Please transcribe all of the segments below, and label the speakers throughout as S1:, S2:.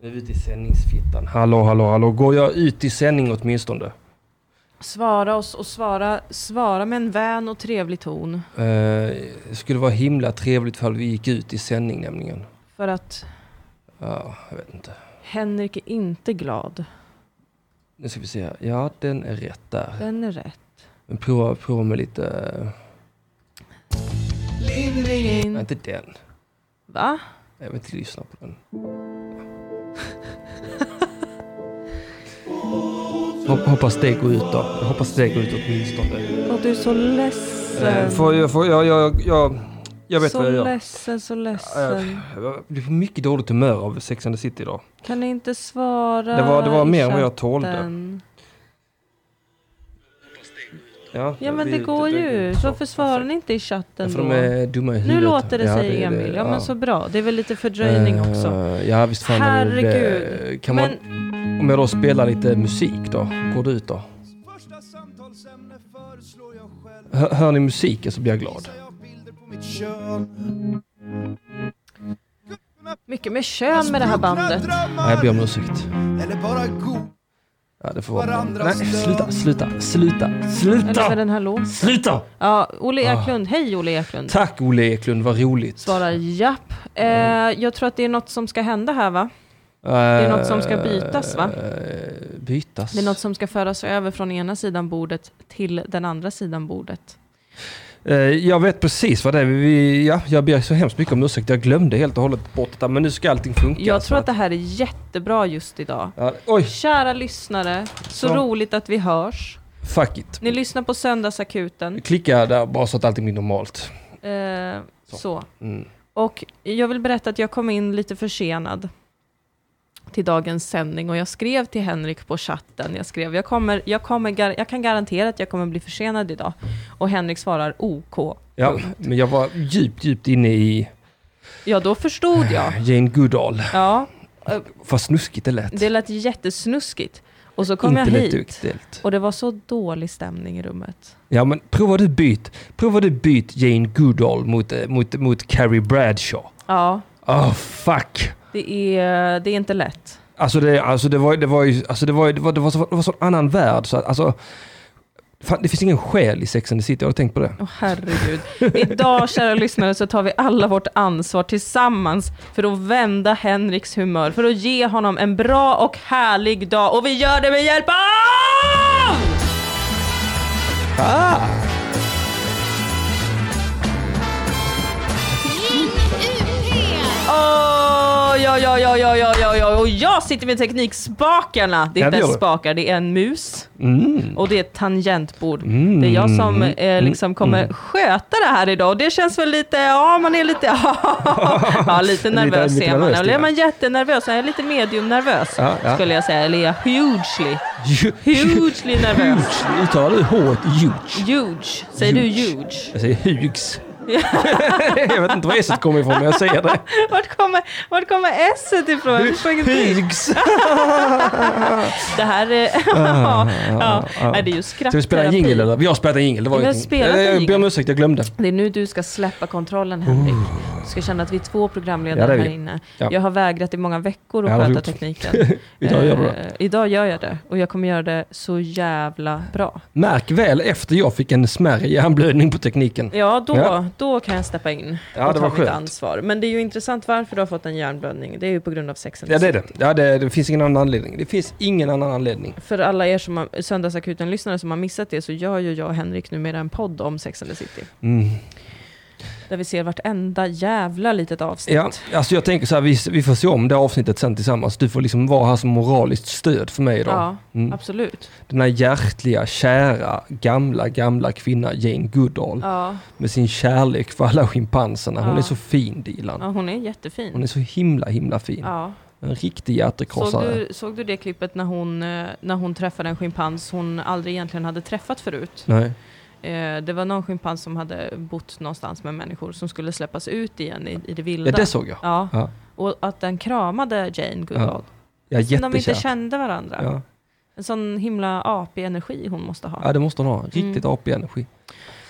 S1: Nu är vi ute i sändningsfittan. Hallå, hallå, hallå. Går jag ut i sändning åtminstone? Eh,
S2: Svara oss och svara, svara med en vän och trevlig ton.
S1: Eh, det skulle vara himla trevligt ifall vi gick ut i sändning nämligen.
S2: För att
S1: Ja, jag vet inte.
S2: Henrik är inte glad.
S1: Nu ska vi se. här. Ja, den är rätt där.
S2: Den är rätt.
S1: Men prova, prova med lite... Nej,
S2: In.
S1: eh, inte den.
S2: Va?
S1: Jag vill inte lyssna på den. Hop- Hoppas det går ut då. Jag hoppas det går ut åtminstone.
S2: Och du är så ledsen.
S1: Eh, Får jag, får jag, jag, jag, jag vet
S2: så
S1: vad jag gör.
S2: ledsen, så
S1: Ja,
S2: ledsen.
S1: Jag blir på mycket dåligt humör av Sex and the City idag.
S2: Kan ni inte svara
S1: Det var, det var
S2: i
S1: mer än vad jag tålde.
S2: chatten?
S1: det
S2: Ja men
S1: blir-
S2: det går ju ut.
S1: så.
S2: Varför svarar ni inte i chatten
S1: För de
S2: då?
S1: är dumma i huvudet.
S2: Nu låter det
S1: Ja,
S2: sig Emil. Ja men så bra. Det är väl lite fördröjning
S1: Eh,
S2: också.
S1: Ja visst fan. är det-
S2: Herregud.
S1: Kan man,
S2: Men
S1: Om jag då spelar lite musik då? Går det ut då?
S3: Första samtalsämne föreslår jag själv
S1: Hör, hör ni musiken så blir jag glad.
S3: Visar jag bilder på mitt kön
S2: mycket med kön med det här bandet.
S1: Nej, jag ber om ursäkt.
S3: Eller bara god
S1: Ja, det får vara.
S3: Varandras
S1: Nej,
S3: död.
S1: sluta, sluta, sluta,
S2: Eller med
S1: sluta!
S2: den här låten.
S1: Sluta!
S2: Ja, Olle Eklund. Hej Olle Eklund.
S1: Ah. Tack Olle Eklund, vad roligt.
S2: Svarar japp. Eh,
S1: Mm.
S2: jag tror att det är något som ska hända här va? är något som ska bytas, va?
S1: Eh, Bytas?
S2: Det är något som ska föras över från ena sidan bordet till den andra sidan bordet.
S1: Eh, Jag vet precis vad det är. Vi, ja, jag ber så hemskt mycket om ursäkt. Jag glömde helt och hållet bort detta, men nu ska allting funka.
S2: Jag
S1: så
S2: tror att det här är jättebra just idag.
S1: Ja, oj,
S2: Kära lyssnare, så
S1: Ja.
S2: roligt att vi hörs.
S1: fuck it.
S2: Ni lyssnar på Söndagsakuten.
S1: Klicka där bara så att allting blir normalt.
S2: Eh,
S1: Så.
S2: så.
S1: Mm.
S2: Och jag vill berätta att jag kom in lite försenad till dagens sändning och jag skrev till Henrik på chatten. Jag skrev, jag, kommer, jag, kommer, gar- jag kan garantera att jag kommer bli försenad idag. Och Henrik svarar OK.
S1: Ja, men jag var djupt, djupt inne i
S2: Ja, då förstod jag.
S1: Jane Goodall.
S2: Ja,
S1: Vad snuskigt det lät.
S2: det lät jättesnuskigt. Och så kom jag
S1: Inte
S2: hit.
S1: intellektuellt.
S2: Och det var så dålig stämning i rummet.
S1: Ja, men prova du byt. Prova du byt Jane Goodall mot, eh, mot, mot Carrie Bradshaw.
S2: Ja,
S1: Oh, fuck!
S2: det är, det är inte lätt.
S1: Alltså det, alltså det var ju, det var ju, alltså det var ju, det var, det var, så, det var sån annan värld så att, alltså, fan, det finns ingen själ i Sex and the City, har du tänkt på det?
S2: Åh herregud. Idag, kära lyssnare, så tar vi alla vårt ansvar tillsammans för att vända Henriks humör, för att ge honom en bra och härlig dag. Och vi gör det med hjälp av...
S4: Ring
S2: Åh, ja, ja, ja, ja, ja, ja, ja. Och jag sitter med teknikspakarna. Det är
S1: Ja, det
S2: inte
S1: gör
S2: ens
S1: du.
S2: spakar, det är en mus
S1: Mm.
S2: och det är ett tangentbord. Det är jag som eh, liksom kommer
S1: Mm.
S2: sköta det här idag och det känns väl lite, ja man är lite, ja lite nervös
S1: lite
S2: är man.
S1: nervös,
S2: Eller är
S1: ja.
S2: man jättenervös? Jag är lite mediumnervös
S1: Ja, ja.
S2: skulle jag säga. Eller jag är hugely,
S1: Huge!
S2: hugely nervös.
S1: Uttalar du hårt huge?
S2: Huge, säger du
S1: Huge.
S2: huge?
S1: Jag säger hugs. jag vet inte var esset kommer ifrån, men jag säger det.
S2: Vart kommer, vart kommer S ifrån? Jag förstår ingenting.
S1: Hugs!
S2: Det här är,
S1: Ah,
S2: ja, ja. Nej, det är ju
S1: Ska vi spela en jingle
S2: skrattterapi.
S1: eller? Vi har spelat en jingle, det var
S2: Vi har
S1: ingenting.
S2: spelat en
S1: Jag- Jag ber om
S2: jingle.
S1: ursäkt, jag glömde.
S2: Det är nu du ska släppa kontrollen Henrik. Du ska känna att vi är två
S1: Oh. Ja,
S2: programledare
S1: det är vi.
S2: här inne.
S1: Ja.
S2: Jag har vägrat i många veckor att
S1: Ja, det har
S2: sköta
S1: du gjort.
S2: tekniken.
S1: Idag gör vi det.
S2: Eh, idag gör jag det och jag kommer göra det så jävla bra.
S1: Märk väl efter jag fick en smärre hjärnblödning på tekniken.
S2: Ja, då,
S1: Ja.
S2: då kan jag steppa in
S1: Ja,
S2: och
S1: det
S2: ta
S1: var
S2: mitt
S1: skönt.
S2: ansvar. Men det är ju intressant varför du har fått en hjärnblödning. Det är ju på grund av sexen.
S1: Ja, det är det. Ja, det, det finns ingen annan anledning. Det finns ingen annan anledning.
S2: För alla er som har, Söndagsakuten-lyssnare som har missat det så gör ju jag och Henrik numera en podd om Sex and the City.
S1: Mm.
S2: Där vi ser vartenda jävla litet avsnitt.
S1: Ja, alltså jag tänker så här, vi, vi får se om det här avsnittet sen tillsammans. Du får liksom vara här som moraliskt stöd för mig idag.
S2: Ja,
S1: Mm.
S2: absolut.
S1: Den här hjärtliga, kära, gamla, gamla kvinna Jane Goodall
S2: Ja.
S1: med sin kärlek för alla schimpanserna. Hon
S2: Ja.
S1: är så fin Dilan.
S2: ja, hon är
S1: Hon
S2: jättefin.
S1: är så himla, himla fin.
S2: Ja.
S1: En riktig
S2: Såg,
S1: hjärtekrossare.
S2: du, såg du det klippet när hon, eh, när hon träffade en schimpans hon aldrig egentligen hade träffat förut?
S1: Nej.
S2: Eh, Det var någon schimpans som hade bott någonstans med människor som skulle släppas ut igen i, i det vilda.
S1: Ja, det såg jag.
S2: Ja.
S1: Ja.
S2: och att den kramade Jane Goodall.
S1: Jag är
S2: Som de inte
S1: jättekär.
S2: kände varandra.
S1: Ja.
S2: En sån himla apig-energi hon måste ha.
S1: ja, det måste hon
S2: Mm.
S1: ha. Riktigt apig-energi.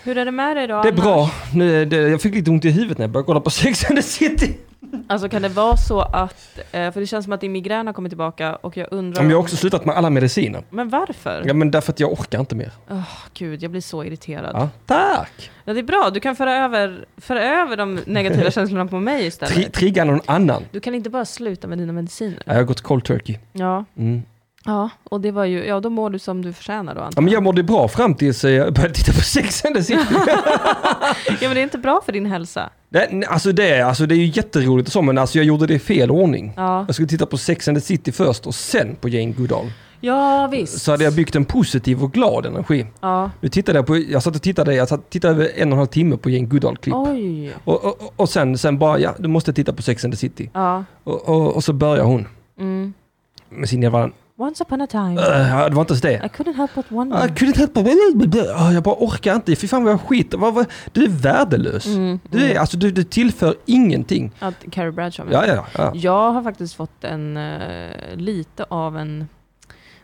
S2: Hur är det med dig då?
S1: Det är
S2: Anna?
S1: bra. Nu, är det, jag fick lite ont i huvudet när jag började kolla på Sex and the City.
S2: Alltså kan det vara så att, eh, för det känns som att din migrän har kommit tillbaka och jag undrar...
S1: Men jag har också slutat med alla mediciner.
S2: Men varför?
S1: Ja, men därför att jag orkar inte mer.
S2: Gud, jag blir så irriterad. Ja.
S1: Ja. Tack!
S2: det är bra, du kan föra över, föra över de negativa känslorna på mig
S1: Tri-
S2: istället.
S1: trigga någon annan.
S2: Du kan inte bara sluta med dina mediciner.
S1: Ja, jag har gått cold turkey.
S2: Ja,
S1: Mm.
S2: ja och det var ju, ja då mår du som du förtjänar då
S1: Ja,
S2: antar
S1: men jag mådde bra fram tills jag började titta på Sex and the City.
S2: Ja men det är inte bra för din hälsa.
S1: Nej, nej, alltså, det, är- alltså det är ju jätteroligt och så, men alltså jag gjorde det i fel ordning.
S2: Ja,
S1: Jag skulle titta på Sex and the City först och sen på Jane Goodall.
S2: ja visst.
S1: Så hade jag byggt en positiv och glad energi.
S2: Ja.
S1: Nu tittade jag på, jag satt och tittade, jag satt, tittade över en och en halv timme på Jane Goodall-klipp.
S2: Oj.
S1: Och, och, och sen, sen bara, ja, du måste titta på Sex and the City.
S2: Ja.
S1: Och, och, och så börjar hon
S2: Mm.
S1: med sin jävla...
S2: Once upon a time,
S1: Äh, det var inte ens det.
S2: I couldn't help but wonder.
S1: Ah, Jag kunde inte hjälpa Ah, Jag bara orkar inte. Fy fan vad jag skiter. Vad, vad, du är värdelös.
S2: Mm,
S1: Du, är, alltså, du, du tillför ingenting.
S2: Att Carrie Bradshaw
S1: Ja, ja, ja.
S2: Jag har faktiskt fått en, eh, lite av en,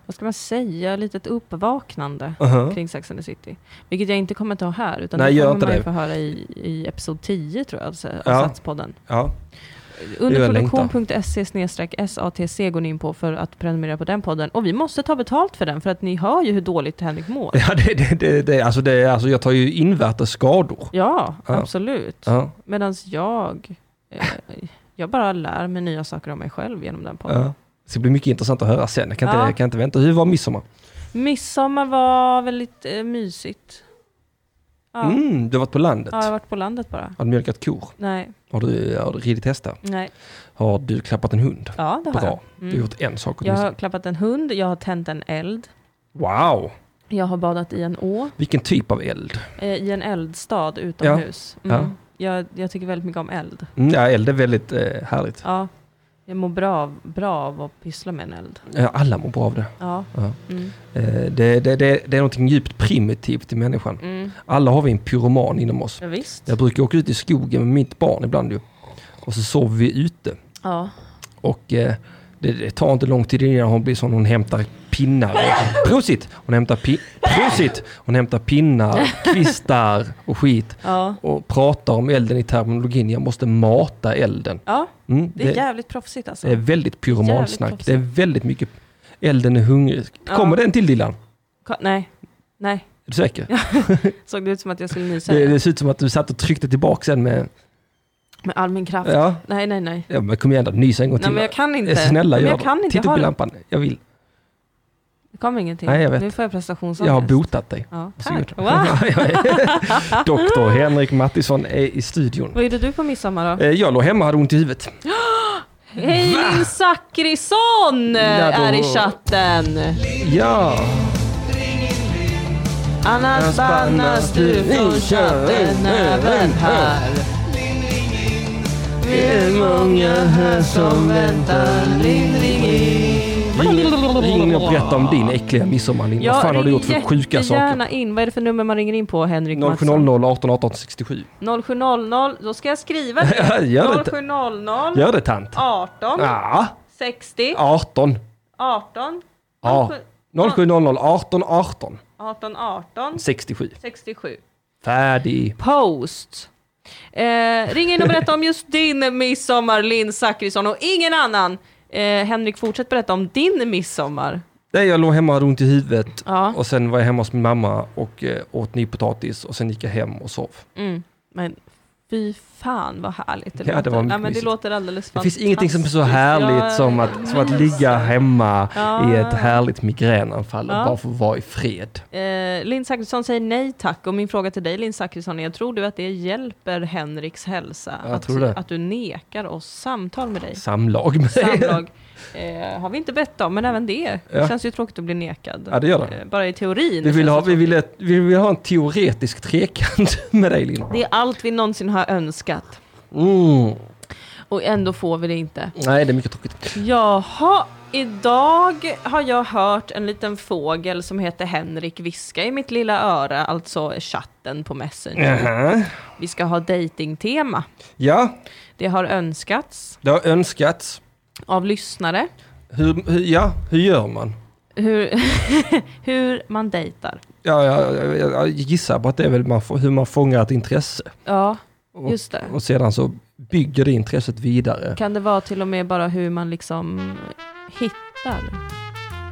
S2: vad ska man säga, lite ett uppvaknande
S1: Uh-huh.
S2: kring Sex and the City. Vilket jag inte kommer ta här, utan
S1: Nej,
S2: det
S1: gör
S2: kommer
S1: inte
S2: man ju
S1: det.
S2: få höra i, i episod 10 tror jag, alltså, av
S1: Ja.
S2: Satspodden.
S1: Ja.
S2: Under
S1: jag längtar.
S2: produktion.se SATC går ni in på för att prenumerera på den podden. Och vi måste ta betalt för den, för att ni hör ju hur dåligt Henrik mår.
S1: Ja, det, det, det, det, alltså, det, alltså, jag tar ju invärtes skador.
S2: Ja,
S1: Ja.
S2: absolut.
S1: Ja,
S2: Medan jag, eh, jag bara lär mig nya saker om mig själv genom den podden.
S1: ja. Så det blir mycket intressant att höra sen. Jag kan inte,
S2: Ja.
S1: jag kan inte vänta. Hur var midsommar?
S2: Midsommar var väldigt eh, mysigt. Ja.
S1: Mm, du har varit på landet.
S2: ja, jag har varit på landet bara.
S1: Har du mjölkat kor?
S2: Nej,
S1: Har du, har du ridit hästar?
S2: nej.
S1: Har du klappat en hund?
S2: Ja, det har
S1: Bra.
S2: jag.
S1: Du har
S2: Mm.
S1: gjort en sak
S2: Jag har
S1: åtminstone.
S2: klappat en hund, jag har tänt en eld,
S1: Wow!
S2: jag har badat i en å,
S1: Vilken typ av eld?
S2: eh, i en eldstad utomhus.
S1: Ja.
S2: Mm. Jag, jag tycker väldigt mycket om eld.
S1: Mm, ja, eld är väldigt eh, härligt.
S2: Ja. Jag mår bra av, bra av att pyssla med en eld.
S1: Ja, alla mår bra av det.
S2: Ja.
S1: Ja.
S2: Mm.
S1: Eh, Det, det, det, det är något djupt primitivt i människan.
S2: Mm.
S1: Alla har vi en pyroman inom oss.
S2: Ja, visst.
S1: Jag brukar åka ut i skogen med mitt barn ibland ju. Och så sover vi ute.
S2: Ja.
S1: Och eh, det, det tar inte lång tid innan hon blir sån, hon hämtar pinnar. Prosit! Hon hämtar, pi- prosit! Hon hämtar pinnar, kvistar och skit.
S2: Ja.
S1: Och pratar om elden i terminologin, jag måste mata elden.
S2: ja,
S1: Mm,
S2: det är jävligt proffsigt alltså.
S1: det är väldigt pyromansnack.
S2: jävligt
S1: Det är väldigt mycket, elden är hungrig.
S2: Ja.
S1: Kommer det en till Dilan?
S2: Ka- nej, nej.
S1: Är du säker?
S2: Såg det ut som att jag skulle nysa?
S1: Det, det ser ut som att du satt och tryckte tillbaka sen med...
S2: Med all min kraft.
S1: Ja,
S2: Nej, nej, nej.
S1: ja men kom igen då, nys en gång
S2: Nej
S1: till.
S2: men jag kan inte.
S1: Snälla
S2: men
S1: gör
S2: jag
S1: det.
S2: kan inte.
S1: Titta
S2: ha
S1: upp i
S2: det.
S1: lampan. Jag vill.
S2: Det kom ingenting.
S1: Nej, jag vet.
S2: Nu får jag prestationsångest.
S1: Jag har botat dig.
S2: Ja, tack.
S1: Varsågod.
S2: Wow.
S1: Doktor Henrik Mattisson är i studion.
S2: Vad gjorde du på midsommar då?
S1: Eh, Jag låg hemma och hade ont i huvudet.
S2: Hej Linn Zachrisson
S1: Ja, då-
S2: är i chatten.
S1: Ja,
S2: Annas bannas du från chatten även här. Vi är många här som väntar lindring in.
S1: ring, ring och berätta om din äckliga midsommar Linn. Vad fan har du gjort för sjuka saker?
S2: gärna in. Vad är det för nummer man ringer in på Henrik
S1: 0700 18 18 67.
S2: 0700, då ska jag skriva det.
S1: Ja, gör det.
S2: 0700
S1: Gör det tant.
S2: 18
S1: Ja,
S2: 60
S1: 18.
S2: 18 Alltså,
S1: Ja. 0700 18 18
S2: 18 18
S1: 67.
S2: 67.
S1: Färdig.
S2: Post. Eh, ring in och berätta om just din midsommar, Linn Zachrisson, och ingen annan. Eh, Henrik, fortsätt berätta om din midsommar.
S1: Nej, jag låg hemma och hade ont i huvudet.
S2: Ja.
S1: Och sen var jag hemma hos min mamma och eh, åt nypotatis och sen gick jag hem och sov.
S2: Mm. Men fy fan vad härligt
S1: Ja,
S2: det
S1: det
S2: låter.
S1: var mycket
S2: ja, men det
S1: mysigt.
S2: låter alldeles
S1: Det
S2: fantastiskt.
S1: finns ingenting som är så härligt som, att, som att ligga hemma
S2: Ja.
S1: i ett härligt migränanfall och
S2: Ja.
S1: bara få vara i fred.
S2: Eh, Linn Zachrisson säger nej tack och min fråga till dig Linn Zachrisson är, tror du att det hjälper Henriks hälsa?
S1: Ja, jag
S2: att,
S1: tror det.
S2: att du nekar oss samtal med dig?
S1: Samlag med.
S2: Samlag eh, har vi inte bett om, men även det.
S1: Ja.
S2: känns ju tråkigt att bli nekad.
S1: Ja, det gör det.
S2: Eh, bara i teorin.
S1: Vi vill,
S2: känns
S1: ha,
S2: det
S1: vi,
S2: tråkigt.
S1: vill, vi vill ha en teoretisk trekant med dig Linn.
S2: Det är allt vi någonsin har önskat.
S1: Mm.
S2: Och ändå får vi det inte.
S1: Nej, det är mycket tråkigt.
S2: Jaha, idag har jag hört en liten fågel som heter Henrik viska i mitt lilla öra, alltså chatten på Messenger.
S1: Jaha.
S2: Vi ska ha datingtema.
S1: Ja,
S2: Det har önskats
S1: det har önskats.
S2: av lyssnare
S1: Hur, hur, ja, hur gör man?
S2: hur, hur man dejtar.
S1: Ja, jag, jag, jag, jag gissar på att det är väl man, får- hur man fångar ett intresse.
S2: Ja,
S1: Och,
S2: just det.
S1: och sedan så bygger det intresset vidare.
S2: Kan det vara till och med bara hur man liksom hittar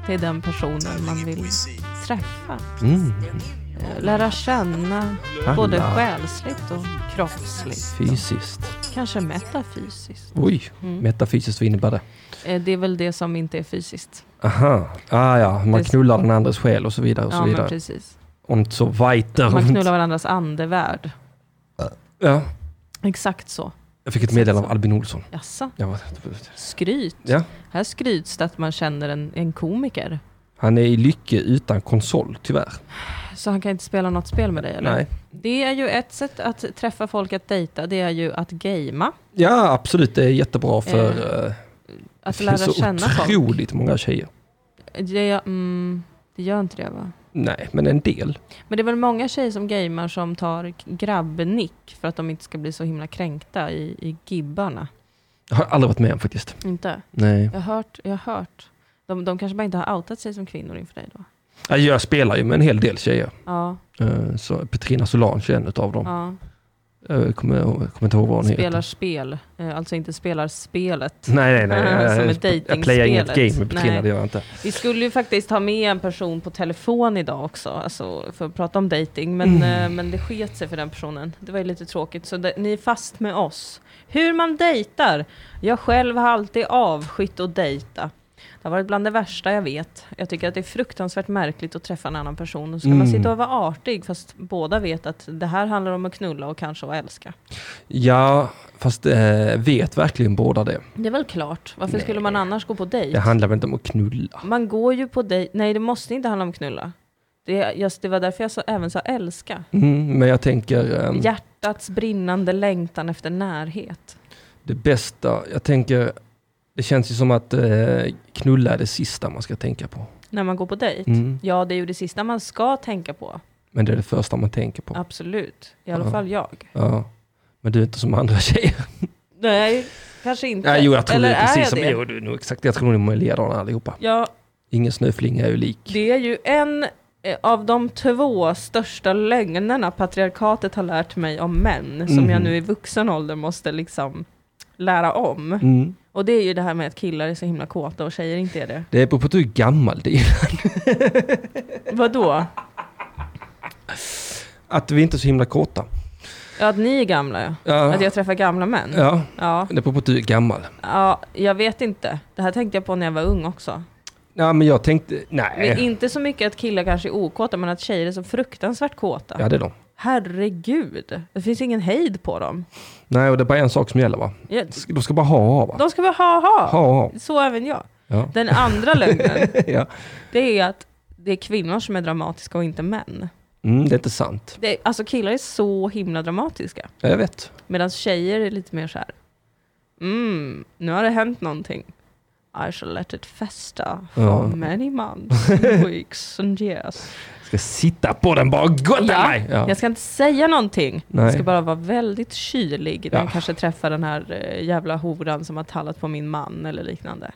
S2: till den personen man vill träffa?
S1: Mm.
S2: Eh, Lära känna både själsligt och kroppsligt.
S1: Fysiskt.
S2: Kanske metafysiskt.
S1: Oj,
S2: Mm.
S1: metafysiskt, vad innebär det?
S2: Eh, Det är väl det som inte är fysiskt.
S1: Aha, ah, ja, man
S2: Det-
S1: knullar den andres själ och så vidare. Och så
S2: Ja, men
S1: vidare.
S2: precis.
S1: Und so weiter.
S2: Man knullar varandras andevärld.
S1: Ja,
S2: Exakt så.
S1: jag fick ett meddelande av Albin Olsson.
S2: Jaså?
S1: Jag var...
S2: Skryt?
S1: Ja.
S2: Här skryts det att man känner en, en komiker.
S1: Han är i lycke utan konsol, tyvärr.
S2: Så han kan inte spela något spel med dig eller?
S1: Nej.
S2: Det är ju ett sätt att träffa folk att dejta, det är ju att gamea.
S1: Ja, absolut. Det är jättebra för... Eh,
S2: Att
S1: det
S2: lära
S1: finns så
S2: känna folk.
S1: otroligt många tjejer.
S2: Det, mm, det gör inte det va?
S1: Nej, men en del.
S2: Men det är väl många tjejer som gamear som tar k- grabbnick för att de inte ska bli så himla kränkta i, i gibbarna.
S1: Jag har aldrig varit med om faktiskt.
S2: Inte?
S1: Nej.
S2: Jag har hört. Jag har hört. De, de kanske bara inte har outat sig som kvinnor inför dig då?
S1: Ja, Jag spelar ju med en hel del tjejer.
S2: Ja,
S1: Eh, Så Petrina Solange är en av dem.
S2: ja.
S1: Jag kommer, jag kommer inte ihåg vad hon
S2: Spelar
S1: heter.
S2: spel, eh, alltså inte spelar spelet.
S1: Nej, nej, nej.
S2: Som
S1: Jag,
S2: ett
S1: jag, jag playar inget game
S2: dejtingspelet.
S1: med Petrina,
S2: Nej.
S1: det gör jag inte.
S2: Vi skulle ju faktiskt ha med en person på telefon idag också, alltså för att prata om dating. men,
S1: Mm.
S2: eh, men det sket sig för den personen. Det var ju lite tråkigt, så det, ni är fast med oss. Hur man dejtar? Jag själv har alltid avskytt att dejta. Det har varit bland det värsta jag vet. Jag tycker att det är fruktansvärt märkligt att träffa en annan person. Och ska man
S1: Mm.
S2: sitta och vara artig fast båda vet att det här handlar om att knulla och kanske att älska?
S1: Ja, fast eh, vet verkligen båda det?
S2: Det är väl klart. Varför skulle man annars gå på dejt?
S1: Det handlar väl inte om att knulla?
S2: Man går ju på dejt. Nej, det måste inte handla om knulla. Det, just, det var därför jag sa, även sa älska.
S1: Mm, men jag tänker, ehm,
S2: Hjärtats brinnande längtan efter närhet.
S1: det bästa, jag tänker, det känns ju som att eh, knulla är det sista man ska tänka på.
S2: När man går på dejt.
S1: Mm.
S2: Ja, det är ju det sista man ska tänka på.
S1: Men det är det första man tänker på.
S2: Absolut. I alla
S1: Ja.
S2: fall jag.
S1: Ja. Men du är inte som andra tjejer.
S2: Nej, kanske inte.
S1: Nej, jo, jag tror
S2: Eller
S1: det är precis som
S2: det?
S1: Jo, du är nog exakt. Jag tror nog ledarna allihopa.
S2: Ja,
S1: Ingen snöflinga är ju lik.
S2: det är ju en eh, av de två största lögnerna patriarkatet har lärt mig om män. Som jag
S1: Mhm.
S2: nu i vuxen ålder måste liksom lära om.
S1: Mm.
S2: Och det är ju det här med att killar är så himla kåta och tjejer inte är det.
S1: Det beror på att du är gammal. Det är.
S2: Vadå?
S1: Att vi inte är så himla kåta.
S2: Ja, att ni är gamla ja.
S1: Ja.
S2: Att jag träffar gamla män. Ja.
S1: ja,
S2: Ja.
S1: det beror på att du är gammal.
S2: jag vet inte. Det här tänkte jag på när jag var ung också.
S1: Ja, men jag tänkte,
S2: Men
S1: nej.
S2: inte så mycket att killar kanske är okåta, men att tjejer är så fruktansvärt kåta.
S1: Ja, det är de.
S2: Herregud, det finns ingen hejd på dem.
S1: Nej, och det är bara en sak som gäller va?
S2: Jag,
S1: De ska bara ha va?
S2: de ska bara ha ha.
S1: Ha, ha.
S2: Så även jag.
S1: Ja.
S2: Den andra lögnen,
S1: ja.
S2: det är att det är kvinnor som är dramatiska och inte män.
S1: Mm, det är inte sant.
S2: Det, alltså killar är så himla dramatiska.
S1: Ja, jag vet.
S2: Medan tjejer är lite mer så här. Mm, nu har det hänt någonting. I shall let it festa for
S1: Ja.
S2: many months, and weeks and years.
S1: Ska sitta på den bara gott
S2: Ja,
S1: mig. Ja.
S2: Jag ska inte säga någonting.
S1: Nej.
S2: Jag ska bara vara väldigt kylig när jag
S1: Ja.
S2: kanske träffar den här eh, jävla horan som har tallat på min man eller liknande.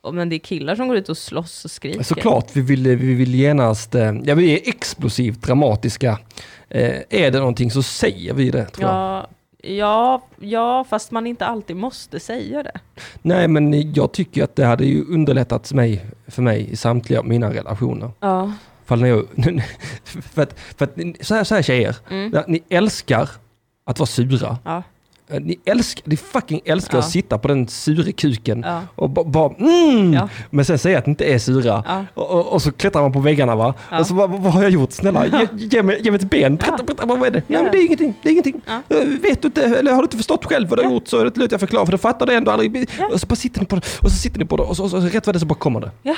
S2: Och, men det är killar som går ut och slåss och skriker.
S1: Såklart, vi vill, vi vill genast, eh, ja vi är explosivt dramatiska. Eh, är det någonting så säger vi det tror jag.
S2: Ja, ja, ja, fast man inte alltid måste säga det.
S1: Nej men jag tycker att det hade ju underlättat mig, för mig i samtliga av mina relationer.
S2: Ja.
S1: Fall när jag, för att, för att ni- så, här, så här tjejer,
S2: Mm.
S1: Ja, ni älskar att vara sura.
S2: Ja.
S1: Eh, Ni, älskar, ni fucking älskar
S2: Ja.
S1: att sitta på den sure kuken
S2: Ja.
S1: och ba- bara mm,
S2: Ja.
S1: men sen säga att ni inte är sura.
S2: Ja.
S1: Och, och, och så klättrar man på väggarna va?
S2: Ja.
S1: Och så bara, vad, vad har jag gjort? Snälla, ge, ge, mig, ge mig ett ben. Berätta, berätta, vad är det? Nej
S2: Ja.
S1: men det är ingenting, det är ingenting.
S2: Ja.
S1: Eh, Vet du inte, eller har du inte förstått själv vad du har gjort så är det inte lönt jag förklarar för du fattar det ändå aldrig.
S2: Ja.
S1: Och så bara sitter ni på det, och så sitter ni på det och så, och så, och så rätt vad det är så bara kommer det.
S2: ja,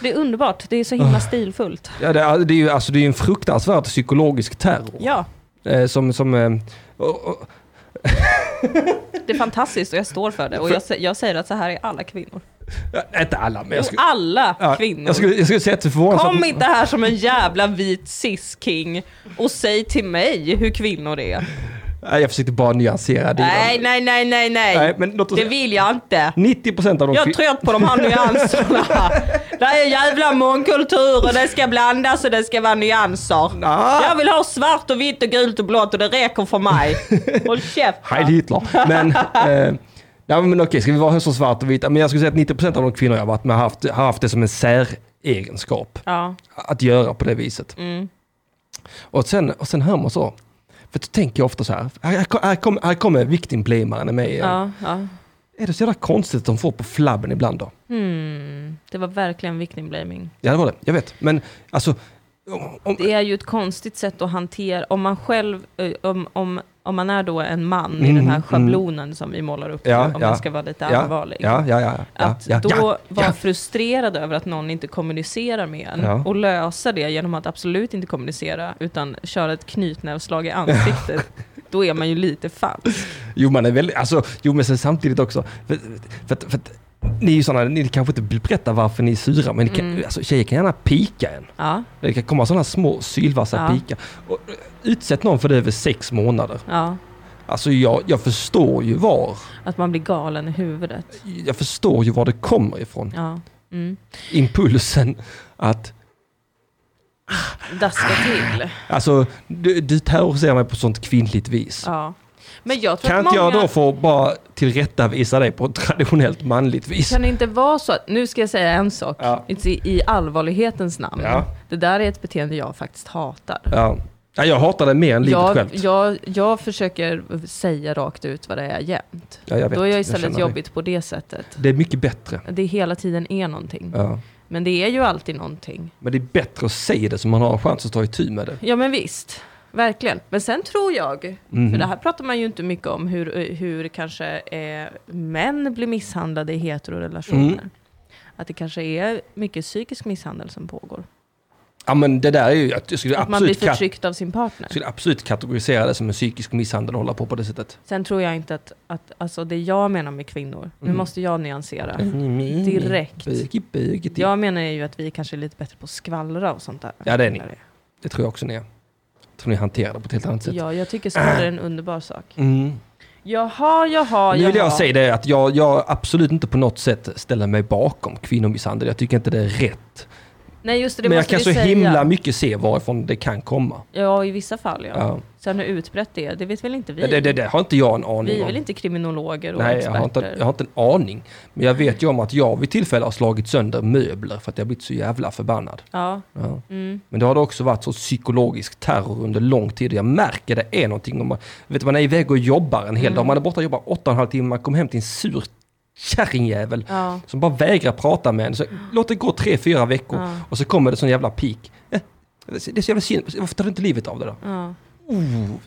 S2: det är underbart. Det är så
S1: Ah.
S2: himla stilfullt.
S1: Ja, det, är, det är ju alltså, det är ju en fruktansvärd psykologisk terror.
S2: Ja,
S1: Eh, som, som, eh, och, och,
S2: det är fantastiskt och jag står för det. Och jag, sä- jag säger att så här är alla kvinnor.
S1: ja, inte alla men
S2: Jo,
S1: jag skulle,
S2: alla
S1: ja,
S2: kvinnor.
S1: jag skulle, jag skulle säga att det är förvånansvärt.
S2: Kom inte här som en jävla vit cis-king och säg till mig hur kvinnor är.
S1: Nej, jag försökte bara nyansera det.
S2: Nej, nej, nej, nej, nej.
S1: Nej, men låt oss
S2: Det vill jag inte.
S1: 90 procent av de
S2: Jag är
S1: kvin-
S2: trött på de här nyanserna. Det är jävla mångkultur och det ska blandas och det ska vara nyanser.
S1: Ah,
S2: Jag vill ha svart och vitt och gult och blått och det räcker för mig. Håll
S1: Heil
S2: käften.
S1: Hitler. Men, eh, ja, men okej, ska vi vara så svart och vita? Men jag skulle säga att 90% av de kvinnor jag har varit med har haft, har haft det som en säregenskap.
S2: Ja,
S1: Att göra på det viset.
S2: mm.
S1: Och sen, och sen hör man så. För då tänker jag ofta så här. Här, här, kom- här, kom, här kommer victim-blamaren i mig igen.
S2: ja, ja.
S1: Är det så jävla konstigt att de får på flabben ibland då?
S2: Hmm. Det var verkligen victim blaming.
S1: Ja, det var det. Jag vet. Men alltså... Om, om,
S2: Det är ju ett konstigt sätt att hantera, om man själv, eh, om, om, om man är då en man i
S1: Mm,
S2: den här
S1: mm.
S2: schablonen som vi målar upp,
S1: Ja,
S2: om
S1: ja,
S2: man ska vara lite
S1: ja,
S2: allvarlig.
S1: ja, ja, ja, ja,
S2: Att
S1: ja,
S2: då
S1: ja,
S2: vara
S1: ja.
S2: frustrerad över att någon inte kommunicerar med en
S1: Ja.
S2: och lösa det genom att absolut inte kommunicera utan köra ett knytnävsslag i ansiktet. Då är man ju lite falsk.
S1: Jo, man är väldigt... Alltså, jo, men sen samtidigt också. För, för, att- för att ni är ju sådana, ni kanske inte vill berätta varför ni är sura, men ni kan,
S2: Mm.
S1: alltså, tjejer kan gärna pika en.
S2: Ja,
S1: Det kan komma sådana små sylvassa
S2: Ja.
S1: pikar. Och, eh, utsätt någon för det över sex månader.
S2: ja.
S1: Alltså jag, jag förstår ju var.
S2: Att man blir galen i huvudet.
S1: Jag förstår ju var det kommer ifrån.
S2: Ja. Mm.
S1: Impulsen att...
S2: Daska till.
S1: Alltså, du, du terroriserar mig på sånt kvinnligt vis.
S2: Ja. Men jag tror
S1: Kan
S2: att
S1: inte
S2: många...
S1: jag då få bara tillrättavisa dig på ett traditionellt manligt vis?
S2: Kan det inte vara så att, nu ska jag säga en sak,
S1: Ja.
S2: i, i allvarlighetens namn.
S1: Ja.
S2: Det där är ett beteende jag faktiskt hatar.
S1: Ja. Ja, jag hatar det mer än livet
S2: Jag,
S1: självt.
S2: jag, jag försöker säga rakt ut vad det är jämt.
S1: Ja, jag vet.
S2: Då är jag
S1: känner
S2: istället
S1: dig.
S2: jobbigt på det sättet.
S1: Det är mycket bättre.
S2: Det hela tiden är någonting.
S1: Ja.
S2: Men det är ju alltid någonting.
S1: Men det är bättre att säga det så man har en chans att ta itu med det.
S2: Ja men visst, verkligen. Men sen tror jag,
S1: Mhm.
S2: för det här pratar man ju inte mycket om, hur, hur kanske eh, män blir misshandlade i heterorelationer.
S1: Mm.
S2: Att det kanske är mycket psykisk misshandel som pågår.
S1: Ja, men det där är ju... Jag skulle
S2: Att man blir
S1: absolut kat-
S2: förtryckt av sin partner.
S1: skulle absolut kategorisera det som en psykisk misshandel att hålla på på det sättet.
S2: Sen tror jag inte att, att alltså det jag menar med kvinnor, nu
S1: Mm.
S2: måste jag nyansera.
S1: Direkt.
S2: Direkt.
S1: Bögi, bögi, di-
S2: Jag menar ju att vi kanske är lite bättre på att skvallra och sånt där.
S1: Ja, det är ni. Det tror jag också ni är. Jag tror ni hanterar det på ett helt annat sätt.
S2: Ja, jag tycker skvallra är en underbar sak.
S1: Mm.
S2: Jaha, jaha,
S1: Nu
S2: jaha.
S1: vill jag säga det att jag, jag absolut inte på något sätt ställer mig bakom kvinnomisshandel. Jag tycker inte det är rätt.
S2: Nej, just det, det
S1: Men jag
S2: måste
S1: kan
S2: vi
S1: så
S2: säga.
S1: himla mycket se varifrån det kan komma.
S2: Ja, i vissa fall ja.
S1: Ja.
S2: Sen hur utbrett det är, det vet väl inte vi?
S1: Det, det, det, det har inte jag en aning
S2: vi är
S1: om.
S2: väl inte kriminologer och
S1: Nej, jag
S2: experter?
S1: har, inte, jag har inte en aning. Men jag vet ju om att jag vid tillfälle har slagit sönder möbler för att jag blivit så jävla förbannad.
S2: Ja,
S1: Ja.
S2: mm.
S1: Men det har det också varit så psykologisk terror under lång tid. Jag märker det är någonting. Om man, vet, du, man är iväg och jobbar en hel
S2: Mm.
S1: dag. Man är borta och jobbar åtta och en halv timme. Man kommer hem till en sur kärringjävel
S2: ja.
S1: som bara vägrar prata med en. Så, låt det gå tre, fyra veckor
S2: Ja.
S1: och så kommer det sån jävla pik. Eh, det är så jävla synd. Varför tar du inte livet av det då?
S2: Ja.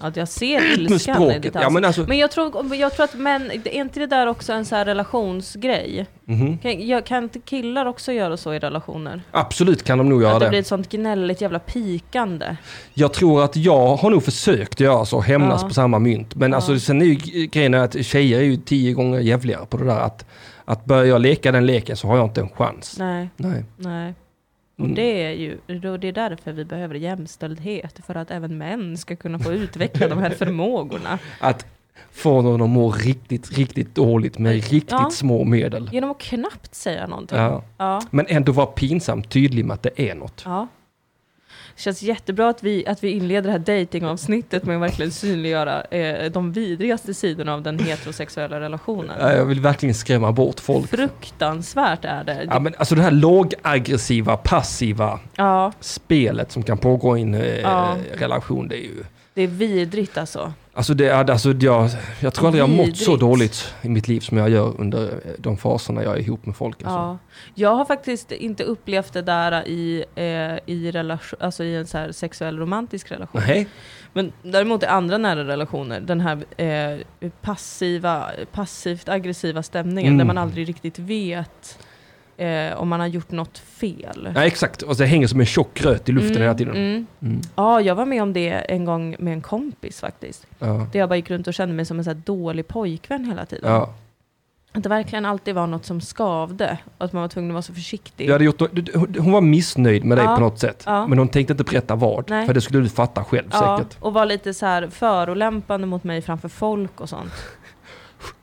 S2: ja, jag ser ilskan i
S1: Språket.
S2: ditt
S1: Ja, men alltså,
S2: Men jag tror, jag tror att män, är inte det där också en så här relationsgrej?
S1: mhm.
S2: Kan, jag, kan inte killar också göra så i relationer?
S1: Absolut kan de nog göra
S2: att det,
S1: det.
S2: blir ett sånt gnälligt jävla pikande.
S1: Jag tror att jag har nog försökt göra så, hämnas
S2: Ja.
S1: på samma mynt. Men
S2: Ja.
S1: alltså, sen är ju grejen att tjejer är ju tio gånger jävligare på det där. Att, att börjar jag leka den leken så har jag inte en chans.
S2: Nej,
S1: Nej.
S2: nej. Och
S1: Mm.
S2: det är ju och det är därför vi behöver jämställdhet, för att även män ska kunna få utveckla de här förmågorna.
S1: Att få någon att må riktigt, riktigt dåligt med riktigt
S2: Ja.
S1: små medel.
S2: Genom att knappt säga någonting.
S1: Ja.
S2: Ja.
S1: Men ändå vara pinsamt tydlig med att det är något.
S2: ja. Det känns jättebra att vi, att vi inleder det här datingavsnittet med att verkligen synliggöra eh, de vidrigaste sidorna av den heterosexuella
S1: Ja,
S2: relationen.
S1: Jag vill verkligen skrämma bort folk.
S2: Fruktansvärt är det.
S1: Ja, men alltså det här lågaggressiva, passiva
S2: ja,
S1: spelet som kan pågå i en eh,
S2: Ja.
S1: relation, det är ju...
S2: det är vidrigt alltså.
S1: Alltså, det, är- alltså jag, jag tror aldrig jag har mått så
S2: Vidrigt.
S1: dåligt i mitt liv som jag gör under eh, de faserna jag är ihop med folk. Alltså.
S2: Ja. Jag har faktiskt inte upplevt det där i, eh, i, relation, alltså i en så här sexuell romantisk relation.
S1: Nej,
S2: Men däremot i andra nära relationer, den här eh, passiva, passivt aggressiva stämningen
S1: Mm.
S2: där man aldrig riktigt vet eh, om man har gjort något fel.
S1: nej, exakt. Och det hänger som en tjock gröt i luften hela tiden.
S2: Mm.
S1: Mm.
S2: Ja, jag var med om det en gång med en kompis faktiskt.
S1: Ja.
S2: Där jag bara gick runt och kände mig som en så här dålig pojkvän hela tiden.
S1: Ja.
S2: Att det verkligen alltid var något som skavde. Och att man var tvungen att vara så försiktig.
S1: Du hade gjort, du- du- hon var missnöjd med dig
S2: Ja.
S1: på något sätt,
S2: Ja.
S1: men hon tänkte inte berätta vad.
S2: Nej.
S1: För det skulle du fatta själv säkert.
S2: och var lite så här förolämpande mot mig framför folk och sånt.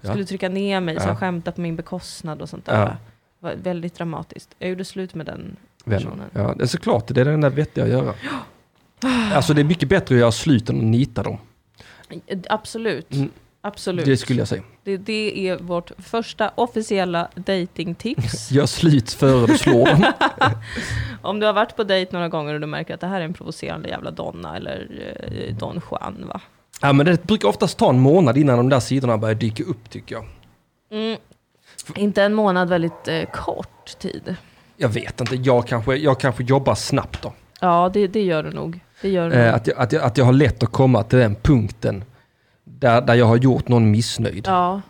S1: Ja.
S2: Skulle trycka ner mig, så
S1: Ja.
S2: skämta på min bekostnad och sånt där.
S1: Ja.
S2: va? var väldigt dramatiskt. Jag gjorde slut med den
S1: Vännen.
S2: Personen.
S1: Ja, det är såklart, det är det enda vettiga att göra. Alltså det är mycket bättre att göra slut än att nita dem.
S2: Absolut.
S1: Mm.
S2: Absolut.
S1: Det skulle jag säga.
S2: Det, det är vårt första officiella datingtips.
S1: Gör slut före du slår dem.
S2: Om du har varit på dejt några gånger och du märker att det här är en provocerande jävla donna eller eh, don Juan va?
S1: Ja, men det brukar oftast ta en månad innan de där sidorna börjar dyka upp tycker jag.
S2: Mm. Inte en månad, väldigt eh, kort tid.
S1: Jag vet inte, jag kanske, jag kanske jobbar snabbt då.
S2: Ja, det, det gör du nog. Det gör du
S1: Eh,
S2: nog.
S1: att, jag, att, jag, att jag har lätt att komma till den punkten där, där jag har gjort någon missnöjd.
S2: Ja,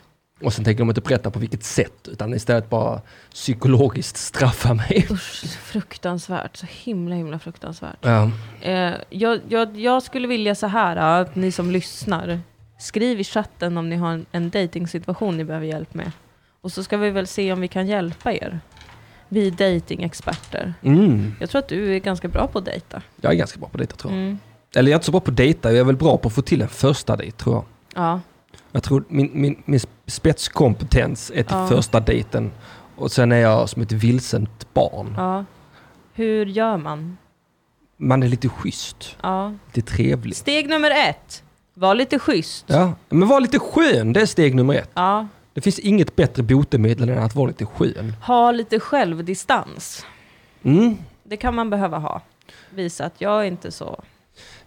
S1: Och sen tänker de inte berätta på vilket sätt, utan istället bara psykologiskt straffa mig.
S2: usch, så fruktansvärt. Så himla, himla fruktansvärt.
S1: Ja.
S2: Eh, jag, jag, jag skulle vilja så här, ah, att ni som lyssnar, skriv i chatten om ni har en, en dejtingsituation ni behöver hjälp med. Och så ska vi väl se om vi kan hjälpa er. Vi är dejtingexperter.
S1: Mm.
S2: Jag tror att du är ganska bra på att dejta.
S1: Jag är ganska bra på dejta
S2: Mm.
S1: tror jag. Eller jag är inte så bra på att dejta, jag är väl bra på att få till en första dejt tror jag.
S2: Ja.
S1: Jag tror min, min, min spetskompetens är till
S2: Ja.
S1: första dejten. Och sen är jag som ett vilsent barn.
S2: ja. Hur gör man?
S1: Man är lite schysst,
S2: Ja.
S1: lite trevlig.
S2: Steg nummer ett. Var lite schysst.
S1: Ja, men var lite skön, det är steg nummer ett.
S2: Ja.
S1: Det finns inget bättre botemedel än att vara lite skön.
S2: Ha lite självdistans.
S1: Mm.
S2: Det kan man behöva ha. Visa att jag är inte så...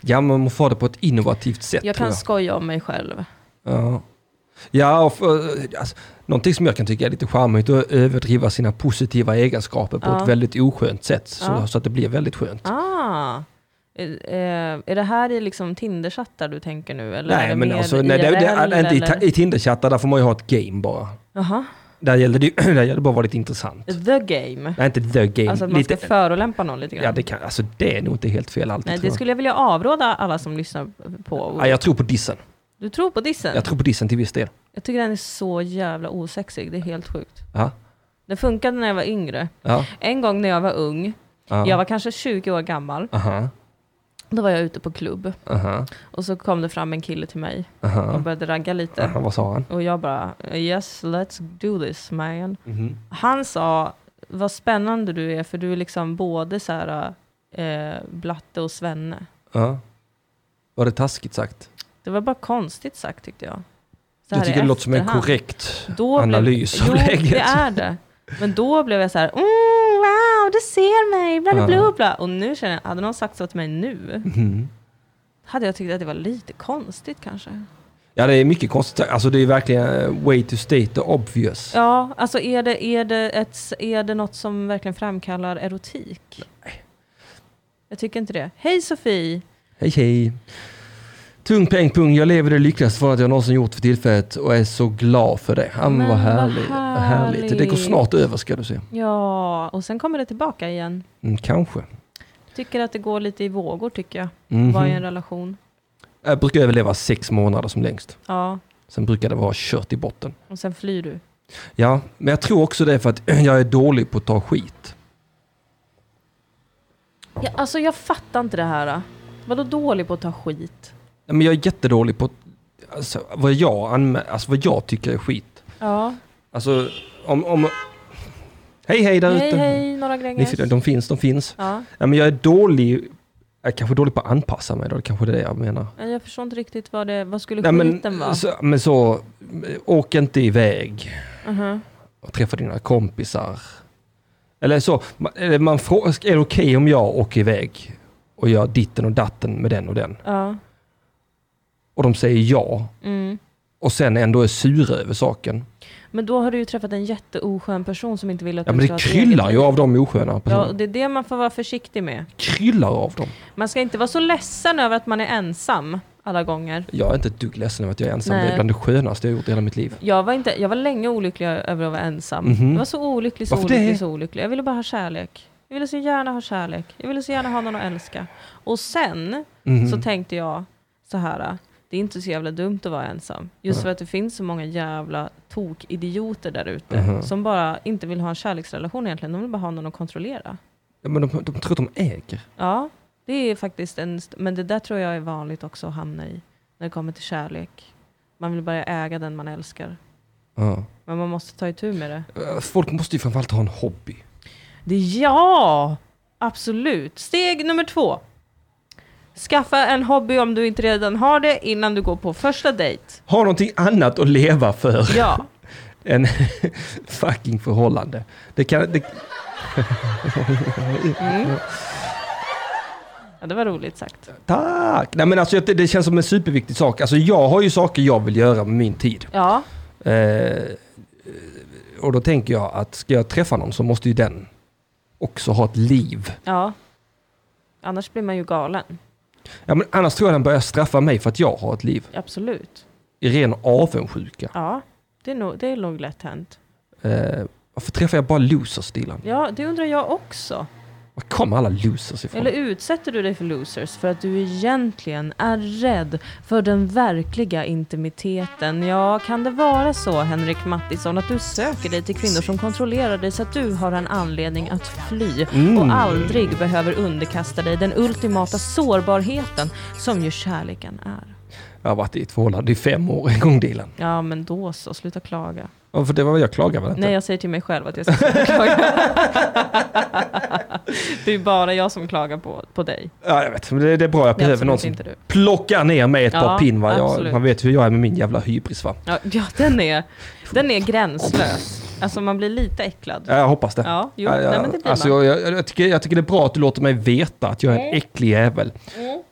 S1: Ja, men man måste ha det på ett innovativt sätt
S2: Jag
S1: tror
S2: kan
S1: jag.
S2: skoja om mig själv.
S1: Ja, ja och för, alltså, någonting som jag kan tycka är lite charmigt är att överdriva sina positiva egenskaper på
S2: Ja.
S1: ett väldigt oskönt sätt så,
S2: Ja.
S1: så att det blir väldigt skönt.
S2: Ah. Eh, eh, är det här i liksom Tinderchattar du tänker nu? Eller är det
S1: nej, men
S2: mer
S1: alltså, nej, det, det,
S2: IRL,
S1: inte i, ta-
S2: eller?
S1: i Tinderchattar, där får man ju ha ett game bara.
S2: Jaha.
S1: Där gäller det, ju- där gäller det bara att vara lite intressant.
S2: The game.
S1: Nej, inte the game.
S2: Alltså att man ska
S1: lite,
S2: förolämpa någon lite grann.
S1: ja, det, kan, alltså, det är nog inte helt fel alltid
S2: Nej,
S1: tror
S2: det
S1: jag.
S2: skulle jag vilja avråda alla som lyssnar på.
S1: Ja, jag tror på dissen.
S2: Du tror på dissen?
S1: Jag tror på dissen till viss del.
S2: Jag tycker den är så jävla osexig, det är helt sjukt.
S1: Ja,
S2: Det funkade när jag var yngre.
S1: ja,
S2: En gång när jag var ung,
S1: ja.
S2: jag var kanske 20 år gammal,
S1: Aha,
S2: då var jag ute på klubb
S1: aha,
S2: och så kom det fram en kille till mig och
S1: aha.
S2: började ragga lite.
S1: Aha, vad sa han?
S2: Och jag bara, yes let's do this man.
S1: Mhm.
S2: Han sa, vad spännande du är för du är liksom både så här eh, blatte och svenne.
S1: Ja. Var det taskigt sagt?
S2: Det var bara konstigt sagt tyckte jag. Så
S1: Jag
S2: här i
S1: tycker det låter som en
S2: efterhand.
S1: korrekt
S2: Då
S1: analys
S2: blev,
S1: av
S2: jo,
S1: läget.
S2: det är det. Men då blev jag så här, mm, wow, du ser mig, bla bla bla. bla. Och nu känner jag, hade någon sagt så till mig nu,
S1: Mhm.
S2: hade jag tyckt att det var lite konstigt kanske.
S1: Ja, det är mycket konstigt. Alltså det är verkligen eh, way to state the obvious.
S2: Ja, alltså är det, är det, ett, är det något som verkligen framkallar erotik?
S1: Nej.
S2: Jag tycker inte det. Hej Sofie!
S1: Hej hej! Tung peng pung, jag lever det lyckligaste för att jag någonsin gjort för tillfället och är så glad för det. Han
S2: Men
S1: var
S2: vad
S1: härlig. härligt. Det går
S2: härligt.
S1: snart över ska du se.
S2: Ja, och sen kommer det tillbaka igen.
S1: Mm, kanske.
S2: Tycker att det går lite i vågor tycker jag.
S1: Mhm.
S2: Vad är en relation?
S1: Jag brukar överleva sex månader som längst.
S2: Ja,
S1: Sen brukar det vara kört i botten.
S2: och sen flyr du.
S1: Ja, men jag tror också det är för att jag är dålig på att ta skit.
S2: Ja, alltså jag fattar inte det här. Vadå dålig på att ta skit?
S1: Nej, Men jag är jättedålig på alltså, vad, jag anmä- alltså, vad jag tycker är skit.
S2: Ja.
S1: Alltså om... om... Hej hej där
S2: Hej
S1: ute!
S2: hej, några
S1: Ni
S2: grängers.
S1: ser, de finns, de finns.
S2: Ja,
S1: Ja, men jag är dålig, jag är kanske dålig på att anpassa mig då, det kanske är det jag menar.
S2: men jag förstår inte riktigt vad det, vad skulle
S1: Nej,
S2: skiten vara?
S1: men, alltså- så, men så, åk inte iväg
S2: Mhm.
S1: och träffa dina kompisar. Eller så, man, eller man frågar, är det okej om jag åker iväg och gör ditten och datten med den och den?
S2: Ja.
S1: Och de säger ja,
S2: Mm.
S1: och sen ändå är sura över saken.
S2: Men då har du ju träffat en jätteoskön person som inte vill att
S1: Ja
S2: du
S1: men
S2: ska
S1: det
S2: ha ett eget
S1: kryllar
S2: liv.
S1: ju av de osköna
S2: Ja, och
S1: personerna.
S2: det är det man får vara försiktig med.
S1: Kryllar av dem.
S2: Man ska inte vara så ledsen över att man är ensam alla gånger.
S1: Jag är inte ett dugg ledsen över att jag är ensam, det är
S2: Nej.
S1: bland det skönaste jag har gjort i hela mitt liv.
S2: Jag var, inte, jag var länge olycklig över att vara ensam.
S1: Mhm.
S2: Jag var så olycklig, så
S1: Varför
S2: olycklig,
S1: det?
S2: så olycklig. Jag ville bara ha kärlek. Jag ville så gärna ha kärlek. Jag ville så gärna ha någon att älska. Och sen
S1: Mhm.
S2: så tänkte jag så här. Det är inte så jävla dumt att vara ensam. Just för att det finns så många jävla tokidioter där ute.
S1: Mhm.
S2: Som bara inte vill ha en kärleksrelation egentligen. De vill bara ha någon att kontrollera.
S1: Ja, men de, de tror att de äger.
S2: Ja, det är faktiskt en... st- Men det där tror jag är vanligt också att hamna i. När det kommer till kärlek. Man vill bara äga den man älskar.
S1: Ja.
S2: Men man måste ta itu med det.
S1: Eh, Folk måste ju framförallt ha en hobby.
S2: det ja, absolut. Steg nummer två. Skaffa en hobby om du inte redan har det innan du går på första dejt.
S1: Ha någonting annat att leva för
S2: Ja,
S1: än fucking förhållande. Det kan... Det,
S2: Mm. ja det var roligt sagt.
S1: tack! Nej men alltså det, det känns som en superviktig sak. Alltså jag har ju saker jag vill göra med min tid.
S2: Ja,
S1: Eh, och då tänker jag att ska jag träffa någon så måste ju den också ha ett liv.
S2: ja. Annars blir man ju galen.
S1: Ja, men annars tror jag den börjar straffa mig för att jag har ett liv.
S2: Absolut.
S1: I ren avundsjuka.
S2: Ja, det är nog, det är nog lätt hänt.
S1: Eh, varför träffar jag bara losers, Dilan?
S2: Ja, det undrar jag också.
S1: Var kommer alla losers ifrån?
S2: Eller utsätter du dig för losers för att du egentligen är rädd för den verkliga intimiteten? Ja, kan det vara så, Henrik Mattisson, att du söker dig till kvinnor som kontrollerar dig så att du har en anledning att fly
S1: Mm.
S2: och aldrig behöver underkasta dig den ultimata sårbarheten som ju kärleken är?
S1: Jag har varit i ett förhållande i fem år en gång, Dilan.
S2: Ja, men då så. Sluta klaga.
S1: Ja, för det var vad jag klagade väl inte?
S2: Nej, jag säger till mig själv att jag ska sluta klaga. det är bara jag som klagar på, på dig.
S1: Ja, jag vet. Men Det, det är bra. Jag
S2: Det är
S1: behöver någon
S2: absolut
S1: som
S2: inte du.
S1: plockar ner mig ett
S2: Ja,
S1: par pin. Va? Jag,
S2: absolut.
S1: man vet hur jag är med min jävla hybris. Va?
S2: Ja, ja den, är, den är gränslös. Alltså man blir lite äcklad.
S1: Ja, Jag hoppas det.
S2: Ja, jo,
S1: Ja, jag,
S2: nej, men det blir
S1: alltså,
S2: man. Mm.
S1: jag, jag, jag, tycker, jag tycker det är bra att du låter mig veta att jag är en äcklig jävel.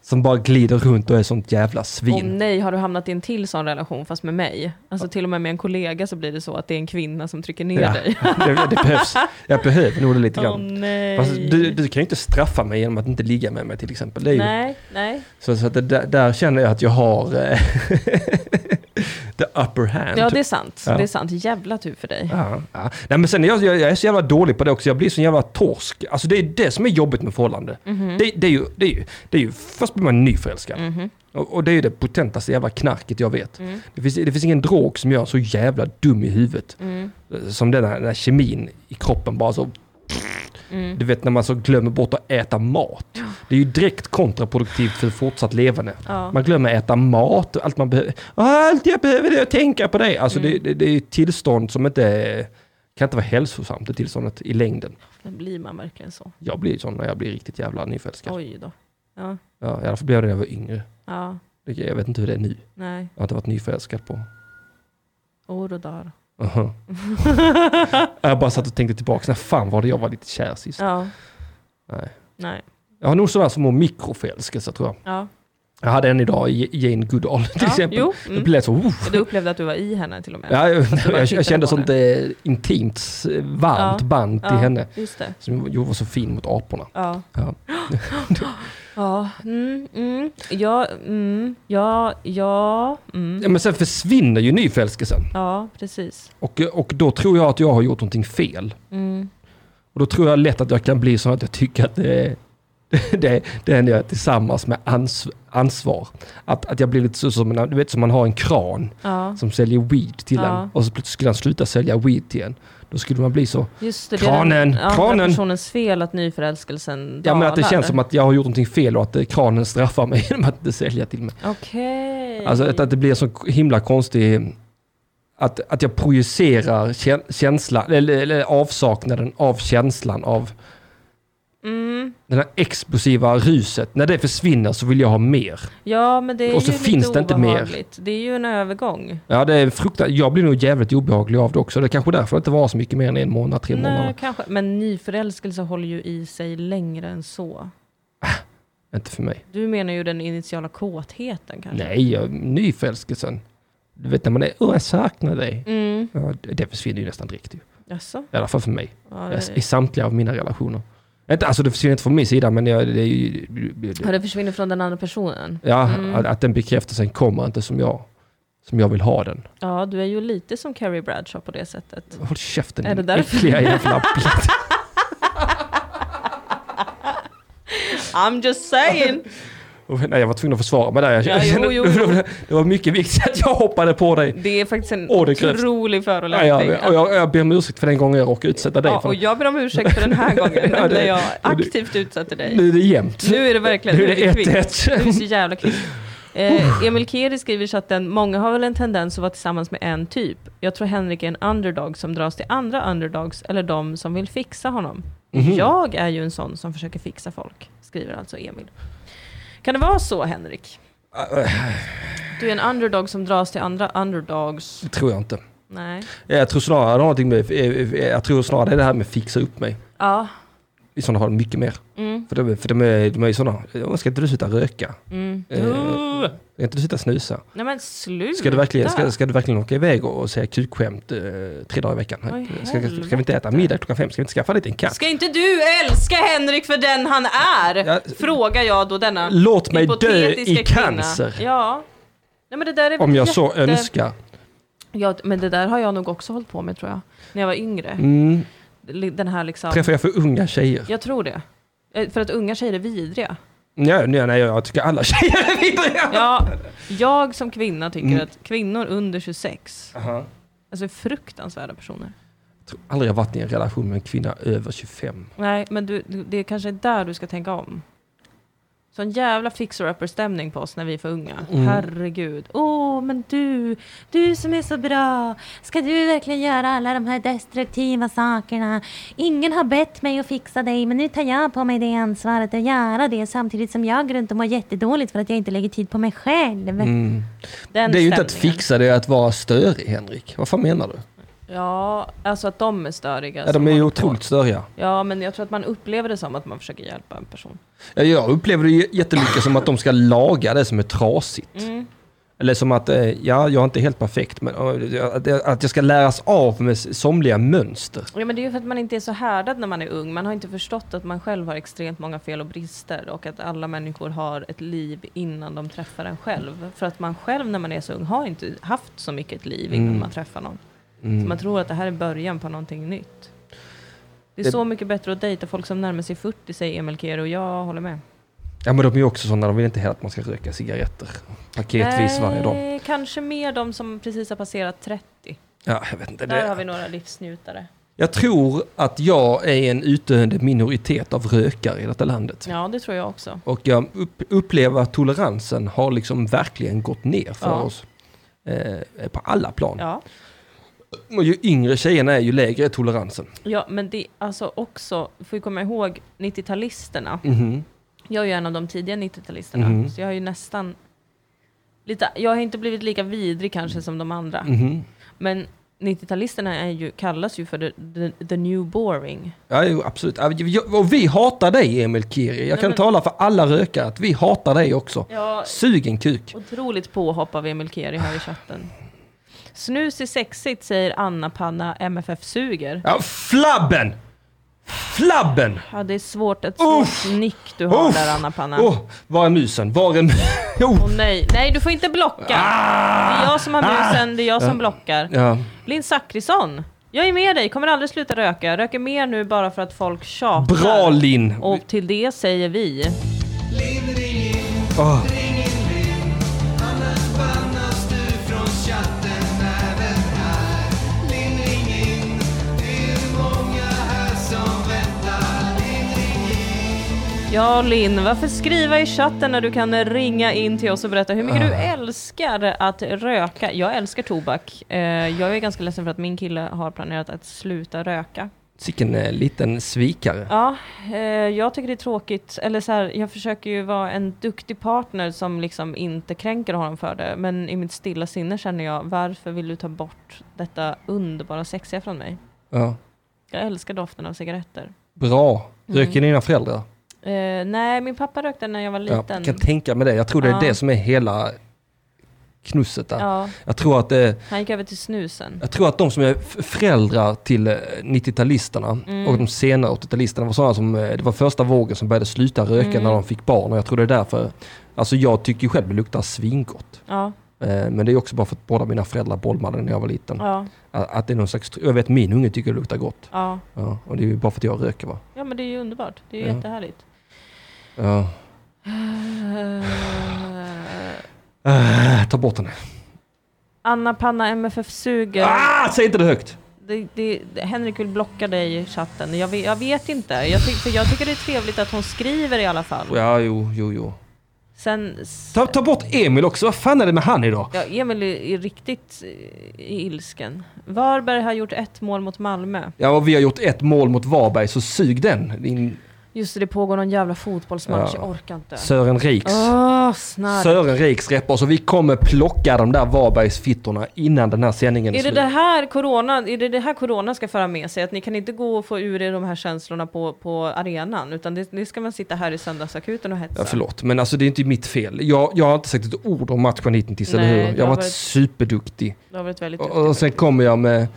S1: Som bara glider runt och är sånt jävla
S2: Åh
S1: svin.
S2: nej, har du hamnat i en till sån relation fast med mig? Alltså till och med med en kollega så blir det så att det är en kvinna som trycker ner
S1: Ja,
S2: dig.
S1: det, det behövs. Jag behöver nog det lite
S2: Åh
S1: grann.
S2: nej.
S1: Fast du, du kan ju inte straffa mig genom att inte ligga med mig till exempel. Det är ju,
S2: Nej, nej.
S1: så så att det, där, där känner jag att jag har eh, the upper hand.
S2: Ja, det är sant.
S1: Ja.
S2: Det är sant. Jävla tur för dig.
S1: Ja, ja. Nej, men sen är jag, jag jag är så jävla dålig på det också, jag blir så jävla torsk. Alltså det är det som är jobbigt med förhållande. Det, det, är ju, det, är ju, det är ju, först blir man nyförälskad. Och, och det är ju det potentaste jävla knarket jag vet. Det, finns, det finns ingen drog som gör en så jävla dum i huvudet. eh, Som den här, den här kemin i kroppen bara så... Du vet när man så glömmer bort att äta mat. Det är ju direkt kontraproduktivt för fortsatt levande.
S2: Ja.
S1: Man glömmer äta mat och allt man behöver. "Ah, Allt jag behöver är att tänka på det. Alltså
S2: Mm.
S1: det, det, det är ett tillstånd som inte är- kan inte vara hälsosamt, det tillståndet i längden.
S2: Då blir man verkligen så.
S1: Jag blir sån när jag blir riktigt jävla nyförälskad.
S2: Oj då. Ja,
S1: Ja, I alla fall blev jag det när jag var yngre.
S2: ja,
S1: Det- Jag vet inte hur det är nu.
S2: nej.
S1: Jag har inte varit nyförälskad på...
S2: Oro dar.
S1: Aha. jag bara satt och tänkte tillbaka, när fan var det jag var lite kär sist?
S2: Ja.
S1: Nej.
S2: Nej.
S1: Jag har nog sådär som en mikroförälskelse tror jag.
S2: Ja.
S1: Jag hade en idag i Jane Goodall till
S2: Ja,
S1: exempel.
S2: jo,
S1: Det
S2: mm.
S1: lät så... "Uff."
S2: Du upplevde att du var i henne till och med?
S1: Ja, jag,
S2: du bara
S1: jag,
S2: tittade
S1: jag kände
S2: på
S1: sånt eh, intimt, eh, varmt
S2: Ja,
S1: band till
S2: ja.
S1: henne.
S2: Just det.
S1: Som ju var så fin mot aporna.
S2: Ja.
S1: Ja.
S2: Ja. Mm, mm. Ja, mm. ja, ja,
S1: Ja,
S2: mm.
S1: men sen försvinner ju nyförälskelsen.
S2: ja, precis.
S1: Och, och då tror jag att jag har gjort någonting fel.
S2: Mm.
S1: Och då tror jag lätt att jag kan bli så att jag tycker att det är det, det är när jag är tillsammans med ans, ansvar. Att, att jag blir lite så som, när- du vet, som man har en kran
S2: Ja,
S1: som säljer weed till
S2: Ja.
S1: en och så plötsligt skulle han sluta sälja weed till en. Då skulle man bli så,
S2: just det. det är
S1: Kranen,
S2: den andra
S1: kranen.
S2: personens fel att nyförälskelsen
S1: ja men att det
S2: dalar.
S1: känns som att jag har gjort någonting fel och att eh, kranen straffar mig genom att inte sälja till mig.
S2: Okej.
S1: Alltså att, att det blir så himla konstig... Att, att jag projicerar kä- känslan, eller, eller avsaknaden av känslan av
S2: Mm.
S1: den här explosiva ruset. När det försvinner så vill jag ha mer.
S2: Ja, men det är
S1: Och så
S2: ju
S1: finns det
S2: lite
S1: inte mer.
S2: obehagligt. Det är ju en övergång.
S1: Ja, det är fruktansvärt. Jag blir nog jävligt obehaglig av det också. Det är kanske därför det inte var så mycket mer än en månad, tre
S2: Nej,
S1: månader.
S2: kanske. Men nyförälskelse håller ju i sig längre än så.
S1: Inte för mig.
S2: Du menar ju den initiala kåtheten kanske?
S1: Nej, jag- nyförälskelsen. Du vet när man är, åh jag saknar dig.
S2: Mm.
S1: Ja, det- det försvinner ju nästan direkt ju.
S2: Jaså?
S1: I alla fall för mig.
S2: Ja,
S1: I
S2: det,
S1: samtliga av mina relationer. Inte, alltså det försvinner inte från min sida, men jag, det är ju...
S2: ja, det försvinner från den andra personen.
S1: Ja,
S2: Mm.
S1: att, att den bekräftelsen kommer inte som jag, som jag vill ha den.
S2: Ja, du är ju lite som Carrie Bradshaw på det sättet.
S1: Håll käften
S2: Är
S1: din
S2: det därför?
S1: äckliga jävla bit.
S2: I'm just saying!
S1: Och, Oh, Nej, jag var tvungen att försvara mig där. Jag,
S2: Ja, jo, jo, jo.
S1: Det var mycket viktigt att jag hoppade på dig.
S2: Det är faktiskt en
S1: Åh, det krävs.
S2: otrolig
S1: Ja,
S2: förolämpning.
S1: jag, och jag, jag ber om ursäkt för den gången jag råkade utsätta dig.
S2: Ja,
S1: för
S2: och jag ber om ursäkt för den här gången,
S1: Ja, det-
S2: när jag
S1: det-
S2: aktivt utsatte dig.
S1: Nu är det jämnt.
S2: Nu är det verkligen,
S1: Nu
S2: nu
S1: är
S2: är
S1: det
S2: vi kvitt.
S1: 1-1.
S2: Du är så jävla kvitt. Eh, Emil Keri skriver i chatten, många har väl en tendens att vara tillsammans med en typ. Jag tror Henrik är en underdog som dras till andra underdogs eller de som vill fixa honom.
S1: Mhm.
S2: Jag är ju en sån som försöker fixa folk, skriver alltså Emil. Kan det vara så Henrik? Du är en underdog som dras till andra underdogs.
S1: Det tror jag inte.
S2: Nej.
S1: Jag tror snarare det har någonting med, jag tror snarare det är det här med fixa upp mig.
S2: Ja.
S1: I sådana fall mycket mer.
S2: Mm.
S1: För de, för de, är, de är ju sådana, "Åh, ska inte du sluta röka?
S2: Mm.
S1: Eh,
S2: Uh.
S1: Ska inte du sluta snusa?
S2: Nej men Mm, sluta.
S1: Ska du verkligen, ska, ska du verkligen åka iväg och, och säga kukskämt eh, tre dagar i veckan?
S2: Oj,
S1: ska, ska, ska vi inte
S2: helvete.
S1: äta middag klockan fem? Ska vi inte skaffa lite en katt?
S2: Ska inte du älska Henrik för den han är?
S1: Ja.
S2: Frågar jag då denna
S1: Låt mig dö
S2: hypotetiska
S1: i
S2: kvinna.
S1: cancer!
S2: Ja. Nej, men det där är
S1: Om
S2: väl
S1: jag så
S2: jätte-
S1: önskar.
S2: Ja, men det där har jag nog också hållit på med tror jag. När jag var yngre.
S1: Mm,
S2: Li- Den här liksom.
S1: träffar jag för unga tjejer?
S2: Jag tror det. Eh, För att unga tjejer är vidriga.
S1: Nej, nej, nej, jag tycker alla tjejer är vidriga!
S2: Ja, jag som kvinna tycker
S1: Mm.
S2: att kvinnor under 26,
S1: Aha.
S2: alltså är fruktansvärda personer.
S1: Jag tror aldrig jag varit i en relation med en kvinna över 25.
S2: Nej, men du, du, det är kanske är där du ska tänka om. Sån jävla fixer-upper-stämning på oss när vi är för unga.
S1: Mm.
S2: Herregud. Åh, men du, du som är så bra. Ska du verkligen göra alla de här destruktiva sakerna?
S4: Ingen har bett mig att fixa dig men nu tar jag på mig det ansvaret att göra det samtidigt som jag går runt och mår jättedåligt för att jag inte lägger tid på mig själv.
S1: Mm.
S2: Den
S1: Det är ju inte att
S2: stämningen.
S1: fixa, det är att vara störig Henrik. Vad fan menar du?
S2: Ja, alltså att de är störiga.
S1: Ja,
S2: som
S1: de är ju
S2: håller på.
S1: otroligt störiga.
S2: Ja, men jag tror att man upplever det som att man försöker hjälpa en person.
S1: Ja, Jag upplever det ju jättemycket som att de ska laga det som är trasigt.
S2: Mm.
S1: Eller som att, eh, ja, jag är inte helt perfekt, men eh, att jag- att jag ska läras av med somliga mönster.
S2: Ja, men det är ju för att man inte är så härdad när man är ung. Man har inte förstått att man själv har extremt många fel och brister och att alla människor har ett liv innan de träffar en själv. För att man själv när man är så ung har inte haft så mycket ett liv innan
S1: Mm.
S2: man träffar någon. Så
S1: Mm.
S2: man tror att det här är början på någonting nytt. Det är
S1: Det-
S2: så mycket bättre att dejta folk som närmar sig 40 säger Emil Kero och jag håller med.
S1: Ja, men de är ju också sådana, de vill inte heller att man ska röka cigaretter paketvis varje dag.
S2: Nej, Eh, Kanske mer de som precis har passerat 30.
S1: Ja, jag vet inte.
S2: Där har vi
S1: Det.
S2: några livsnjutare.
S1: Jag tror att jag är en utdöende minoritet av rökare i detta landet.
S2: Ja, det tror jag också.
S1: Och jag upp, upplever att toleransen har liksom verkligen gått ner för
S2: Ja.
S1: oss. Eh, på alla plan.
S2: Ja.
S1: Och ju yngre tjejerna är, ju lägre är toleransen.
S2: Ja, men det alltså också, får vi komma ihåg 90-talisterna.
S1: Mhm.
S2: Jag är ju en av de tidiga 90-talisterna,
S1: Mhm.
S2: så jag har ju nästan lite, jag har inte blivit lika vidrig kanske som de andra.
S1: Mhm.
S2: Men 90-talisterna är ju, kallas ju för the, the, the new boring.
S1: Ja, jo, absolut. Ja, jag- Och vi hatar dig, Emil Kiri. Jag
S2: Nej,
S1: kan
S2: men-
S1: tala för alla rökare att vi hatar dig också.
S2: Ja,
S1: Sug en kuk.
S2: otroligt påhopp av Emil Keri här i chatten. Snus är sexigt säger Anna Panna, MFF suger.
S1: Ja, flabben! Flabben!
S2: Ja, det är svårt, ett svårt nick du har
S1: Uff!
S2: där Anna Panna. Åh
S1: Åh, var är musen? Var är musen? Oh.
S2: nej, nej du får inte blocka! Det är jag som har musen, det är jag som blockar.
S1: Ah! Ja.
S2: Linn Zachrisson, jag är med dig, kommer aldrig sluta röka. Jag röker mer nu bara för att folk tjatar.
S1: Bra, Linn!
S2: Och till det säger vi...
S1: Åh.
S2: Ja Linn, varför skriva i chatten när du kan ringa in till oss och berätta hur mycket du älskar att röka? Jag älskar tobak. Eh, Jag är ganska ledsen för att min kille har planerat att sluta röka.
S1: Sicken eh, liten svikare.
S2: Ja, eh, jag tycker det är tråkigt. Eller så här, jag försöker ju vara en duktig partner som liksom inte kränker honom för det. Men i mitt stilla sinne känner jag, varför vill du ta bort detta underbara sexiga från mig?
S1: Ja.
S2: Jag älskar doften av cigaretter.
S1: Bra.
S2: Mm.
S1: Röker dina föräldrar?
S2: Eh, nej, min pappa rökte när jag var
S1: Ja,
S2: liten.
S1: jag kan tänka mig det. Jag tror det är
S2: Ja.
S1: det som är hela knusset där.
S2: Ja,
S1: Jag, tror att, eh,
S2: han gick över till snusen.
S1: jag tror att de som är f- föräldrar till eh, 90-talisterna
S2: Mm.
S1: och de senare 80-talisterna var sådana som, eh, det var första vågen som började sluta röka
S2: Mm.
S1: när de fick barn och jag tror det är därför, alltså jag tycker ju själv det luktar svingott.
S2: Ja,
S1: Eh, Men det är också bara för att båda mina föräldrar bolmade när jag var liten.
S2: ja,
S1: Att att det är någon slags, tr- jag vet min unge tycker det luktar gott.
S2: ja.
S1: Ja, och det är ju bara för att jag röker va.
S2: Ja, men det är ju underbart. Det är ju
S1: Ja.
S2: jättehärligt.
S1: Ja.
S2: Eh,
S1: Ah, ta bort henne.
S2: Anna Panna MFF suger.
S1: Ah, säg inte det högt!
S2: Det, det, Henrik vill blocka dig i chatten. Jag vet, jag vet inte. Jag, ty, för jag tycker det är trevligt att hon skriver i alla fall.
S1: Ja, jo, jo, jo.
S2: Sen... s-
S1: Ta, ta bort Emil också, vad fan är det med han idag?
S2: Ja, Emil är, är riktigt eh, ilsken. Varberg har gjort ett mål mot Malmö.
S1: Ja, och vi har gjort ett mål mot Varberg, så sug den. Din
S2: Just det, det pågår någon jävla fotbollsmatch.
S1: Ja.
S2: Jag orkar inte.
S1: Sören Riks.
S2: Åh, snark.
S1: Sören Riks repar, så vi kommer plocka de där Varbergsfittorna innan den här sändningen
S2: Är det
S1: slut.
S2: det, här corona, är det det här corona ska föra med sig? Att ni kan inte gå och få ur er de här känslorna på, på arenan, utan det, det ska man sitta här i söndagsakuten och hetsa.
S1: Ja, förlåt, men alltså det är inte mitt fel. Jag, jag har inte sagt ett ord om matchen hittills, eller
S2: Nej,
S1: hur?
S2: du
S1: Jag har
S2: har
S1: varit,
S2: varit-
S1: superduktig.
S2: det har varit väldigt
S1: Och, och sen kommer jag med...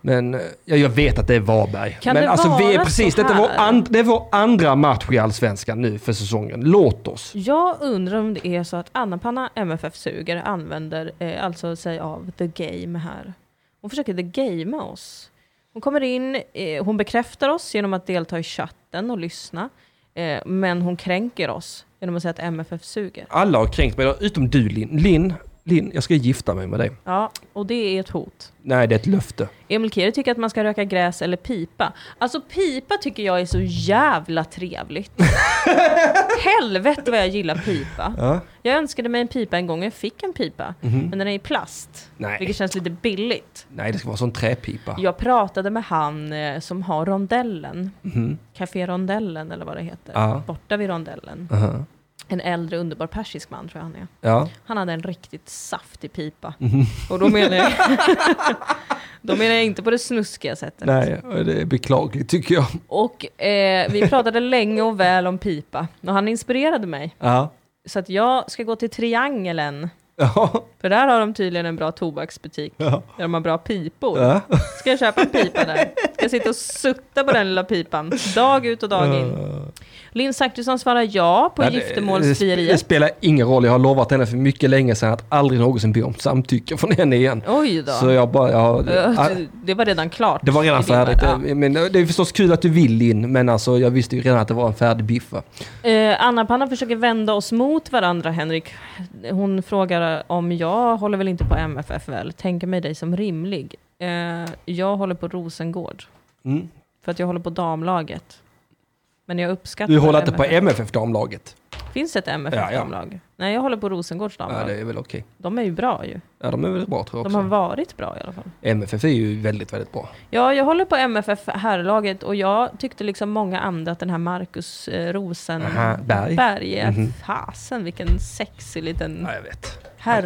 S1: Men eh, ja, jag vet att det är Varberg.
S2: Kan
S1: men
S2: det
S1: alltså vi
S2: vara
S1: är precis,
S2: så
S1: detta är vår,
S2: här?
S1: and, det är vår andra match i Allsvenskan nu för säsongen. Låt oss.
S2: Jag undrar om det är så att Anna-Panna MFF Suger använder eh, alltså sig av the game här. Hon försöker the gamea oss. Hon kommer in, eh, hon bekräftar oss genom att delta i chatten och lyssna. Eh, men hon kränker oss genom att säga att MFF suger.
S1: Alla har kränkt mig, utom du Linn. Linn, Linn, jag ska gifta mig med dig.
S2: Ja, och det är ett hot.
S1: Nej, det är ett löfte.
S2: Emil Keri tycker att man ska röka gräs eller pipa. Alltså pipa tycker jag är så jävla trevligt. Helvete vad jag gillar pipa.
S1: Ja.
S2: Jag önskade mig en pipa en gång, jag fick en pipa. Men den är i plast,
S1: Mhm. Nej.
S2: vilket känns lite billigt.
S1: Nej, det ska vara sån träpipa.
S2: Jag pratade med han eh, som har rondellen,
S1: Mhm.
S2: Café Rondellen eller vad det heter,
S1: Ja.
S2: borta vid rondellen.
S1: Aha.
S2: En äldre underbar persisk man tror jag han är.
S1: Ja.
S2: Han hade en riktigt saftig pipa. Och då menar, jag, då menar jag inte på det snuskiga sättet.
S1: Nej, det är beklagligt tycker jag.
S2: Och eh, vi pratade länge och väl om pipa. Och han inspirerade mig.
S1: Ja.
S2: Så att jag ska gå till Triangeln.
S1: Ja.
S2: För där har de tydligen en bra tobaksbutik.
S1: Ja.
S2: Där de har bra pipor.
S1: Ja.
S2: Ska jag köpa en pipa där? Ska jag sitta och sutta på den lilla pipan? Dag ut och dag in. Linn Zachrisson svarar ja på
S1: Nej, det- Det, det
S2: giftermålsfrieriet.
S1: spelar ingen roll, jag har lovat henne för mycket länge sedan att aldrig någonsin be om samtycke från henne igen.
S2: Oj då.
S1: Så jag bara, ja,
S2: Eh,
S1: det,
S2: Det var redan klart.
S1: det var redan
S2: i din värld,
S1: färdigt. Eh,
S2: ja.
S1: Men det är förstås kul att du vill in, men alltså jag visste ju redan att det var en färdig biff. va?
S2: Eh, Anna-Panna försöker vända oss mot varandra, Henrik. Hon frågar om jag håller väl inte på MFF väl? Tänker mig dig som rimlig. Eh, jag håller på Rosengård,
S1: Mm.
S2: för att jag håller på damlaget. Men jag uppskattar
S1: Du håller inte på MFF damlaget?
S2: Finns det ett
S1: Ja, ja.
S2: MFF-damlag? Nej, jag håller på Rosengårds
S1: Ja,
S2: damlag.
S1: det är väl okej.
S2: De är ju bra ju.
S1: Ja, de är väl bra tror jag
S2: De har
S1: också.
S2: varit bra i alla fall.
S1: MFF är ju väldigt, väldigt bra.
S2: Ja, jag håller på MFF herrlaget och jag tyckte liksom många andra att den här Marcus eh,
S1: Aha, Berg. Mhm.
S2: Rosenberg, är fasen vilken sexig liten,
S1: Ja, jag vet.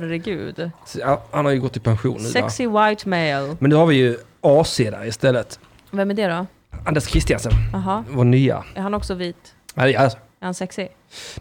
S2: herregud.
S1: Så, ja, Han har ju gått i pension nu. va?
S2: Sexy white male.
S1: Men nu har vi ju AC där istället.
S2: Vem är det då?
S1: Anders Christiansen,
S2: Jaha,
S1: vår nya.
S2: är han också vit?
S1: Nej, Alltså,
S2: Är han sexig?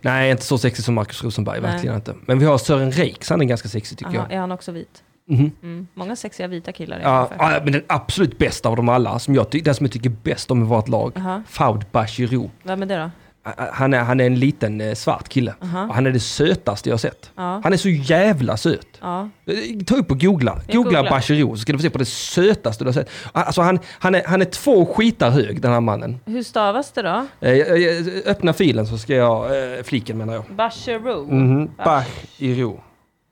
S1: nej, inte så sexig som Markus Rosenberg,
S2: Nej.
S1: verkligen inte. Men vi har Sören Riks, han är ganska sexig tycker
S2: Aha,
S1: jag.
S2: är han också vit?
S1: Mhm.
S2: Mm. Många sexiga vita killar är
S1: Ja,
S2: MFF.
S1: ja, men den absolut bästa av dem alla, som jag ty- den som jag tycker bäst om i vårt lag,
S2: Aha.
S1: Faud Bashirou.
S2: Vem är det då?
S1: Ah, ah, Han är, han är en liten eh, svart kille.
S2: Aha.
S1: Och han är det sötaste jag har sett.
S2: Ja.
S1: Han är så jävla söt.
S2: Ja.
S1: Eh, Ta upp och googla.
S2: Jag
S1: Googla
S2: googlar.
S1: Bashirou så ska du få se på det sötaste du har sett. Alltså han, han, är, han är två skitar hög, den här mannen.
S2: Hur stavas det då?
S1: Eh, jag- jag- Öppna filen så ska jag... eh, Fliken menar jag.
S2: Bashiro?
S1: Mhm.
S2: Bash-
S1: Bashirou.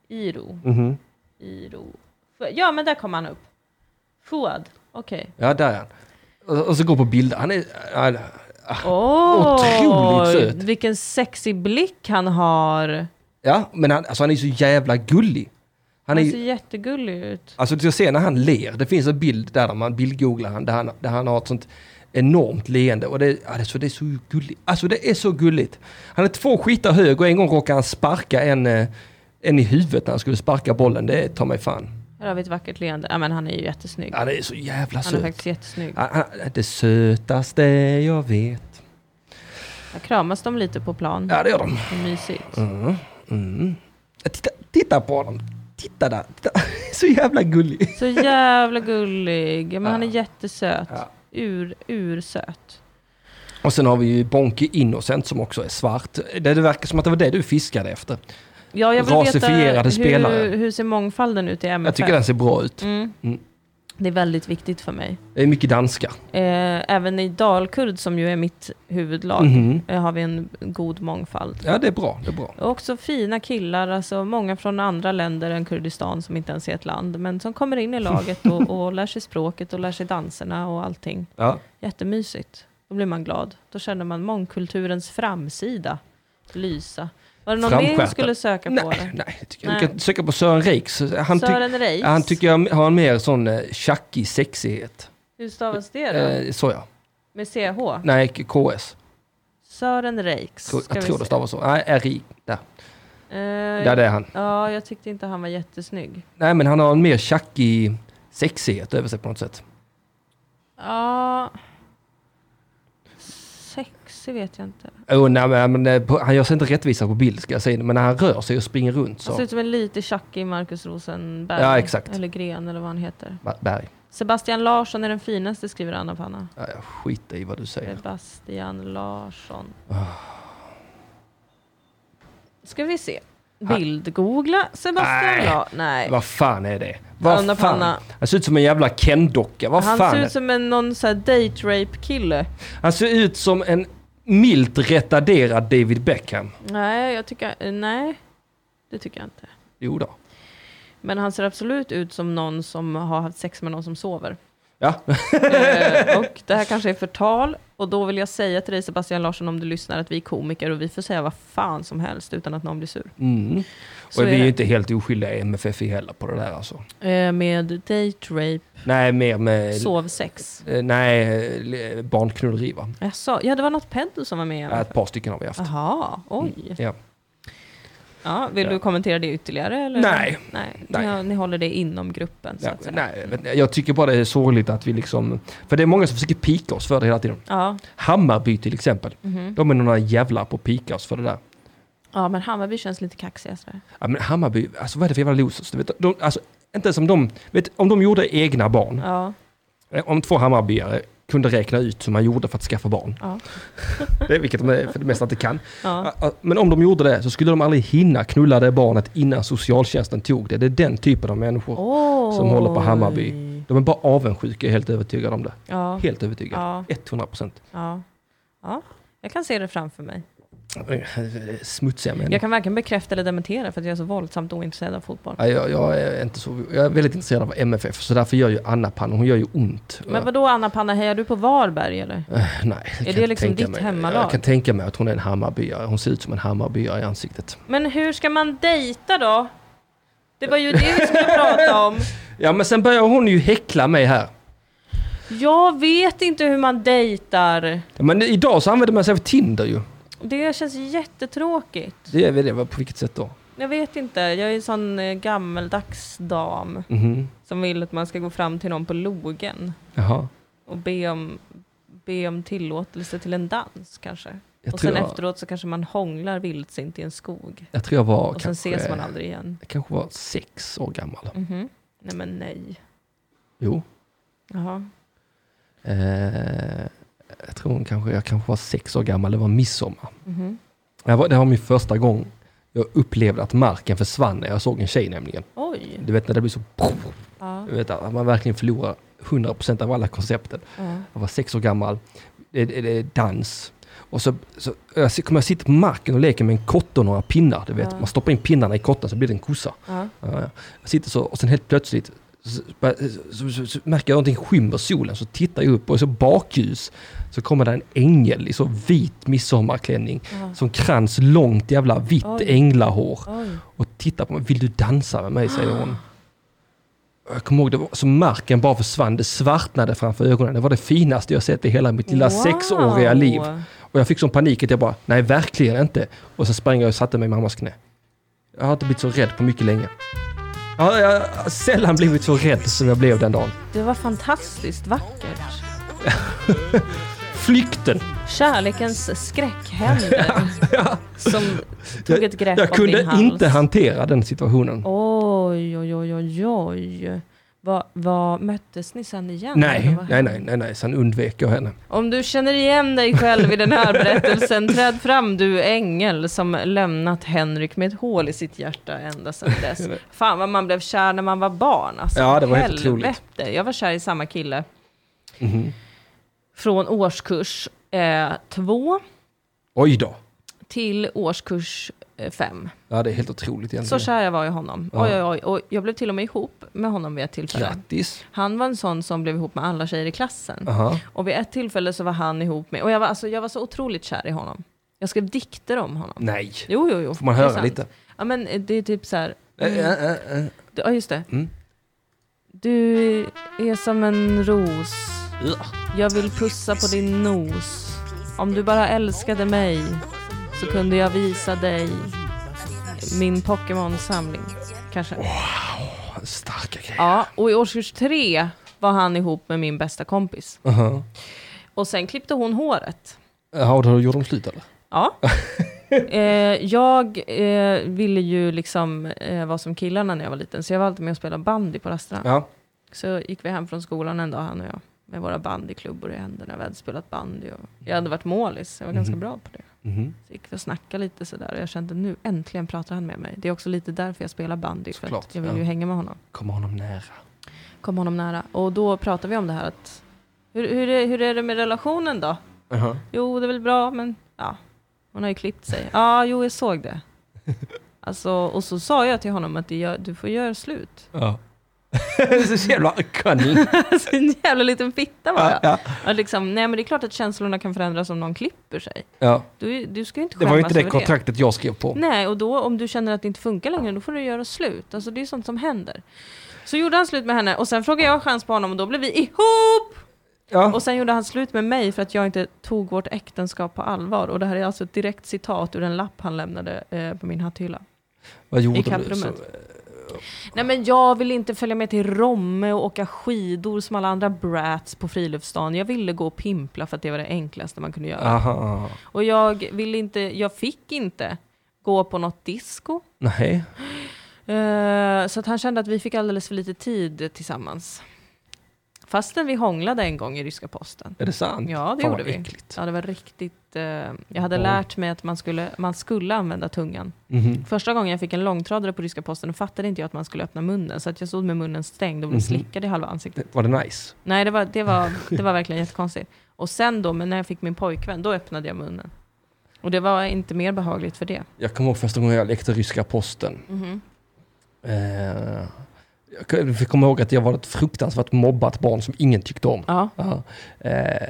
S2: Iro?
S1: Mhm.
S2: Iro? Ja, men där kom han upp. Fouad? Okej.
S1: Ja, där är han. Och- Och så gå på bilder. Han är... han-
S2: Åh!
S1: Otroligt söt.
S2: Vilken sexig blick han har.
S1: Ja, men han, alltså han är så jävla gullig. Han
S2: Han
S1: är
S2: ser
S1: ju...
S2: jättegullig ut.
S1: Alltså du ska se när han ler. Det finns en bild där man bildgooglar han där, han där han har ett sånt enormt leende. Och det, alltså, det är så gulligt. Alltså det är så gulligt. Han är två skitar hög och en gång råkar han sparka en, eh, en i huvudet när han skulle sparka bollen. Det tar mig fan.
S2: Här har vi ett vackert leende. Ja, men han är ju jättesnygg.
S1: Ja, det är så jävla
S2: Han är
S1: söt.
S2: faktiskt jättesnygg.
S1: Han, han, Ah, det sötaste jag vet.
S2: Jag kramas de lite på plan.
S1: Ja, det gör de.
S2: Det är mysigt.
S1: Mm. Mm. Ja, Titta, titta på honom. Titta där. Titta. Så jävla gullig.
S2: Så jävla gullig. Ja, Men han är
S1: Ja.
S2: jättesöt.
S1: Ja.
S2: Ur, ursöt.
S1: Och sen har vi ju Bonke Innocent som också är svart. Det, det verkar som att det var det du fiskade efter.
S2: Ja, jag vill veta
S1: Rasifierade spelare.
S2: hur, hur ser mångfalden ut i MFF?
S1: Jag tycker den ser bra ut.
S2: mm.
S1: Mm.
S2: Det är väldigt viktigt för mig.
S1: Det är mycket danska.
S2: Eh, även i Dalkurd, som ju är mitt huvudlag,
S1: Mhm.
S2: eh, har vi en god mångfald.
S1: Ja, det är bra. Det är bra.
S2: Och också fina killar, alltså många från andra länder än Kurdistan som inte ens är ett land, men som kommer in i laget och, och lär sig språket och lär sig danserna och allting.
S1: Ja.
S2: Jättemysigt. Då blir man glad. Då känner man mångkulturens framsida lysa. Var det någon mer du
S1: Framskärtar.
S2: skulle söka på?
S1: Nej,
S2: eller?
S1: nej, det tycker jag.
S2: Nej.
S1: Du kan söka på Sören Riks. Han, tyck-
S2: Sören Reis?
S1: han tycker jag har en mer sån eh, tjackig sexighet.
S2: Hur stavas det då?
S1: Eh, så ja.
S2: Med CH?
S1: Nej, KS.
S2: Sören Reiks.
S1: K-
S2: ska
S1: jag
S2: vi
S1: tror det
S2: se.
S1: stavas så. Nej, RI. Där.
S2: Eh,
S1: Där det är han.
S2: Ja, jag tyckte inte han var jättesnygg.
S1: Nej, men han har en mer tjackig sexighet över sig på något sätt.
S2: Ja... Sexig vet jag inte.
S1: Oh, nej, men, men, eh, på- han gör sig inte rättvisa på bild ska jag säga. Men när han rör sig och springer runt
S2: Han ser
S1: så...
S2: Alltså, ut som en lite tjackig Markus Rosenberg.
S1: Ja, exakt.
S2: Eller Gren eller vad han heter.
S1: Ba- Berg.
S2: Sebastian Larsson är den finaste, skriver Anna-Panna.
S1: Ja, jag skiter i vad du säger.
S2: Sebastian Larsson.
S1: Ah.
S2: Ska vi se. Bildgoogla Sebastian
S1: Nej.
S2: Larsson. Nej.
S1: Vad fan är det? Vad
S2: Anna
S1: fan?
S2: Panna.
S1: Han ser ut som en jävla Ken-docka. Vad
S2: Han
S1: fan?
S2: ser
S1: är
S2: ut som en någon sån här date rape kille.
S1: Han ser ut som en milt retarderad David Beckham.
S2: Nej, jag tycker... eh, Nej, det tycker jag inte.
S1: Jo då.
S2: Men han ser absolut ut som någon som har haft sex med någon som sover.
S1: Ja,
S2: Eh, och det här kanske är förtal. Och då vill jag säga till dig Sebastian Larsson om du lyssnar att vi är komiker och vi får säga vad fan som helst utan att någon blir sur.
S1: mm.
S2: Så
S1: och vi är
S2: det.
S1: ju inte helt oskyldiga i MFFI heller på det där alltså.
S2: Eh, med date rape,
S1: Nej, mer med...
S2: sovsex.
S1: Eh, Nej, eh, le- barnknulleri va?
S2: Jaså, ja det var något pedo som var med.
S1: Ja, ett par stycken har vi haft.
S2: Jaha, oj.
S1: Mm, Ja.
S2: Ja, vill du
S1: Ja.
S2: kommentera det ytterligare? Eller?
S1: Nej.
S2: Nej.
S1: Nej.
S2: Ja, ni håller det inom gruppen. Så
S1: Ja,
S2: att säga.
S1: nej, jag vet inte. jag tycker bara det är sorgligt att vi liksom... För det är många som försöker pika oss för det hela tiden.
S2: Ja.
S1: Hammarby till exempel.
S2: mhm.
S1: De är några jävlar på att pika oss för det där.
S2: ja, men Hammarby känns lite kaxiga. Sådär.
S1: Ja, men Hammarby, alltså vad är det för jävla losers? Du vet, de, alltså, inte ens om de... Vet, om de gjorde egna barn.
S2: Ja,
S1: Eh, Om två Hammarbyare kunde räkna ut hur man gjorde för att skaffa barn.
S2: ja,
S1: Det är vilket de är för det mesta inte kan.
S2: ja.
S1: Ah, ah, Men om de gjorde det så skulle de aldrig hinna knulla det barnet innan socialtjänsten tog det. Det är den typen av människor. Som håller på Hammarby.
S2: Oj.
S1: De är bara avundsjuka, jag är helt övertygad om det.
S2: Ja,
S1: Helt övertygad.
S2: ja,
S1: 100 procent.
S2: ja, ja. Jag kan se det framför mig.
S1: Smutsiga människor.
S2: Jag kan varken bekräfta eller dementera för att jag är så våldsamt ointresserad av fotboll.
S1: Ja, Jag, jag, är inte så, jag är väldigt intresserad av MFF, så därför gör ju Anna Panna, hon gör ju ont.
S2: Men vadå Anna-Panna, hejar du på Varberg eller?
S1: Eh, Nej, jag kan
S2: det
S1: inte
S2: liksom
S1: tänka
S2: ditt
S1: mig.
S2: hemmalag?
S1: Jag kan tänka mig att hon är en hammarbyare. Hon ser ut som en hammarbyare i ansiktet.
S2: Men hur ska man dejta då? Det var ju det vi skulle prata om.
S1: Ja, men sen börjar hon ju häckla mig här.
S2: Jag vet inte hur man dejtar.
S1: Ja, Men idag så använder man sig av Tinder ju.
S2: Det känns jättetråkigt.
S1: Det är väl det, vad- på vilket sätt då?
S2: Jag vet inte, jag är en sån eh, gammeldags dam
S1: Mhm.
S2: som vill att man ska gå fram till någon på logen
S1: Jaha.
S2: och be om, be om tillåtelse till en dans kanske.
S1: Jag
S2: och
S1: tror
S2: sen
S1: jag,
S2: efteråt så kanske man hånglar vildsint i en skog.
S1: jag tror jag var
S2: Och sen
S1: kanske,
S2: ses man aldrig igen.
S1: jag kanske var sex år gammal.
S2: Mhm. Nej men nej.
S1: Jo.
S2: Jaha.
S1: Eh, jag tror hon kanske, jag kanske var sex år gammal, det var midsommar.
S2: Mhm.
S1: Det var, det var min första gång jag upplevde att marken försvann när jag såg en tjej nämligen.
S2: Oj.
S1: Du vet när det blir så...
S2: Ja.
S1: Du vet, att man verkligen förlorar 100% av alla koncepten.
S2: ja.
S1: Jag var sex år gammal. Det, det, det är dans. Och så, så jag ser- kommer jag sitta på marken och leka med en kotte och några pinnar. Du vet,
S2: Ja.
S1: man stoppar in pinnarna i kotten så blir det en kossa.
S2: ja.
S1: Ja, ja. Jag sitter så och sen helt plötsligt så, så, så, så märker jag någonting skymmer solen. Så tittar jag upp och så bakljus så kommer det en ängel i så vit midsommarklänning.
S2: ja.
S1: Som krans långt jävla vitt
S2: Oj.
S1: änglahår.
S2: Oj.
S1: Och tittar på mig. Vill du dansa med mig? säger hon. Jag kommer ihåg, det var, så marken bara försvann. Det svartnade framför ögonen. Det var det finaste jag sett i hela mitt lilla
S2: Wow.
S1: sexåriga liv. Och jag fick sån panik att jag bara, nej verkligen inte. Och sen sprang jag och satte mig i mammas knä. Jag har inte blivit så rädd på mycket länge. Jag har, jag har sällan blivit så rädd som jag blev den dagen.
S2: Det var fantastiskt vackert.
S1: Flykten!
S2: Kärlekens skräckhänder som tog ett grepp
S1: Jag
S2: om
S1: kunde
S2: din hals.
S1: inte hantera den situationen.
S2: Oj, oj, oj, oj, oj. Vad vad- möttes ni sen igen? Eller
S1: Nej,
S2: vad
S1: nej,
S2: hände?
S1: nej, nej, nej, sen undvek jag henne.
S2: Om du känner igen dig själv i den här berättelsen, träd fram du ängel som lämnat Henrik med ett hål i sitt hjärta ända sedan dess. Fan vad man blev kär när man var barn. Alltså,
S1: Ja, det var helt otroligt.
S2: helvete. Jag var kär i samma kille
S1: Mhm.
S2: från årskurs eh, två
S1: Oj då!
S2: till årskurs eh, fem.
S1: Ja, det är helt otroligt
S2: Så
S1: egentligen.
S2: kär jag var i honom. Oj, oj, oj. Och jag blev till och med ihop med honom vid ett tillfälle.
S1: Grattis!
S2: Han var en sån som blev ihop med alla tjejer i klassen.
S1: Aha.
S2: Och vid ett tillfälle så var han ihop med, och jag var, alltså, jag var så otroligt kär i honom. Jag skrev dikter om honom.
S1: Nej.
S2: Jo, jo, jo.
S1: typ. Får man
S2: det är
S1: höra
S2: sant.
S1: lite?
S2: Ja, men eh, det är typ så här.
S1: Eh, eh, eh, eh.
S2: Du- Ja, just det.
S1: Mm.
S2: Du är som en ros.
S1: Ja.
S2: Jag vill pussa på din nos. Om du bara älskade mig så kunde jag visa dig min Pokémon-samling. Kanske.
S1: Starka grejer.
S2: Ja, och i årskurs tre var han ihop med min bästa kompis.
S1: Aha.
S2: Och sen klippte hon håret.
S1: Har du gjort dem slut eller?
S2: Ja. Eh, jag eh, ville ju liksom eh, vara som killarna när jag var liten, så jag var alltid med och spelade bandy på rasterna.
S1: Ja.
S2: Så gick vi hem från skolan en dag, han och jag, med våra bandyklubbor i händerna. Vi hade spelat bandy och jag hade varit målis, jag var ganska bra på det.
S1: Mhm.
S2: Så gick vi och snackade lite sådär och jag kände nu äntligen pratar han med mig. Det är också lite därför jag spelar bandy, för
S1: Såklart,
S2: att jag vill
S1: ja.
S2: ju hänga med honom.
S1: Kommer honom nära.
S2: Kom honom nära. Och då pratade vi om det här att hur, hur, är, hur är det med relationen då?
S1: Aha.
S2: Jo, det är väl bra, men ja, hon har ju klippt sig. Ja, jo, jag såg det. Alltså, och så sa jag till honom att det gör- du får göra slut.
S1: Ja. Så jävla cunning.
S2: Alltså, en jävla liten fitta var
S1: Ja,
S2: jag.
S1: ja.
S2: Och liksom, nej, men det är klart att känslorna kan förändras om någon klipper sig.
S1: Ja.
S2: Du, du ska ju inte
S1: Det
S2: skämmas
S1: var ju inte det
S2: över det.
S1: kontraktet jag skrev på.
S2: Nej, och då om du känner att det inte funkar längre, då får du göra slut. Alltså det är sånt som händer. Så gjorde han slut med henne och sen frågade jag chans på honom och då blev vi ihop!
S1: Ja.
S2: Och sen gjorde han slut med mig för att jag inte tog vårt äktenskap på allvar. Och det här är alltså ett direkt citat ur en lapp han lämnade eh, på min hatthylla.
S1: Vad
S2: I
S1: gjorde du? Så, eh,
S2: kapprummet. Nej men jag ville inte följa med till Romme och åka skidor som alla andra brats på friluftsdagen. Jag ville gå och pimpla för att det var det enklaste man kunde göra.
S1: aha.
S2: Och jag ville inte, jag fick inte gå på något disco.
S1: Nej.
S2: Eh, så att han kände att vi fick alldeles för lite tid tillsammans. Fastän vi hånglade en gång i ryska posten.
S1: Är det sant?
S2: Ja, det
S1: Fan,
S2: gjorde
S1: vad
S2: vi.
S1: äckligt.
S2: Ja, det var riktigt... eh, jag hade
S1: Oj.
S2: lärt mig att man skulle, man skulle använda tungan.
S1: Mhm.
S2: Första gången jag fick en långtradare på ryska posten fattade inte jag att man skulle öppna munnen, så att jag stod med munnen stängd och blev
S1: Mhm.
S2: slickad i halva ansiktet.
S1: Var det nice?
S2: Nej, det var, det, var, det var verkligen jättekonstigt. Och sen då, men när jag fick min pojkvän, då öppnade jag munnen. Och det var inte mer behagligt för det.
S1: Jag kommer ihåg första gången jag lekte ryska posten.
S2: Mhm.
S1: Eh, jag kom- jag kommer ihåg att jag var ett fruktansvärt mobbat barn som ingen tyckte om.
S2: Ja.
S1: Ja. Eh,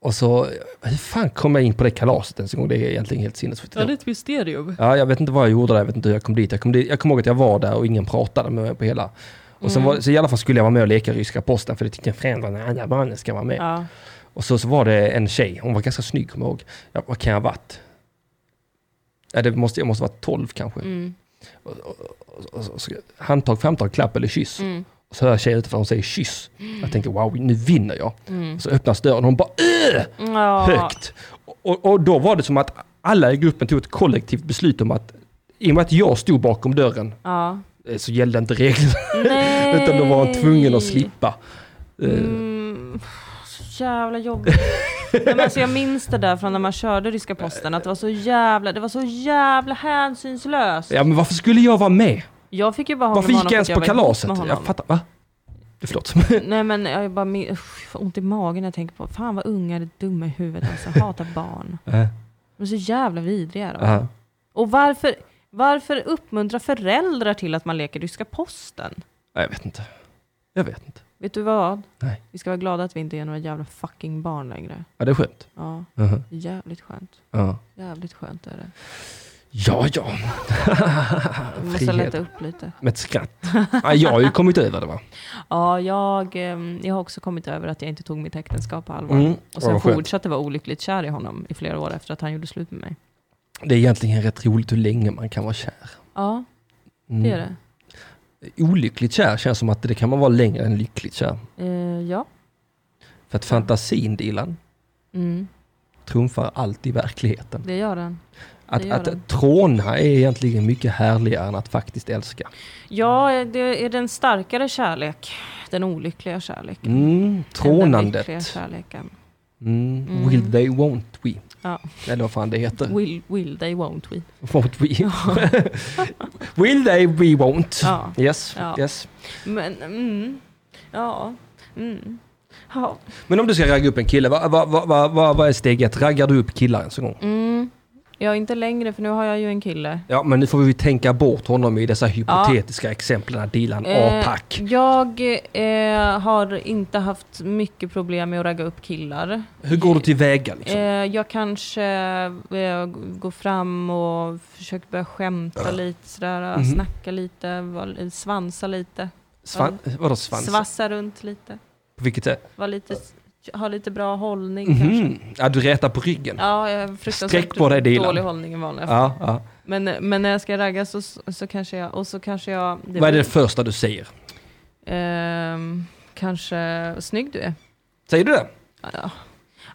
S1: och så, hur fan kom jag in på det kalaset ens en gång? Det är egentligen helt sinnessjukt.
S2: det är ett mysterium.
S1: Ja, jag vet inte vad jag gjorde där, jag vet inte hur jag kom dit. Jag, kom dit, jag kommer ihåg att jag var där och ingen pratade med mig på hela. Och
S2: Mm.
S1: sen var, så i alla fall skulle jag vara med och leka ryska posten, för det tyckte föräldrarna, alla barnen ska vara med.
S2: Ja.
S1: Och så, så var det en tjej, hon var ganska snygg kommer jag ihåg. Ja, vad kan jag ha varit? Ja, det måste, jag måste ha varit 12 kanske.
S2: Mm.
S1: Och, och, och, så- handtag, framtag, klapp eller kyss.
S2: Mm.
S1: Och så hör jag tjejen utanför, hon säger kyss. Jag tänker wow, nu vinner jag.
S2: Mm.
S1: Och så öppnas dörren och hon bara "Åh!"
S2: Ja.
S1: högt. Och, och då var det som att alla i gruppen tog ett kollektivt beslut om att i och med att jag stod bakom dörren
S2: Ja.
S1: eh, så gällde inte reglerna
S2: Nej.
S1: utan då var hon tvungen att slippa. Eh,
S2: Mm. Så jävla jobbigt. Nej, men alltså jag minns det där från när man körde ryska posten, att det var så jävla, det var så jävla hänsynslöst.
S1: Ja men varför skulle jag vara med?
S2: Jag fick ju bara hångla
S1: Varför
S2: med
S1: gick jag
S2: honom
S1: ens
S2: för
S1: på
S2: att jag var ihop
S1: kalaset?
S2: med honom.
S1: Jag fattar, va? Förlåt.
S2: Nej men jag bara min- usch, jag får ont i magen när jag tänker på, fan vad unga är dumma i huvudet alltså, hatar barn.
S1: Eh,
S2: De är så jävla vidriga de.
S1: ja.
S2: Och varför, varför uppmuntra föräldrar till att man leker ryska posten?
S1: Nej, jag vet inte. Jag vet inte.
S2: Vet du vad?
S1: Nej.
S2: Vi ska vara glada att vi inte är några jävla fucking barn längre.
S1: Ja, det är skönt.
S2: Ja,
S1: Mhm.
S2: jävligt skönt.
S1: Ja.
S2: Jävligt skönt är det.
S1: Ja, ja.
S2: Vi måste
S1: Frihet.
S2: lätta upp lite.
S1: Med ett skratt. Ja, jag har ju kommit över det va?
S2: Ja, jag, ehm, jag har också kommit över att jag inte tog mitt äktenskap på allvar.
S1: Mm.
S2: Och
S1: Ja,
S2: sen
S1: vad skönt.
S2: fortsatte vara olyckligt kär i honom i flera år efter att han gjorde slut med mig.
S1: Det är egentligen rätt roligt hur länge man kan vara kär.
S2: Ja,
S1: Mm.
S2: det är det.
S1: Olyckligt kär känns som att det kan man vara längre än lyckligt kär.
S2: Eh, ja.
S1: För att fantasin, Dilan,
S2: Mm,
S1: trumfar alltid verkligheten.
S2: det gör den.
S1: Att,
S2: gör den.
S1: att tråna är egentligen mycket härligare än att faktiskt älska.
S2: Ja, det är den starkare kärlek. Den olyckliga kärleken.
S1: Mm,
S2: Än Den lyckliga
S1: trånandet.
S2: kärleken.
S1: Mm.
S2: Mm.
S1: Will they, won't we?
S2: Ja.
S1: Eller vad fan det heter.
S2: Will, will they, won't we.
S1: Won't we? Will they, we won't.
S2: Ja.
S1: Yes,
S2: Ja.
S1: yes.
S2: Men, mm, ja. Mm. Ja.
S1: Men om du ska ragga upp en kille, vad, vad, vad, vad, vad är steg ett? Raggar du upp killar ens en gång?
S2: Mm. Ja, inte längre för nu har jag ju en kille.
S1: Ja, men nu får vi tänka bort honom i dessa hypotetiska exemplen när Dilan
S2: Eh,
S1: apack.
S2: Jag eh, har inte haft mycket problem med att ragga upp killar.
S1: Hur går du tillväga liksom?
S2: Eh, jag kanske eh, går fram och försöker börja skämta lite sådär,
S1: Mhm.
S2: snacka lite, var, svansa lite,
S1: Svan, vadå svans?
S2: svassa runt lite,
S1: På vilket sätt?
S2: var lite ha lite bra hållning kanske.
S1: Mhm. Ja, du rätar på ryggen.
S2: Ja, jag har
S1: Sträck på dig,
S2: fruktansvärt
S1: Dilan.
S2: dålig hållning i vanliga fall.
S1: Ja, ja.
S2: Men, men när jag ska ragga så, så kanske jag, och så kanske jag... det
S1: Vad är det
S2: blir-
S1: första du säger?
S2: Ehm, kanske, snygg du är.
S1: Säger du det?
S2: Ja.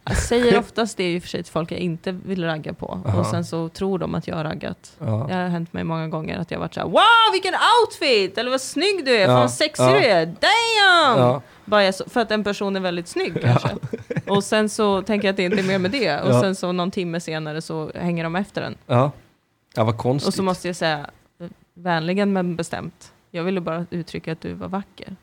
S2: Jag säger oftast det i och för sig till folk jag inte vill ragga på.
S1: Aha.
S2: Och sen så tror de att jag har raggat.
S1: Ja.
S2: Det har hänt mig många gånger att jag har varit såhär Wow vilken outfit! Eller vad snygg du är!
S1: Ja,
S2: Fan vad sexig
S1: ja.
S2: du är! Damn!
S1: Ja.
S2: Bara jag, så- för att en person är väldigt snygg kanske. Och sen så tänker jag att det inte är mer med det. Och
S1: Ja.
S2: sen så någon timme senare så hänger de efter en.
S1: Ja, ja vad konstigt.
S2: Och så måste jag säga vänligen men bestämt. Jag ville bara uttrycka att du var vacker.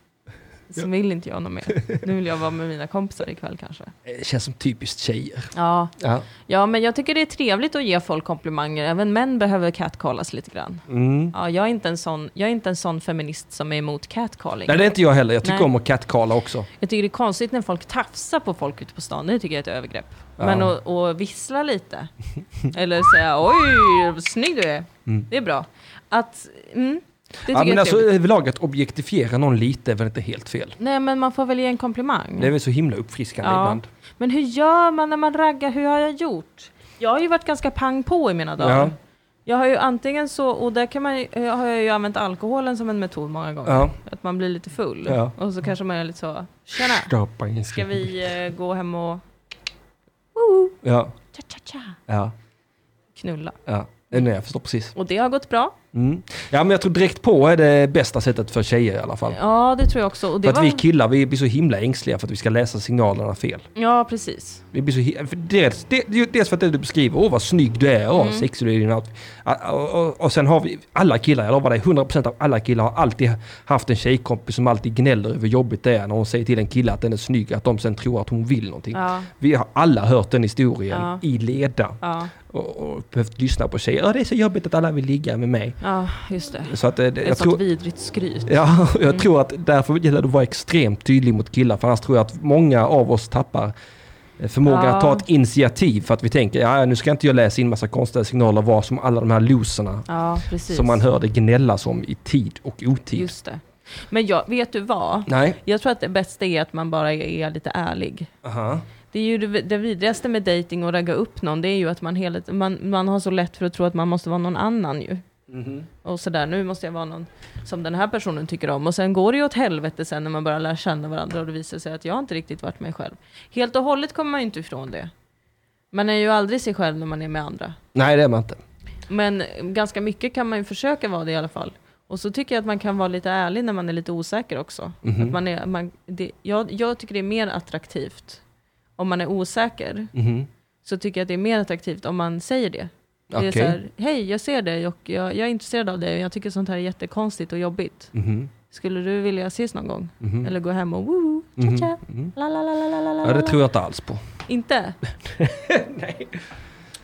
S2: Så vill inte jag något mer. Nu vill jag vara med mina kompisar ikväll kanske.
S1: Eh, Det känns som typiskt tjejer.
S2: Ja,
S1: Ja.
S2: ja men jag tycker det är trevligt att ge folk komplimanger. Även män behöver catcallas lite grann.
S1: Mm.
S2: Ja, jag, är inte en sån, jag är inte en sån feminist som är emot catcalling.
S1: Nej, det är inte jag heller. Jag tycker
S2: Nej.
S1: om att catcalla också.
S2: Jag tycker det är konstigt när folk tafsar på folk ute på stan. Det tycker jag är ett övergrepp.
S1: Ja.
S2: Men att att vissla lite. Eller säga oj, vad snygg du är. Det är bra. Att, mm, det tycker
S1: Mm. Ja,
S2: jag
S1: men
S2: är
S1: alltså,
S2: trevligt.
S1: överlag att objektifiera någon lite är väl inte helt fel.
S2: Nej men man får väl ge en komplimang.
S1: Det är väl så himla uppfriskande
S2: Ja.
S1: ibland.
S2: Men hur gör man när man raggar? Hur har jag gjort? Jag har ju varit ganska pang på i mina dagar.
S1: Ja.
S2: Jag har ju antingen så, och där kan man, ju- eh, har jag ju använt alkoholen som en metod många gånger.
S1: Ja.
S2: Att man blir lite full.
S1: Ja.
S2: Och så kanske man är lite så, tjena,
S1: Stoppa in
S2: ska vi eh, gå hem och
S1: Ja,
S2: cha-cha-cha
S1: ja,
S2: knulla?
S1: ja. Nej, jag förstår precis.
S2: Och det har gått bra.
S1: Mm. Ja, men jag tror direkt på är det bästa sättet för tjejer i alla fall.
S2: Ja, det tror jag också. Och det
S1: För att
S2: var...
S1: vi killar, vi blir så himla ängsliga för att vi ska läsa signalerna fel.
S2: Ja, precis.
S1: Vi blir så hi- för dels, det- det är ju dels för att det du beskriver, åh vad snygg du är, åh
S2: Mm.
S1: vad sexig du är i din outfit. Ah, Och, och, och sen har vi, alla killar, jag lovar dig, 100% av alla killar har alltid haft en tjejkompis som alltid gnäller över hur jobbigt det är när hon säger till en kille att den är snygg, att de sen tror att hon vill någonting.
S2: Ja,
S1: Vi har alla hört den historien
S2: Ja.
S1: i leda
S2: ja,
S1: och, och behövt lyssna på tjejer. Ja, det är så jobbigt att alla vill ligga med mig.
S2: ja just det.
S1: Så att, eh, det-
S2: Ett
S1: jag
S2: sånt
S1: tror, Eh,
S2: vidrigt skryt.
S1: ja, jag
S2: Mm.
S1: tror att därför gäller det att vara extremt tydlig mot killar, för annars tror jag att många av oss tappar eh, förmågan
S2: Ja.
S1: att ta ett initiativ för att vi tänker, ja nu ska inte jag läsa in massa konstiga signaler och vara som alla de här loserna
S2: Ja, precis.
S1: som man hörde gnällas om i tid och otid.
S2: Just det. Men jag, vet du vad?
S1: Nej.
S2: Jag tror att det bästa är att man bara är, är lite ärlig.
S1: Aha.
S2: Det är ju det, det vidrigaste med dating och ragga upp någon, det är ju att man, hela, man, man har så lätt för att tro att man måste vara någon annan ju. Och sådär, nu måste jag vara någon som den här personen tycker om. Och sen går det ju åt helvete sen när man börjar lära känna varandra och det visar sig att jag har inte riktigt varit mig själv. Helt och hållet kommer man ju inte ifrån det. Man är ju aldrig sig själv när man är med andra.
S1: Nej, det är man inte.
S2: Men ganska mycket kan man ju försöka vara det i alla fall. Och så tycker jag att man kan vara lite ärlig när man är lite osäker också.
S1: Mhm.
S2: Att man är, man, det, jag, jag tycker det är mer attraktivt om man är osäker.
S1: Mhm.
S2: Så tycker jag att det är mer attraktivt om man säger det. Det är
S1: Okej.
S2: så här, hej jag ser dig och jag, jag är intresserad av dig och jag tycker sånt här är jättekonstigt och jobbigt.
S1: Mhm.
S2: Skulle du vilja ses någon gång?
S1: Mhm.
S2: Eller gå hem och woo,
S1: Mhm.
S2: cha-cha,
S1: Mhm.
S2: la la la la la la la.
S1: Ja, det tror jag inte alls på.
S2: Inte?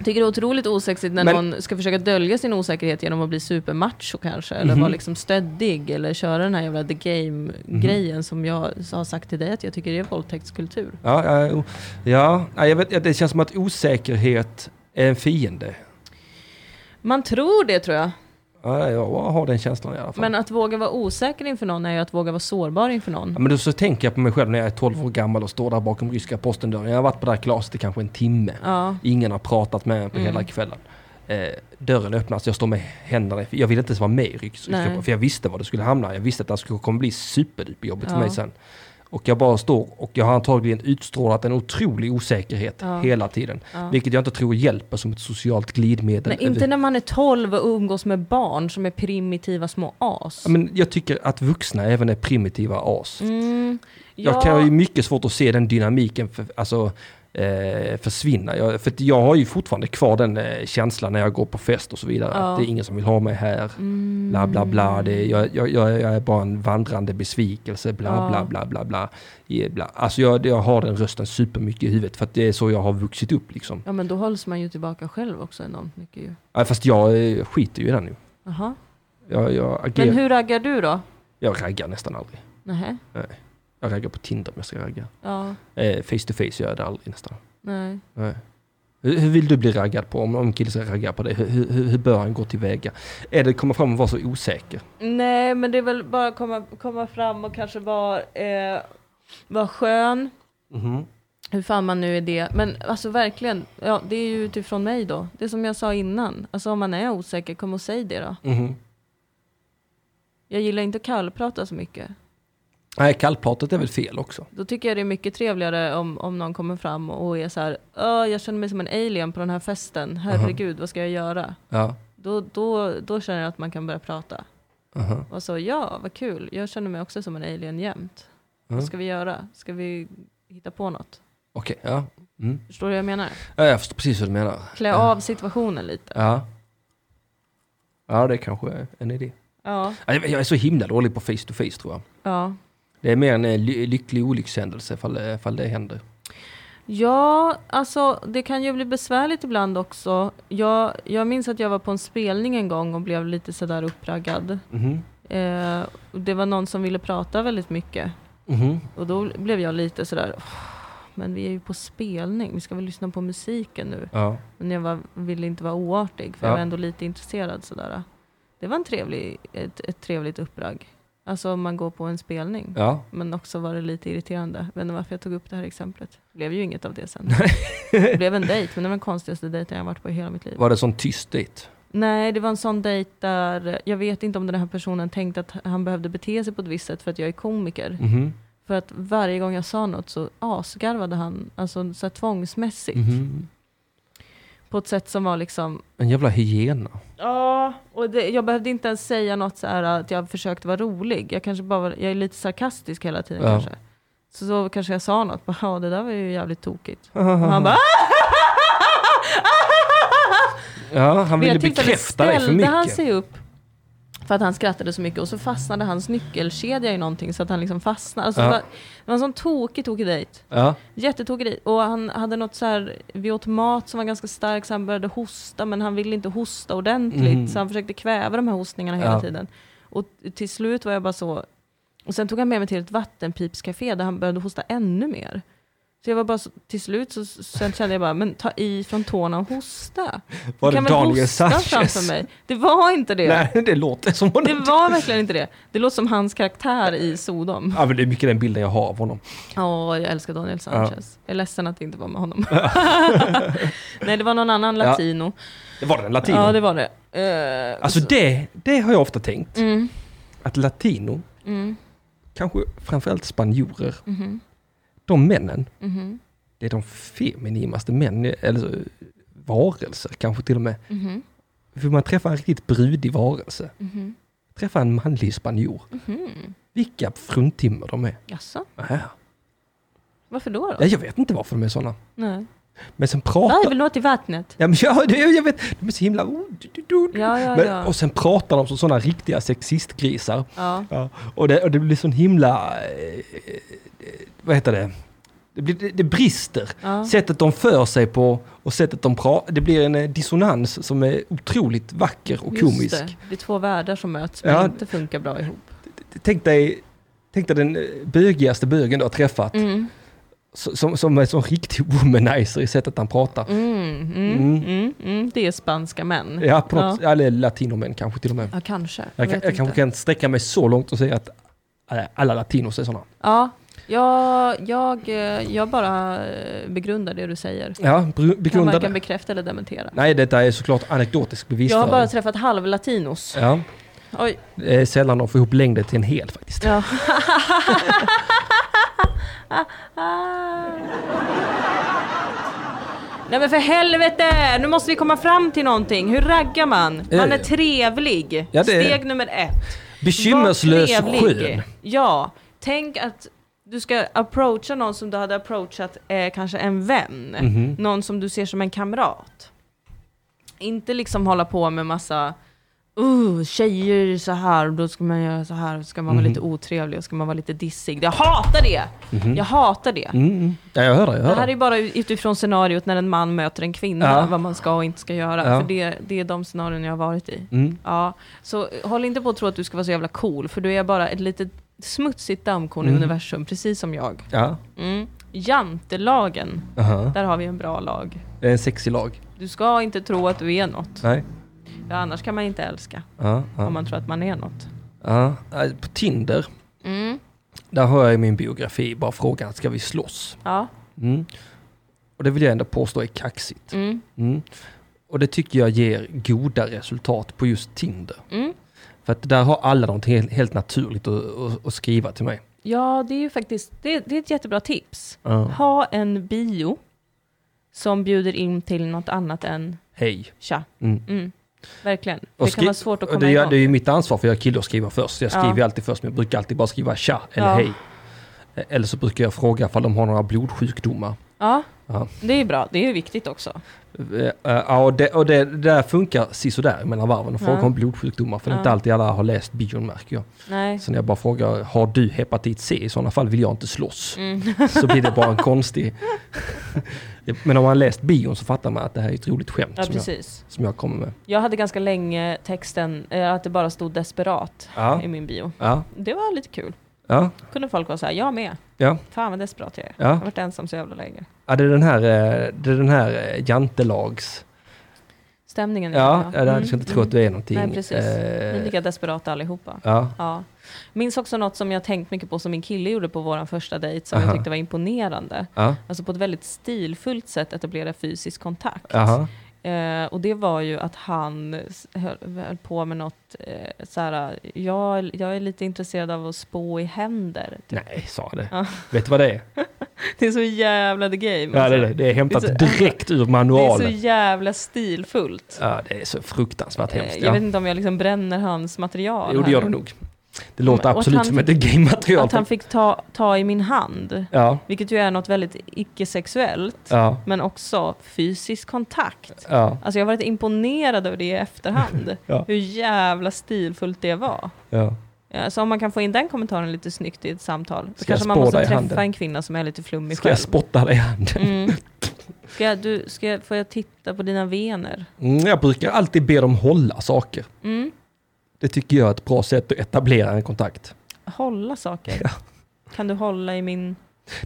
S2: Tycker det är otroligt osexigt när
S1: Men-
S2: någon ska försöka dölja sin osäkerhet genom att bli supermacho kanske, eller
S1: Mhm.
S2: vara liksom stöddig, eller köra den här jävla the game-grejen som jag har sagt till dig att jag tycker det är våldtäktskultur.
S1: Ja, ja, jo. ja nej, jag vet, det känns som att osäkerhet är en fiende.
S2: Man tror det tror jag,
S1: Ja, jag har den känslan i alla fall.
S2: men att våga vara osäker inför någon är ju att våga vara sårbar inför någon.
S1: Ja, men då så tänker jag på mig själv när jag är 12 år gammal och står där bakom ryska postendörren. Jag har varit på det här glaset i kanske en timme.
S2: Ja,
S1: Ingen har pratat med mig
S2: Mm.
S1: på hela kvällen. Eh, dörren öppnas, jag står med händerna i- Jag ville inte ens vara med i rysk-
S2: Nej.
S1: ryska för jag visste var det skulle hamna. Jag visste att det här skulle kommer bli superduperjobbigt
S2: Ja.
S1: för mig sen. Och jag bara står och jag har antagligen utstrålat en otrolig osäkerhet
S2: Ja.
S1: hela tiden. Vilket jag inte tror hjälper som ett socialt glidmedel.
S2: Nej, inte när man är 12 och umgås med barn som är primitiva små as.
S1: Ja, men jag tycker att vuxna även är primitiva as.
S2: Mm,
S1: Jag
S2: ja.
S1: kan ju mycket svårt att se den dynamiken. För, alltså, eh, försvinna. Jag, för att jag har ju fortfarande kvar den eh, känslan när jag går på fest och så vidare.
S2: Ja.
S1: Att det är ingen som vill ha mig här.
S2: Mm.
S1: Bla bla bla. Det, jag, jag, jag jag är bara en vandrande besvikelse. Bla
S2: Ja.
S1: bla bla bla bla. Eh, bla. Alltså jag, jag har den rösten supermycket i huvudet för att det är så jag har vuxit upp liksom.
S2: Ja men då hålls man ju tillbaka själv också enormt mycket ju.
S1: Ja, Fast jag eh, skiter ju i den nu.
S2: Aha.
S1: Jag, jag agerar.
S2: Men hur raggar du då?
S1: Jag raggar nästan aldrig.
S2: Nej.
S1: Jag raggar på Tinder om jag ska ragga.
S2: Ja,
S1: Eh, face to face gör jag det aldrig nästan.
S2: nej.
S1: Nej. Hur, hur vill du bli raggad på? Om, om en kille ska ragga på dig, hur, hur, hur bör han gå tillväga? Är det komma fram och vara så osäker?
S2: Nej, men det är väl bara att komma, komma fram och kanske vara, eh, vara skön.
S1: Mhm,
S2: Hur fan man nu är det. Men alltså verkligen, ja, det är ju utifrån mig då. Det är som jag sa innan. Alltså om man är osäker, kom och säg det då.
S1: Mhm.
S2: Jag gillar inte att kallprata så mycket.
S1: Nej, kallpratet är väl fel också.
S2: Då tycker jag det är mycket trevligare om, om någon kommer fram och är så här, "Åh, jag känner mig som en alien på den här festen. Herregud, vad ska jag göra?
S1: Ja.
S2: Då, då, då känner jag att man kan börja prata.
S1: Mhm.
S2: Och så, ja, vad kul. Jag känner mig också som en alien jämt.
S1: Mm.
S2: Vad ska vi göra? Ska vi hitta på något?
S1: Okej, ja. Mm.
S2: Förstår du vad jag menar?
S1: ja. Jag förstår precis hur du menar.
S2: Klä av situationen lite.
S1: Ja. Ja, det kanske är en idé.
S2: Ja,
S1: Ja, Jag jag är så himla dålig på face to face tror jag.
S2: ja.
S1: Det är mer en eh, ly- lycklig olyckshändelse ifall, det- ifall det händer.
S2: Ja, alltså det kan ju bli besvärligt ibland också. Jag, jag minns att jag var på en spelning en gång och blev lite sådär uppraggad.
S1: Mhm.
S2: Eh, och det var någon som ville prata väldigt mycket.
S1: Mhm.
S2: Och då blev jag lite sådär, "Åh, men vi är ju på spelning, vi ska väl lyssna på musiken nu.
S1: Ja.
S2: Men jag var, ville inte vara oartig, för
S1: Ja.
S2: jag var ändå lite intresserad sådär. Det var en trevlig, ett, ett trevligt uppragg. Alltså om man går på en spelning.
S1: ja.
S2: Men också var det lite irriterande. Jag vet inte varför jag tog upp det här exemplet. Det blev ju inget av det sen. Det blev en dejt, men det var den konstigaste dejten jag varit på i hela mitt liv.
S1: Var det sån tyst dejt?
S2: Nej, det var en sån dejt där jag vet inte om den här personen tänkte att han behövde bete sig på ett visst sätt för att jag är komiker.
S1: Mhm.
S2: För att varje gång jag sa något så asgarvade han, alltså så här tvångsmässigt.
S1: Mhm.
S2: På ett sätt som var liksom,
S1: En jävla hyena.
S2: ja, och det, jag behövde inte ens säga något så här att jag försökte vara rolig. Jag kanske bara var, jag är lite sarkastisk hela tiden
S1: Ja.
S2: kanske. Så då kanske jag sa något, bara, ja det där var ju jävligt tokigt. Och han bara, "Ah!"
S1: Ja, han
S2: Vid
S1: ville
S2: ett tillfälle
S1: bekräfta dig för
S2: ställde han
S1: mycket.
S2: sig upp för att han skrattade så mycket och så fastnade hans nyckelkedja i någonting så att han liksom fastnade. Alltså,
S1: Ja.
S2: det, var, det var en sån tokig, tokig dejt.
S1: Ja,
S2: Jättetokig grej. Och han hade något så här, vi åt mat som var ganska stark så han började hosta men han ville inte hosta ordentligt
S1: Mm.
S2: så han försökte kväva de här hostningarna hela
S1: Ja.
S2: tiden. Och t- till slut var jag bara så, och sen tog han med mig till ett vattenpipscafé där han började hosta ännu mer. Så jag var bara så, till slut så sen kände jag bara, men ta i från tårna och hosta.
S1: var det
S2: Du kan väl
S1: Daniel
S2: hosta
S1: Sanchez?
S2: framför mig? Det var inte det.
S1: Nej, det låter som
S2: Det
S1: honom.
S2: var verkligen inte det. Det låter som hans karaktär i Sodom.
S1: Ja, men det är mycket den bilden jag har av honom.
S2: Ja, jag älskar Daniel Sanchez. Jag är ledsen att det inte var med honom. Nej, det var någon annan
S1: Ja.
S2: latino.
S1: Det var den latino.
S2: Ja, det var det. Eh,
S1: Alltså det, det har jag ofta tänkt.
S2: mm,
S1: Att latino,
S2: mm,
S1: kanske framförallt spanjorer,
S2: mhm,
S1: de männen,
S2: mhm,
S1: det är de feminimaste män, eller varelser kanske till och med.
S2: mhm,
S1: För man träffar en riktigt brudig varelse.
S2: mhm,
S1: Träffar en manlig spanjor.
S2: mhm.
S1: Vilka fruntimmer de är.
S2: Jaså,
S1: Ja,
S2: varför då? då?
S1: jag vet inte varför de är sådana.
S2: Nej.
S1: Men sen
S2: Jag
S1: pratar...
S2: vill något i vattnet.
S1: Ja, men jag, det- jag vet, de är så himla... oh, du- du- du-
S2: Ja, ja,
S1: Men,
S2: ja.
S1: Och sen pratar de som sådana riktiga sexistgrisar.
S2: Ja,
S1: Ja. Och, det, och det blir sån himla... Eh, eh, vad heter det? Det, blir, det, det brister.
S2: ja.
S1: Sättet de för sig på och sättet de pratar. Det blir en eh, dissonans som är otroligt vacker och
S2: Just
S1: komisk.
S2: Det. det är två världar som möts men
S1: Ja.
S2: inte funkar bra ihop.
S1: Tänk dig, tänk dig den eh, bögigaste bögen du har träffat.
S2: Mm,
S1: s- Som, som är en sån riktig womanizer i sättet han pratar.
S2: mm, mm,
S1: Mm.
S2: mm, mm. Det är spanska män.
S1: Ja, på
S2: Mm. ja.
S1: något, Eller latinomän kanske till och med.
S2: ja kanske. Jag,
S1: Jag, kan,
S2: vet
S1: jag
S2: inte.
S1: kanske kan sträcka mig så långt och säga att eh, alla latinos är sådana.
S2: Ja, jag, jag, eh, jag bara eh, begrundar det du säger.
S1: Ja, br-
S2: Kan
S1: begrunda
S2: varken
S1: det.
S2: bekräfta eller dementera.
S1: Nej, detta är såklart anekdotisk
S2: Jag har
S1: bevisföring.
S2: bara träffat halvlatinos.
S1: Ja,
S2: Oj,
S1: det är sällan de får ihop längden till en hel faktiskt.
S2: ja. Nej men för helvete! Nu måste vi komma fram till någonting. Hur raggar man? Man är trevlig.
S1: Ja, det är-
S2: Steg nummer ett. Var
S1: Bekymmerslös
S2: trevlig.
S1: skön.
S2: Ja, tänk att du ska approacha någon som du hade approachat eh, kanske en vän.
S1: Mhm.
S2: Någon som du ser som en kamrat. Inte liksom hålla på med massa Uh, tjejer så här, då ska man göra så här, ska
S1: Mhm.
S2: man vara lite otrevlig och ska man vara lite dissig. Jag hatar det!
S1: Mhm.
S2: Jag hatar det.
S1: Mm, mm. Ja, jag hör det. Jag
S2: Det
S1: hör
S2: här
S1: det.
S2: är bara utifrån scenariot när en man möter en kvinna,
S1: Ja.
S2: vad man ska och inte ska göra.
S1: Ja.
S2: För det, det är de scenarion jag har varit i.
S1: Mm.
S2: Ja, så eh, håll inte på att tro att du ska vara så jävla cool, för du är bara ett litet smutsigt dammkorn
S1: Mm.
S2: i universum, precis som jag.
S1: Ja.
S2: Mm. Jantelagen,
S1: Aha.
S2: där har vi en bra lag.
S1: Det är en sexig lag.
S2: Du ska inte tro att du är något,
S1: Nej.
S2: ja, annars kan man inte älska
S1: Ja,
S2: om
S1: ja.
S2: man tror att man är något.
S1: Ja. Eh, På Tinder,
S2: Mm.
S1: där har jag i min biografi bara frågan, ska vi slåss?
S2: Ja.
S1: Mm. Och det vill jag ändå påstå är kaxigt.
S2: Mm.
S1: Mm. Och det tycker jag ger goda resultat på just Tinder.
S2: Mm.
S1: För att där har alla något helt, helt naturligt att, att, att skriva till mig.
S2: ja, det är ju faktiskt det, det är ett jättebra tips.
S1: Ja.
S2: Ha en bio som bjuder in till något annat än
S1: Hej.
S2: tja.
S1: Mm.
S2: Mm. Verkligen.
S1: Och
S2: Det kan
S1: skri-
S2: vara svårt att
S1: och
S2: komma
S1: det, är-
S2: igång.
S1: det är ju mitt ansvar för jag är kille att skriva först. Jag
S2: Ja.
S1: skriver ju alltid först men jag brukar alltid bara skriva tja eller
S2: Ja.
S1: hej. Eh, Eller så brukar jag fråga om de har några blodsjukdomar.
S2: Ja,
S1: Ja.
S2: det är bra. Det är ju viktigt också.
S1: Eh, eh, Ja, och det, och det, det där funkar sisådär mellan varven. Och frågar
S2: Ja.
S1: om blodsjukdomar för det är inte
S2: Ja.
S1: alltid alla har läst bion märker jag.
S2: Nej.
S1: Så när jag bara frågar, har du hepatit C? I sådana fall vill jag inte slåss.
S2: Mm.
S1: Så blir det bara en konstig... Men om man har läst bion så fattar man att det här är ett roligt skämt
S2: Ja,
S1: som, jag,
S2: precis.
S1: som jag kommer med.
S2: Jag hade ganska länge texten eh, att det bara stod desperat
S1: Ja,
S2: i min bio.
S1: ja,
S2: Det var lite kul.
S1: ja,
S2: kunde folk vara så här, jag med.
S1: ja.
S2: Fan vad desperat jag är. Jag
S1: ja.
S2: har varit ensam så jävla länge.
S1: ja det är den här, eh, det är den här eh, jantelags...
S2: Stämningen. är
S1: Ja,
S2: bra.
S1: ja, jag
S2: Mm,
S1: ska inte tro att
S2: mm.
S1: du är någonting.
S2: Nej, precis. Ni är
S1: Eh,
S2: lika desperata allihopa.
S1: Ja,
S2: Ja. Minns också något som jag tänkt mycket på som min kille gjorde på vår första dejt som
S1: Aha.
S2: jag tyckte var imponerande.
S1: ja,
S2: Alltså på ett väldigt stilfullt sätt etablera fysisk kontakt.
S1: aha,
S2: Eh, och det var ju att han s- höll, höll på med något eh, såhär, jag, jag är lite intresserad av att spå i händer.
S1: nej, sa jag det.
S2: Ja.
S1: Vet du vad det är?
S2: Det är så jävla the game.
S1: Ja, det,
S2: alltså.
S1: är det. det är hämtat
S2: Det är så-
S1: direkt ur
S2: det är så
S1: manualen.
S2: jävla stilfullt.
S1: Ja, det är så fruktansvärt
S2: Eh,
S1: hemskt.
S2: Jag vet
S1: Ja.
S2: inte om jag liksom bränner hans material.
S1: Jo, det
S2: här.
S1: gör det nog. Det
S2: Och
S1: låter
S2: att
S1: absolut
S2: han
S1: som
S2: fick-
S1: ett game-material.
S2: Att han fick ta, ta i min hand,
S1: Ja,
S2: vilket ju är något väldigt icke-sexuellt,
S1: ja,
S2: men också fysisk kontakt.
S1: ja,
S2: Alltså jag har varit imponerad över det i efterhand,
S1: Ja.
S2: hur jävla stilfullt det var.
S1: ja.
S2: Ja, så om man kan få in den kommentaren lite snyggt i ett samtal,
S1: Ska
S2: så kanske
S1: jag
S2: man
S1: spå
S2: måste
S1: dig i
S2: träffa
S1: handen?
S2: en kvinna som är lite flummig
S1: Ska
S2: själv.
S1: jag spotta dig i handen?
S2: mm. ska jag, du, ska jag, får jag titta på dina vener?
S1: Mm, jag brukar alltid be dem hålla saker.
S2: Mm.
S1: Det tycker jag är ett bra sätt att etablera en kontakt.
S2: Hålla saker?
S1: Ja.
S2: Kan du hålla i min...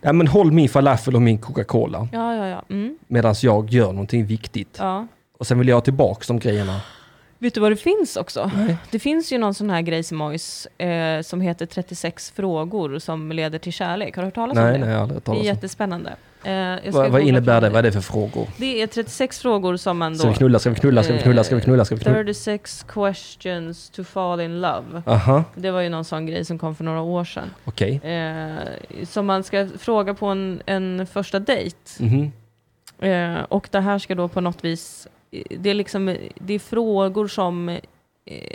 S1: Nej, men håll min falafel och min Coca-Cola
S2: Ja, ja, ja. Mm.
S1: medan jag gör någonting viktigt.
S2: ja.
S1: Och sen vill jag ha tillbaka de grejerna.
S2: Vet du vad det finns också? Det finns ju någon sån här grejsimojs eh, som heter 36 frågor som leder till kärlek. Har du hört talas om
S1: Nej,
S2: det?
S1: nej, jag har aldrig hört
S2: det är
S1: talas om.
S2: jättespännande. Eh, jag ska
S1: Vad,
S2: googla
S1: vad innebär
S2: fram
S1: det? Vad är det för frågor?
S2: Det är 36 frågor som man då...
S1: Ska vi knulla, ska vi knulla, ska vi knulla, ska vi knulla, ska vi
S2: Eh,
S1: knulla?
S2: 36 questions to fall in love.
S1: Aha,
S2: Det var ju någon sån grej som kom för några år sedan.
S1: okej.
S2: Eh, som man ska fråga på en, en första dejt.
S1: Mhm.
S2: Eh, och det här ska då på något vis... eh, Det är, liksom, eh, det är frågor som eh,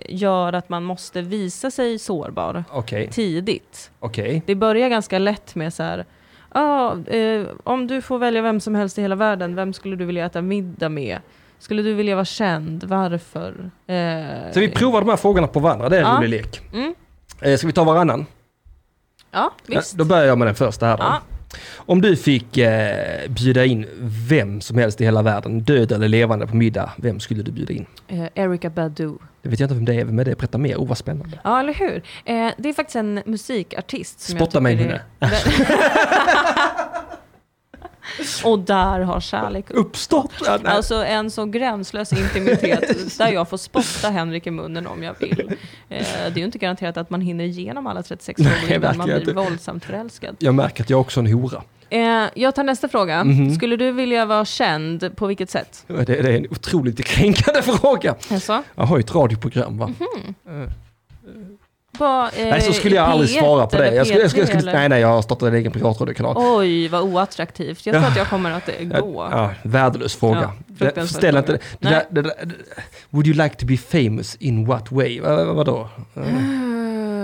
S2: gör att man måste visa sig sårbar
S1: Okej,
S2: tidigt.
S1: okej.
S2: Det börjar ganska lätt med så här... "Ja, eh, om du får välja vem som helst i hela världen, vem skulle du vilja äta middag med? Skulle du vilja vara känd? Varför? Eh,
S1: Så vi provar de här frågorna på varandra, det är en
S2: Ja.
S1: rolig lek.
S2: Mm.
S1: Eh, Ska vi ta varannan?
S2: Ja,
S1: Ja,
S2: visst.
S1: då börjar jag med den första här då.
S2: Ja.
S1: Om du fick eh, bjuda in vem som helst i hela världen, död eller levande, på middag, vem skulle du bjuda in?
S2: Eh, Erika Badu.
S1: Det vet jag inte vem det är, vem är det? Berätta mer, oh vad spännande.
S2: Ja, eller hur? Eh, det är faktiskt en musikartist. Som
S1: Spotta mig,
S2: jag tycker
S1: Nina.
S2: är- Och där har kärlek upp.
S1: Uppstart! Ja, nej.
S2: Alltså en så gränslös intimitet där jag får spotta Henrik i munnen om jag vill. Eh, det är ju inte garanterat att man hinner igenom alla 36
S1: Nej,
S2: frågor innan man
S1: verkligen
S2: blir
S1: inte.
S2: våldsamt förälskad.
S1: Jag märker att jag också är en hora.
S2: Eh, jag tar nästa fråga.
S1: Mhm.
S2: Skulle du vilja vara känd på vilket sätt?
S1: Det, det är en otroligt kränkande fråga.
S2: Alltså,
S1: Jag har ju ett radioprogram va?
S2: på, Mhm. eh,
S1: Nej, så skulle
S2: i
S1: jag aldrig
S2: P1
S1: svara på det.
S2: eller
S1: Jag skulle, jag skulle,
S2: P3
S1: jag skulle,
S2: eller?
S1: nej, nej, jag har startat en egen privatradiokanal.
S2: Oj, vad oattraktivt. Jag tror att jag kommer att eh, gå.
S1: Ja, värdelös fråga.
S2: Ja,
S1: Det-
S2: fruktansvärt
S1: Ställ inte
S2: fråga.
S1: det. Där, det där, det- would you like to be famous in what way? Va- Eh, va- vadå? Eh,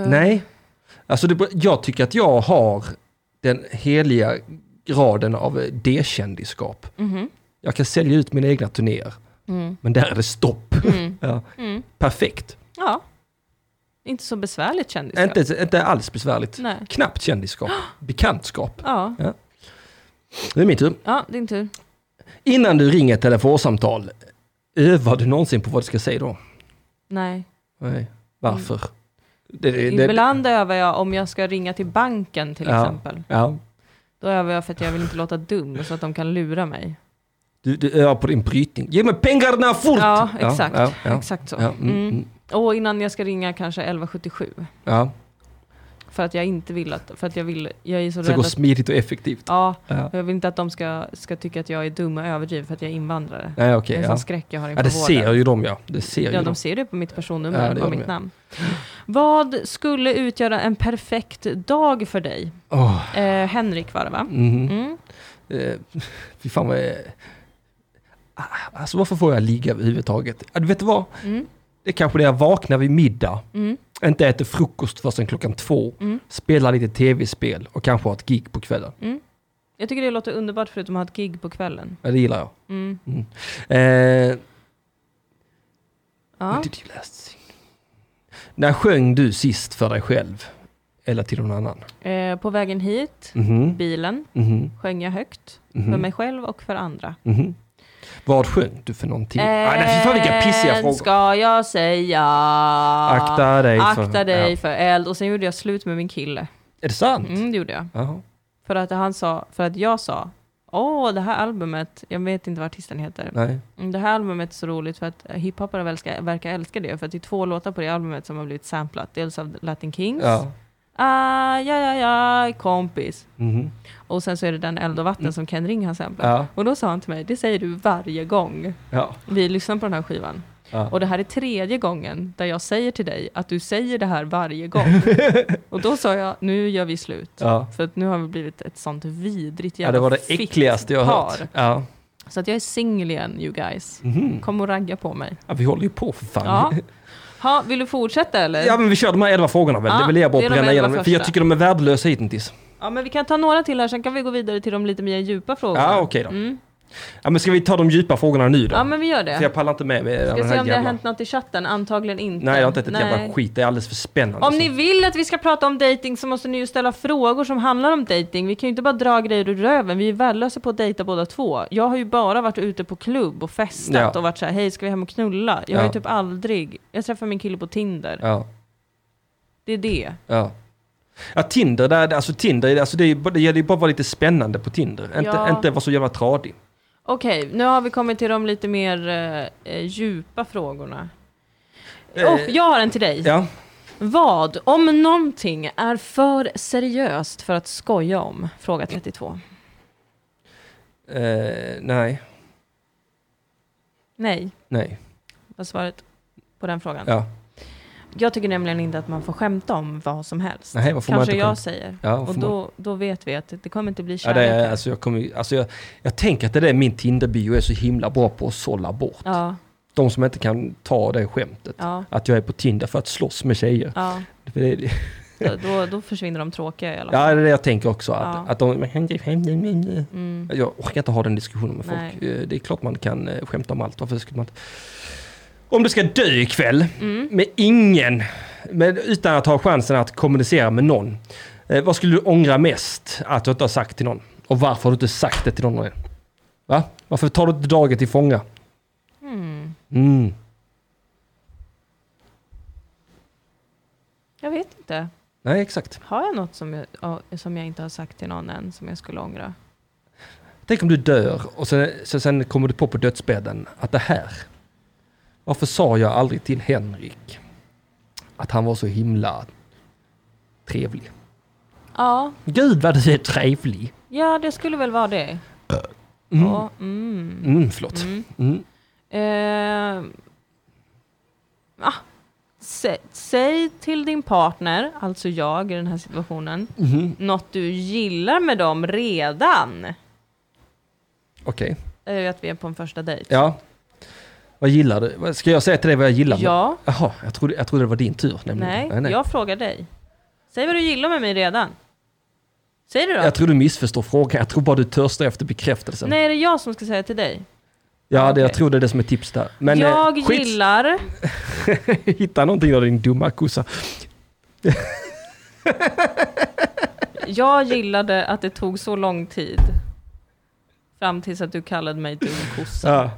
S1: Nej. Alltså det, jag tycker att jag har den heliga graden av eh, D-kändisskap.
S2: Mhm.
S1: Jag kan sälja ut mina egna turnéer,
S2: Mm.
S1: men där är det stopp.
S2: Mm.
S1: Ja.
S2: Mm.
S1: Perfekt.
S2: Ja. Inte så besvärligt kändisskap.
S1: Inte, inte alls besvärligt.
S2: Nej.
S1: Knappt kändisskap. Bekantskap.
S2: Ja.
S1: Nu är min tur.
S2: ja, din tur.
S1: Innan du ringer ett telefonsamtal, övar du någonsin på vad du ska säga då?
S2: Nej.
S1: Nej. Varför? Mm. Det, det, det,
S2: Ibland övar jag om jag ska ringa till banken till
S1: Ja.
S2: exempel.
S1: ja.
S2: Då övar jag för att jag vill inte låta dum så att de kan lura mig.
S1: du, du övar på din brytning. Ge mig pengarna fort!
S2: Ja, exakt.
S1: Ja, ja,
S2: Exakt så.
S1: ja, mm,
S2: Mm.
S1: mm,
S2: Och innan jag ska ringa kanske 1177.
S1: ja.
S2: För att jag inte vill att, för att jag vill, jag är så
S1: Så det
S2: rädd
S1: går
S2: att,
S1: smidigt och effektivt.
S2: ja,
S1: Ja.
S2: jag vill inte att de ska, ska tycka att jag är dum och överdriven för att jag är invandrare.
S1: Nej,
S2: Det är
S1: okej.
S2: en
S1: ja.
S2: sån skräck jag har
S1: ja,
S2: inför
S1: det
S2: vården.
S1: ser ju de ja. Det ser
S2: Ja,
S1: ju de.
S2: de ser det på mitt
S1: Ja,
S2: personnummer,
S1: det
S2: på
S1: gör de
S2: mitt
S1: ju.
S2: namn. Vad skulle utgöra en perfekt dag för dig?
S1: Åh,
S2: Eh, Henrik var det va?
S1: mhm.
S2: Mm.
S1: Eh, Fy fan vad jag... Ah, Alltså varför får jag ligga överhuvudtaget? Ja, du vet vad?
S2: Mm.
S1: Det är kanske det jag vaknar vid middag,
S2: Mm.
S1: inte äter frukost förrän klockan två,
S2: Mm.
S1: spelar lite tv-spel och kanske har ett gig på kvällen.
S2: Jag tycker det låter underbart förutom att ha ett gig på kvällen.
S1: Ja, det gillar jag.
S2: Mm.
S1: Eh,
S2: Ja.
S1: did you last sing? När sjöng du sist för dig själv? Eller till någon annan?
S2: Eh, på vägen hit,
S1: Mhm,
S2: bilen,
S1: mhm,
S2: sjöng jag högt. Mm. För
S1: mhm,
S2: mig själv och för andra.
S1: mhm. Vad sjöng du för någonting?
S2: Eh,
S1: Ah, nej, fy fan vilka pissiga
S2: Eld
S1: frågor.
S2: Eh, ska jag säga.
S1: Akta dig.
S2: Akta
S1: för,
S2: dig
S1: Ja.
S2: för eld. Och sen gjorde jag slut med min kille.
S1: Är det sant?
S2: Mm, det gjorde jag.
S1: Jaha.
S2: För att, han sa, för att jag sa, åh det här albumet, jag vet inte vad artisten heter.
S1: Nej.
S2: Mm, Det här albumet är så roligt för att hiphopare väl ska- verkar älska det. För att det är två låtar på det albumet som har blivit samplat. Dels av Latin Kings,
S1: Ja.
S2: ah, ja, ja, ja, kompis.
S1: Mhm.
S2: Och sen så är det den Eld och vatten som Ken Ring har samplat.
S1: Mm. Ja.
S2: Och då sa han till mig, det säger du varje gång
S1: Ja.
S2: vi lyssnar på den här skivan.
S1: Ja.
S2: Och det här är tredje gången där jag säger till dig att du säger det här varje gång. och då sa jag, nu gör vi slut.
S1: Ja.
S2: För att nu har vi blivit ett sånt vidrigt
S1: ja,
S2: jävla
S1: det var det äckligaste jag har hört.
S2: fittpar.
S1: Ja.
S2: Så att jag är singel igen you guys.
S1: Mhm.
S2: Kom och ragga på mig.
S1: ja, vi håller ju på för fan.
S2: Ja. Ha, vill du fortsätta eller?
S1: Ja men vi kör de här elva frågorna väl,
S2: Ja,
S1: det vill jag bara
S2: det är de
S1: bränna
S2: elva
S1: igenom. För jag
S2: första.
S1: tycker de är värdelösa hittills.
S2: Ja, men vi kan ta några till här, sen kan vi gå vidare till de lite mer djupa frågorna.
S1: Ja okej då.
S2: Mm.
S1: Ja, men ska vi ta de djupa frågorna nu då?
S2: Ja, men vi gör
S1: För
S2: det.
S1: jag pallar inte med, med
S2: Ska
S1: den
S2: se
S1: här
S2: om det har
S1: jävla...
S2: hänt något i chatten, antagligen inte.
S1: Nej, det har inte hänt ett
S2: Nej.
S1: jävla skit. Det är alldeles för spännande. alltså.
S2: Om ni
S1: Så-
S2: vill att vi ska prata om dating så måste ni ju ställa frågor som handlar om dating. Vi kan ju inte bara dra grejer ur röven, vi är ju värdelösa på att dejta båda två. Jag har ju bara varit ute på klubb och festat
S1: Ja.
S2: och varit så här, hej ska vi hem och knulla? Jag har
S1: Ja.
S2: ju typ aldrig, jag träffade min kille på Tinder.
S1: Ja,
S2: Det är det.
S1: ja. Ja, Tinder, där, alltså Tinder, alltså det, är, ju bara- det gäller ju bara att vara lite spännande på Tinder.
S2: Ja.
S1: Inte, inte vara så jävla tradig.
S2: Okej, nu har vi kommit till de lite mer eh, eh, djupa frågorna.
S1: Eh,
S2: Och jag har en till dig.
S1: Ja,
S2: Vad, om någonting, är för seriöst för att skoja om? Fråga 32.
S1: eh, nej,
S2: Nej,
S1: nej,
S2: var svaret på den frågan.
S1: ja.
S2: Jag tycker nämligen inte att man får skämta om vad som helst.
S1: Nej, vad får man
S2: Kanske
S1: inte
S2: jag
S1: skämta?
S2: säger.
S1: ja
S2: Och
S1: får man-
S2: då, då vet vi att det kommer inte bli
S1: Ja,
S2: kärlek.
S1: det är,
S2: här.
S1: alltså, jag, kommer, ju- alltså, jag, jag tänker att det är det min Tinder-bio är så himla bra på att sålla bort.
S2: ja,
S1: De som inte kan ta det skämtet.
S2: ja,
S1: Att jag är på Tinder för att slåss med tjejer.
S2: ja.
S1: För det, det-
S2: Då, då, då försvinner de tråkiga i alla
S1: ja,
S2: fall.
S1: det är det jag tänker också. Att,
S2: Ja.
S1: att de,
S2: Mm.
S1: jag orkar inte ha den diskussionen med
S2: Nej.
S1: folk. Eh, Det är klart man kan eh, skämta om allt. Varför skulle man inte? Om du ska dö ikväll
S2: Mm.
S1: med ingen, med, utan att ha chansen att kommunicera med någon. Eh, vad skulle du ångra mest att du inte har sagt till någon? Och varför har du inte sagt det till någon? än? Va? Varför tar du inte dagen till fånga?
S2: Mm.
S1: Mm.
S2: Jag vet inte.
S1: Nej, exakt.
S2: Har jag något som jag, ja, som jag inte har sagt till någon än som jag skulle ångra?
S1: Tänk om du dör och sen, sen, sen kommer du på på dödsbädden att det här. Varför sa jag aldrig till Henrik att han var så himla trevlig?
S2: Ja,
S1: Gud vad du är trevlig!
S2: ja det skulle väl vara det.
S1: Mm,
S2: Ja, mm.
S1: mm förlåt.
S2: Mm.
S1: Mm.
S2: Eh, ah, sä, säg till din partner, alltså jag i den här situationen,
S1: Mhm.
S2: något du gillar med dem redan.
S1: Okej,
S2: Eh, att vi är på en första dejt.
S1: ja. Vad gillar du? Vad- Ska jag säga till dig vad jag gillar? med-
S2: Ja,
S1: Jaha, jag trodde, jag trodde det var din tur. Nämligen.
S2: nej, jag frågar dig. Säg vad du gillar med mig redan. Säger du då?
S1: Jag tror du missförstår frågan. Jag tror bara du törstar efter bekräftelsen.
S2: Nej, är det jag som ska säga till dig?
S1: ja, det, jag
S2: okej.
S1: tror det är det som är tips där. Men
S2: jag
S1: eh, skit-
S2: gillar...
S1: Hitta någonting av din dumma kossa.
S2: Jag gillade att det tog så lång tid. Fram tills att du kallade mig dum kossa.
S1: Ja.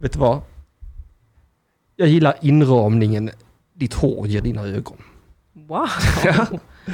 S1: Vet du vad? Jag gillar inramningen. Ditt hår ger dina ögon.
S2: Wow!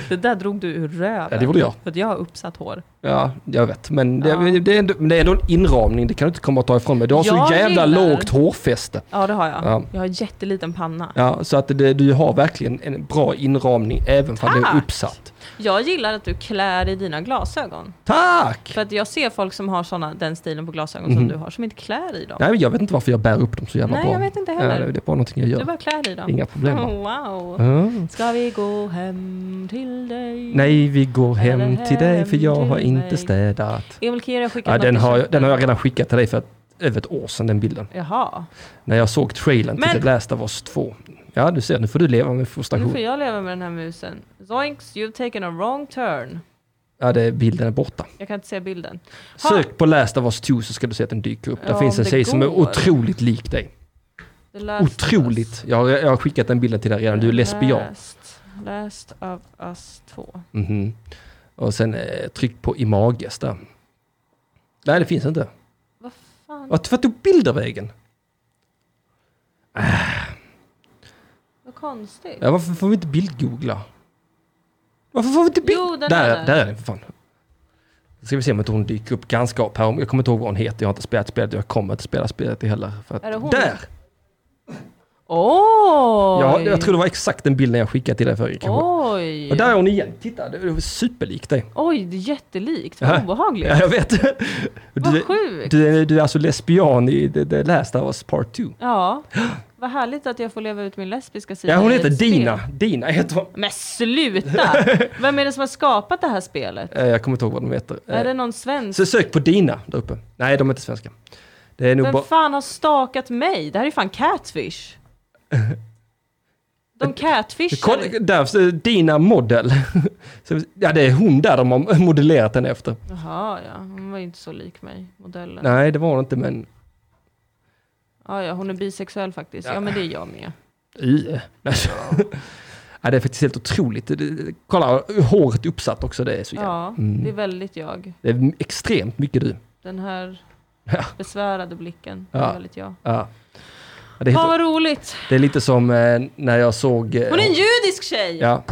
S2: Det där drog du ur röven.
S1: Ja, det gjorde jag.
S2: För att jag har uppsatt hår.
S1: Ja, jag vet. Men det,
S2: Ja.
S1: det, är, ändå, men det är ändå en inramning. Det kan du inte komma och ta ifrån mig. Du har
S2: Jag
S1: så jävla
S2: gillar-
S1: lågt hårfäste.
S2: Ja, det har jag.
S1: Ja.
S2: Jag har jätteliten panna.
S1: Ja, så att det, du har verkligen en bra inramning även om det är
S2: Tack!
S1: uppsatt.
S2: Jag gillar att du klär i dina glasögon.
S1: Tack!
S2: För att jag ser folk som har såna, den stilen på glasögon som
S1: Mhm.
S2: du har, som inte klär i dem.
S1: Nej, men jag vet inte varför jag bär upp dem så jävla
S2: Nej,
S1: bra.
S2: jag vet inte
S1: Ja,
S2: heller.
S1: det- det är bara någonting jag
S2: Du
S1: gör.
S2: bara klär i dem.
S1: Inga problem.
S2: Oh, wow!
S1: Ja.
S2: Ska vi gå hem till dig?
S1: Nej, vi går hem
S2: Eller
S1: till dig för
S2: hem
S1: jag har
S2: till mig.
S1: inte städat.
S2: Emil Kira skickade
S1: Ja, den,
S2: något
S1: har,
S2: till
S1: jag- den har jag redan skickat till dig för ett, över ett år sedan, den bilden.
S2: Jaha,
S1: När jag såg trailern till
S2: Men-
S1: The Last of Us 2. Ja, du ser, nu får du leva med
S2: nu
S1: frustration.
S2: får jag leva med den här musen. Zoinks, you've taken a wrong turn.
S1: Ja, det, bilden är borta.
S2: Jag kan inte se bilden. Ha.
S1: Sök på Last of Us 2 så ska du se att den dyker upp.
S2: Ja,
S1: Där finns
S2: om
S1: en
S2: det
S1: tjej som är
S2: går.
S1: otroligt lik dig.
S2: The Last of Us.
S1: Otroligt! Jag har, jag har skickat den bilden till dig redan, du är lesbian.
S2: Last, last of us 2.
S1: Mhm. Och sen eh, tryck på Images där. Nej, det finns inte.
S2: Vad fan?
S1: Vart vart tog bildervägen?
S2: Vad konstigt.
S1: Ja, varför får vi inte bildgoogla? Varför får vi inte bild...
S2: Jo, den
S1: där,
S2: är där.
S1: där är den för fan. Nu ska vi se om inte hon dyker upp ganska upp här. Om- Jag kommer inte ihåg vad hon heter. Jag har inte spelat spelet. Jag kommer inte spela spelet heller. För att,
S2: Är det hon?
S1: Där!
S2: Oj!
S1: Jag, jag tror det var exakt den bilden jag skickade till dig förr. kanske.
S2: Oj!
S1: Och där är hon igen. Titta, det är superlik dig.
S2: Oj, det är jättelikt. Vad
S1: Ja.
S2: obehagligt.
S1: Ja, jag vet.
S2: Vad
S1: Du,
S2: sjukt.
S1: du, är- du är alltså lesbian i The, the Last of Us Part 2.
S2: Ja. Vad härligt att jag får leva ut min lesbiska sida
S1: Ja, hon
S2: i
S1: heter
S2: ett spel.
S1: Dina. Dina heter hon.
S2: Men sluta! Vem är det som har skapat det här spelet?
S1: Eh, Jag kommer inte ihåg vad de heter. Eh,
S2: Är det någon svensk?
S1: Så sök på Dina där uppe. Nej, de är inte svenska. Det är nog bara...
S2: Vem fan har stakat mig? Det här är fan catfish. De
S1: Kolla,
S2: catfishar.
S1: där, Dina modell. Så- Ja, det är hon där de har modellerat henne efter.
S2: Jaha, ja. Hon var ju inte så lik mig, modellen.
S1: Nej, det var hon inte, men...
S2: Ja, ja, hon är bisexuell faktiskt. Ja,
S1: Ja.
S2: men det är jag med.
S1: Äh. Alltså. Ja, det är faktiskt helt otroligt. Det- det- Kolla, håret uppsatt också. Det är så jävla...
S2: Ja,
S1: Mm.
S2: det är väldigt jag.
S1: Det är extremt mycket du.
S2: Den här
S1: Ja.
S2: besvärade blicken. Det
S1: Ja.
S2: är väldigt jag.
S1: Ja. Ja, det, är
S2: Fan
S1: helt,
S2: vad roligt!
S1: det är lite som eh, när jag såg... eh,
S2: Hon är en judisk tjej!
S1: ja,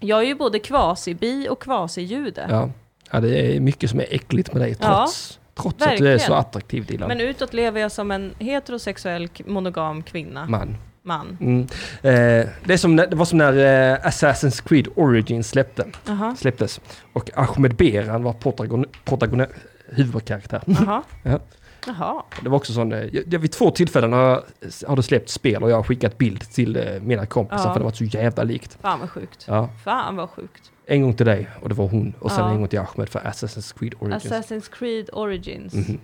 S2: Jag är ju både kvasi-bi och kvasi-jude.
S1: ja. ja, det är mycket som är äckligt med dig trots, trots att du är
S2: verkligen.
S1: så attraktiv, Dilan.
S2: Men utåt lever jag som en heterosexuell k- monogam kvinna,
S1: Man.
S2: man.
S1: Mm. Eh, det, är som, när- det var som när eh, Assassin's Creed Origins släppte,
S2: Jaha,
S1: släpptes och Ahmed Beran var protagon, protagon, huvudkaraktär.
S2: jaha.
S1: Ja.
S2: Jaha.
S1: Det var också sån, eh, jag, vid två tillfällen har, har det släppt spel och jag har skickat bild till eh, mina kompisar
S2: Ja.
S1: för det var så jävla likt.
S2: Fan vad sjukt.
S1: Ja,
S2: Fan vad sjukt.
S1: en gång till dig och det var hon och sen
S2: Ja.
S1: en gång till Ahmed för Assassin's Creed Origins.
S2: Assassin's Creed Origins.
S1: Mhm.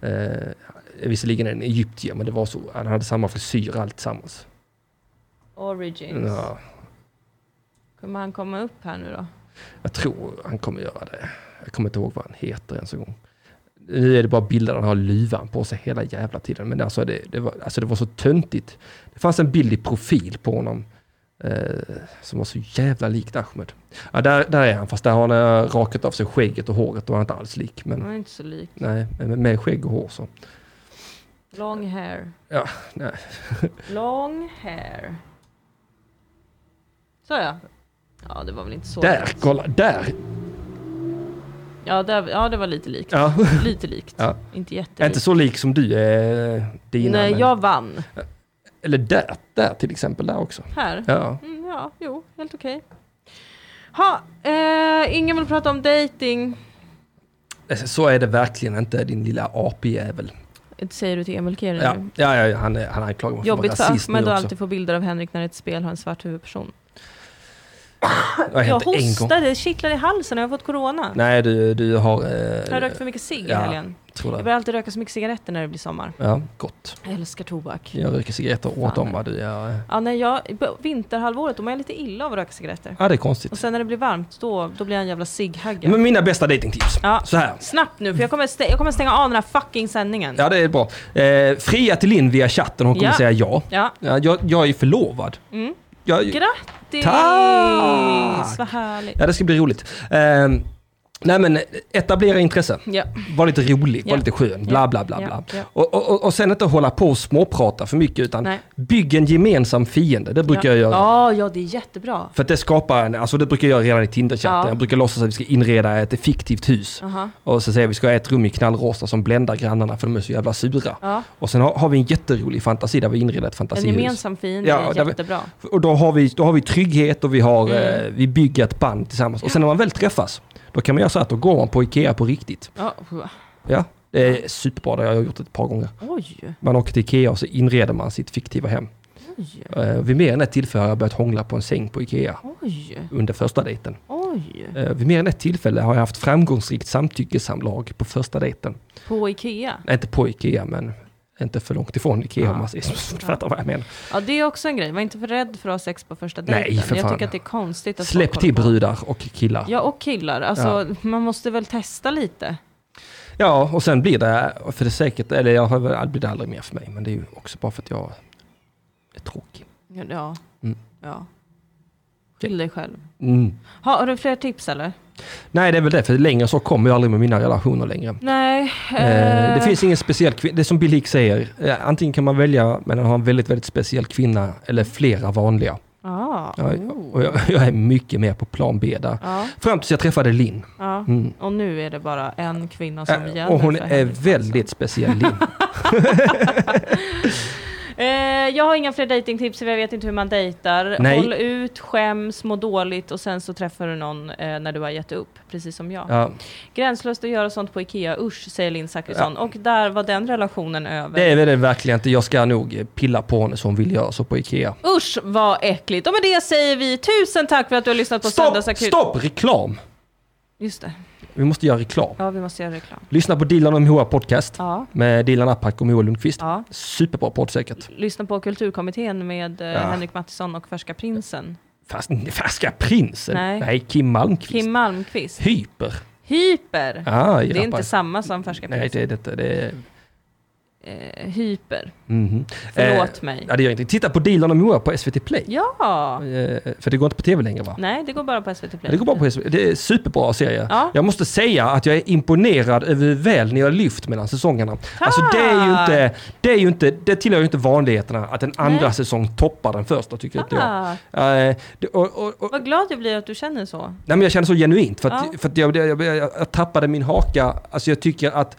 S1: Eh, visserligen en egyptier men det var så, han hade samma frisyr alltsammans.
S2: Origins.
S1: Ja,
S2: Kommer han komma upp här nu då?
S1: jag tror han kommer göra det. Jag kommer inte ihåg vad han heter ens en gång. Nu är det bara bilder där han har luvan på sig hela jävla tiden. Men alltså det, det, var, alltså det var så töntigt. Det fanns en bild i profil på honom eh, som var så jävla likt Ahmed. Ja, där, där är han, fast där har han eh, rakat av sig skägget och håret och han är inte alls lik. Men
S2: Han är inte så lik.
S1: nej, men med skägg och hår så.
S2: Long hair.
S1: Ja, nej.
S2: Long hair. Så ja. Ja, det var väl inte så
S1: Där,
S2: likt.
S1: kolla, där!
S2: Ja, där, ja, det var lite likt.
S1: Ja.
S2: Lite likt.
S1: Ja.
S2: Inte
S1: Jag är inte
S2: jättelikt.
S1: så lik som du är, Dina.
S2: Nej,
S1: men-
S2: jag vann.
S1: Eller där, där till exempel, där också.
S2: Här.
S1: Ja.
S2: Mm, ja, jo, helt okej. Ha, eh, ingen vill prata om dating.
S1: Alltså, Så är det verkligen inte, din lilla apjävel.
S2: Det säger du till Emil Kering
S1: Ja,
S2: nu.
S1: ja, ja, han, är- han anklagar mig för att vara
S2: Mm. Jobbigt för
S1: rasist nu
S2: Ahmed att
S1: också.
S2: alltid få bilder av Henrik när ett spel har en svart huvudperson.
S1: Det har
S2: Jag
S1: hänt en gång.
S2: hostade, det kittlar i halsen och jag har fått corona.
S1: Nej, du, du har...
S2: Jag har
S1: Eh,
S2: rökt för mycket cigg i
S1: ja.
S2: helgen.
S1: Tror
S2: Jag
S1: det.
S2: börjar alltid röka så mycket cigaretter när det blir sommar.
S1: Ja, gott.
S2: Jag älskar tobak.
S1: Jag röker cigaretter åt
S2: Fan.
S1: dem vad du är.
S2: Ja, när jag, på vinterhalvåret, då mår jag lite illa av att röka cigaretter.
S1: Ja, det är konstigt.
S2: Och sen när det blir varmt, då, då blir jag en jävla cigghagge.
S1: Men mina bästa datingtips.
S2: Ja.
S1: Så här.
S2: Snabbt nu, för jag kommer, stä- jag kommer stänga av den här fucking sändningen.
S1: Ja, det är bra. Eh, fria till Linn via chatten, hon kommer
S2: Ja.
S1: säga ja.
S2: Ja.
S1: ja jag, jag är förlovad.
S2: Mm.
S1: Jag,
S2: Grattis!
S1: Tack!
S2: Vad härligt.
S1: ja, det ska bli roligt. Eh, nej men, eh, etablera intresse.
S2: Ja.
S1: Var lite rolig,
S2: Ja.
S1: var lite skön, bla bla bla.
S2: Ja.
S1: bla.
S2: Ja.
S1: Och, och, och- och sen inte hålla på och småprata för mycket utan
S2: Nej.
S1: bygg en gemensam fiende. Det brukar
S2: ja.
S1: jag göra.
S2: Ja, ja, det är jättebra.
S1: För att det skapar en, alltså det brukar jag göra redan i Tinder-chatten.
S2: Ja.
S1: Jag brukar låtsas att vi ska inreda ett fiktivt hus.
S2: Aha.
S1: Och så säger vi ska ha ett rum i knallrosa som bländar grannarna för de är så jävla sura.
S2: Ja.
S1: Och sen har, har vi en jätterolig fantasi där vi inreder ett
S2: En
S1: fantasihus.
S2: gemensam fiende
S1: Alltså, Ja, där
S2: är
S1: vi-
S2: jättebra.
S1: Och då har, vi, då har vi trygghet och vi, har,
S2: Mm.
S1: eh, vi bygger ett band tillsammans. Och sen när man väl träffas, då kan man göra så att då går man på Ikea på riktigt.
S2: Ja.
S1: Ja, det är superbra, det har jag gjort ett par gånger.
S2: Oj,
S1: Man åker till Ikea och så inreder man sitt fiktiva hem.
S2: oj,
S1: Eh, vid mer än ett tillfälle har jag börjat hångla på en säng på Ikea
S2: oj,
S1: under första dejten.
S2: oj.
S1: Eh, vid mer än ett tillfälle har jag haft framgångsrikt samtyckessamlag på första dejten.
S2: På Ikea.
S1: Nej, inte på Ikea, men inte för långt ifrån Ikea om
S2: Ja.
S1: man säger så. Du fattar vad jag menar.
S2: Ja, det är också en grej. Var inte för rädd för att ha sex på första
S1: Nej,
S2: dejten.
S1: för
S2: Jag
S1: fan.
S2: tycker att det är konstigt att
S1: Släpp
S2: folk
S1: till
S2: håller på.
S1: brudar och killar.
S2: Ja, och killar. Alltså, man måste väl testa lite.
S1: Ja, och sen blir det, för det är säkert, eller jag har väl, det blir det aldrig mer för mig, men det är ju också bara för att jag är tråkig.
S2: Ja.
S1: Mm.
S2: ja. Skyll dig själv.
S1: Mm.
S2: Ha, har du fler tips eller?
S1: Nej, det är väl det, för längre så kommer jag aldrig med mina relationer längre.
S2: Nej.
S1: Eh, det
S2: eh,
S1: finns ingen speciell kvinna, det är som Bill Hicks säger, eh, antingen kan man välja mellan att ha en väldigt, väldigt speciell kvinna eller flera vanliga.
S2: Ja.
S1: Ja, och jag, jag är mycket mer på plan B där.
S2: Ja,
S1: Fram tills jag träffade Linn.
S2: ja.
S1: Mm.
S2: Och nu är det bara en kvinna som
S1: Eh,
S2: gäller
S1: Och hon
S2: för liksom.
S1: är
S2: Henrik Svensson.
S1: väldigt speciell Linn.
S2: Eh, jag har inga fler dejtingtips för jag vet inte hur man dejtar.
S1: Nej.
S2: Håll ut, skäms, må dåligt och sen så träffar du någon eh, när du har gett upp. Precis som jag.
S1: Ja,
S2: Gränslöst att göra sånt på Ikea, usch säger Linn Zachrisson. Och där var den relationen över.
S1: det är väl det verkligen inte, jag ska nog eh, pilla på henne som hon vill göra så på Ikea.
S2: Usch vad äckligt. Och med det säger vi tusen tack för att du har lyssnat på
S1: Stopp,
S2: Söndagsakut.
S1: stopp, reklam!
S2: Just det,
S1: Vi måste göra reklam.
S2: ja vi måste göra reklam.
S1: Lyssna på Dilan och Moa podcast
S2: Ja,
S1: med Dilan Apak och Moa Lundqvist.
S2: ja.
S1: Superbra podd säkert.
S2: Lyssna på Kulturkommittén med eh,
S1: Ja.
S2: Henrik Mattisson och Färska Prinsen.
S1: Fast, färska prinsen?
S2: Nej.
S1: Kim Malmqvist.
S2: Kim Malmqvist.
S1: Hyper.
S2: Hyper.
S1: Ah,
S2: Det är inte samma som Färska
S1: Nej,
S2: Prinsen.
S1: det är det inte. Det är...
S2: Eh, hyper.
S1: Mhm.
S2: Förlåt
S1: Eh,
S2: mig.
S1: ja, det gör ingenting. Titta på Dilan och Moa på SVT Play.
S2: Ja!
S1: Eh, för det går inte på tv längre va?
S2: Nej, det går bara på SVT Play.
S1: Det går bra på SVT. Det är superbra serie.
S2: Ja.
S1: Jag måste säga att jag är imponerad över hur väl ni har lyft mellan säsongerna. Alltså det är ju inte, det är ju inte, det tillhör ju inte vanligheterna att en andra
S2: Nej.
S1: säsong toppar den första tycker inte jag.
S2: Ah,
S1: Eh, det- och, och, och,
S2: vad glad jag blir att du känner så.
S1: nej men jag känner så genuint för att,
S2: Ja.
S1: för att jag, jag, jag, jag tappade min haka. Alltså jag tycker att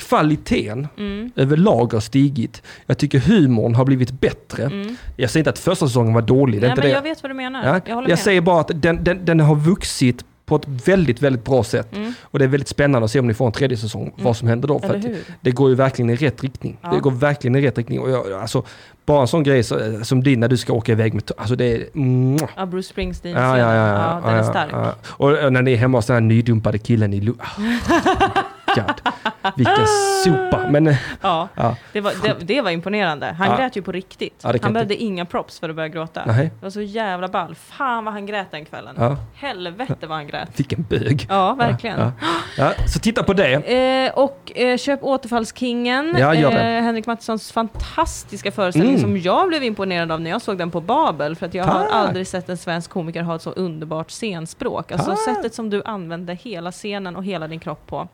S1: kvaliteten
S2: Mm.
S1: överlag har stigit. Jag tycker humorn har blivit bättre.
S2: Mm.
S1: Jag säger inte att första säsongen var dålig, det är
S2: Nej,
S1: inte
S2: men
S1: det.
S2: jag vet vad du menar.
S1: Ja.
S2: Jag håller
S1: Jag,
S2: med.
S1: säger bara att den, den, den har vuxit på ett väldigt, väldigt bra sätt.
S2: Mm.
S1: Och det är väldigt spännande att se om ni får en tredje säsong, vad som händer då. För
S2: Eller
S1: att
S2: hur?
S1: det går ju verkligen i rätt riktning.
S2: Ja.
S1: Det går verkligen i rätt riktning. Och jag, alltså, bara en sån grej så, eh, som din när du ska åka iväg med... to- Alltså det är... Mwah.
S2: Ja, Bruce Springsteen.
S1: Ja, ja, ja, ja,
S2: den är
S1: ja,
S2: stark.
S1: ja. Och eh, när ni är hemma hos den här nydumpade killen i... Lu- Ah, God. Vilken sopa. Men eh,
S2: Ja,
S1: ja,
S2: det var, det, det var imponerande. Han
S1: Ja.
S2: grät ju på riktigt.
S1: Ja, det kan
S2: han
S1: inte-
S2: behövde inga props för att börja gråta.
S1: nej.
S2: Det var så jävla ball. Fan vad han grät den kvällen.
S1: Ja,
S2: Helvete vad han grät.
S1: vilken bög.
S2: Ja, verkligen.
S1: Ja, ja. Ja, så titta på det.
S2: Eh, och eh, köp Återfallskingen,
S1: Ja, gör det.
S2: eh, Henrik Mattissons fantastiska föreställning
S1: Mm. Ah.
S2: som jag blev imponerad av när jag såg den på Babel. För att jag har
S1: Tack.
S2: aldrig sett en svensk komiker ha ett så underbart scenspråk. Alltså
S1: Tack.
S2: sättet som du använde hela scenen och hela din kropp på.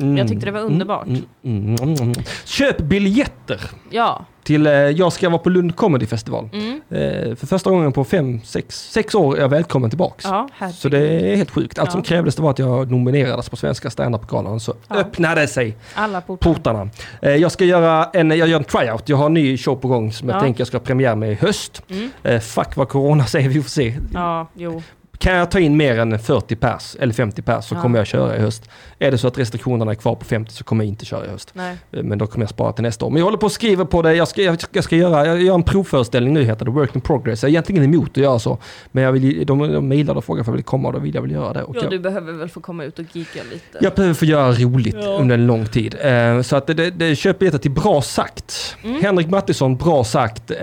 S1: Mm.
S2: Jag tyckte det var underbart.
S1: Mm, mm, mm, mm. Köp biljetter
S2: Ja,
S1: till eh, Jag ska vara på Lund Comedy Festival.
S2: mm.
S1: Eh, för första gången på fem, sex, sex år är jag välkommen tillbaks.
S2: ja
S1: Så
S2: herregud.
S1: det är helt sjukt. Allt som
S2: Ja.
S1: krävdes det var att jag nominerades på Svenska standup-galan så
S2: Ja.
S1: öppnade sig
S2: Alla portar.
S1: portarna. Eh, jag ska göra en, jag gör en tryout. Jag har en ny show på gång som
S2: Ja.
S1: jag tänker jag ska ha premiär med i höst.
S2: Mm.
S1: Eh, fuck vad corona säger, vi får se.
S2: Ja, jo.
S1: Kan jag ta in mer än 40 pers eller 50 pers så
S2: Ja.
S1: kommer jag köra i höst. Är det så att restriktionerna är kvar på 50 så kommer jag inte köra i höst.
S2: Nej.
S1: Eh, Men då kommer jag spara till nästa år. Men jag håller på att skriva på det. Jag ska, jag ska, jag ska göra jag gör en provföreställning nu, heter det. Work in progress. Jag är egentligen emot att göra så. Men jag vill, de, de mejlade och frågade om jag ville komma och då vill jag väl göra det. Och
S2: Ja,
S1: jag,
S2: du behöver väl få komma ut och gigga lite.
S1: jag behöver få göra roligt
S2: Ja.
S1: under en lång tid. Eh, så att det, det, det köp biljetter till Bra sagt.
S2: Mm.
S1: Henrik Mattisson, Bra sagt, eh,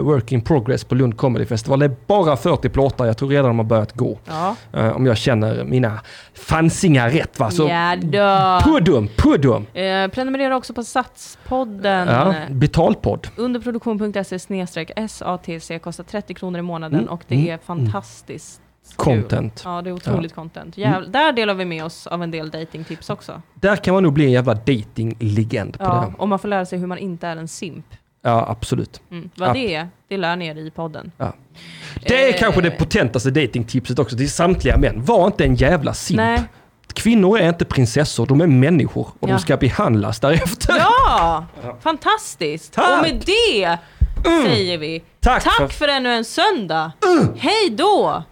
S1: Work in progress på Lund Comedy Festival. Det är bara 40 plåtar. Jag tror redan de har börjat gå.
S2: Ja.
S1: Eh, om jag känner mina fansingar rätt va. Så
S2: ja då.
S1: puddum, puddum!
S2: Eh, prenumerera också på Satspodden.
S1: Ja, betalpodd.
S2: Underproduktion.se snedstreck SATC kostar 30 kronor i månaden
S1: Mm,
S2: och det
S1: mm,
S2: är fantastiskt. kul.
S1: Content. Mm.
S2: Ja, det är otroligt content. Jävlar, Där delar vi med oss av en del datingtips också.
S1: Där kan man nog bli en jävla datinglegend på
S2: Ja,
S1: det.
S2: och man får lära sig hur man inte är en simp.
S1: Ja, absolut.
S2: Mm. Vad
S1: Ja.
S2: det är, det lär ni er i podden.
S1: Ja. Det är
S2: Eh,
S1: kanske det potentaste datingtipset också till samtliga män. Var inte en jävla simp.
S2: Nej.
S1: Kvinnor är inte prinsessor, de är människor och
S2: Ja.
S1: de ska behandlas därefter.
S2: Ja, fantastiskt!
S1: Tack.
S2: Och med det säger vi
S1: Tack
S2: tack
S1: för-
S2: för ännu en söndag. Hej då!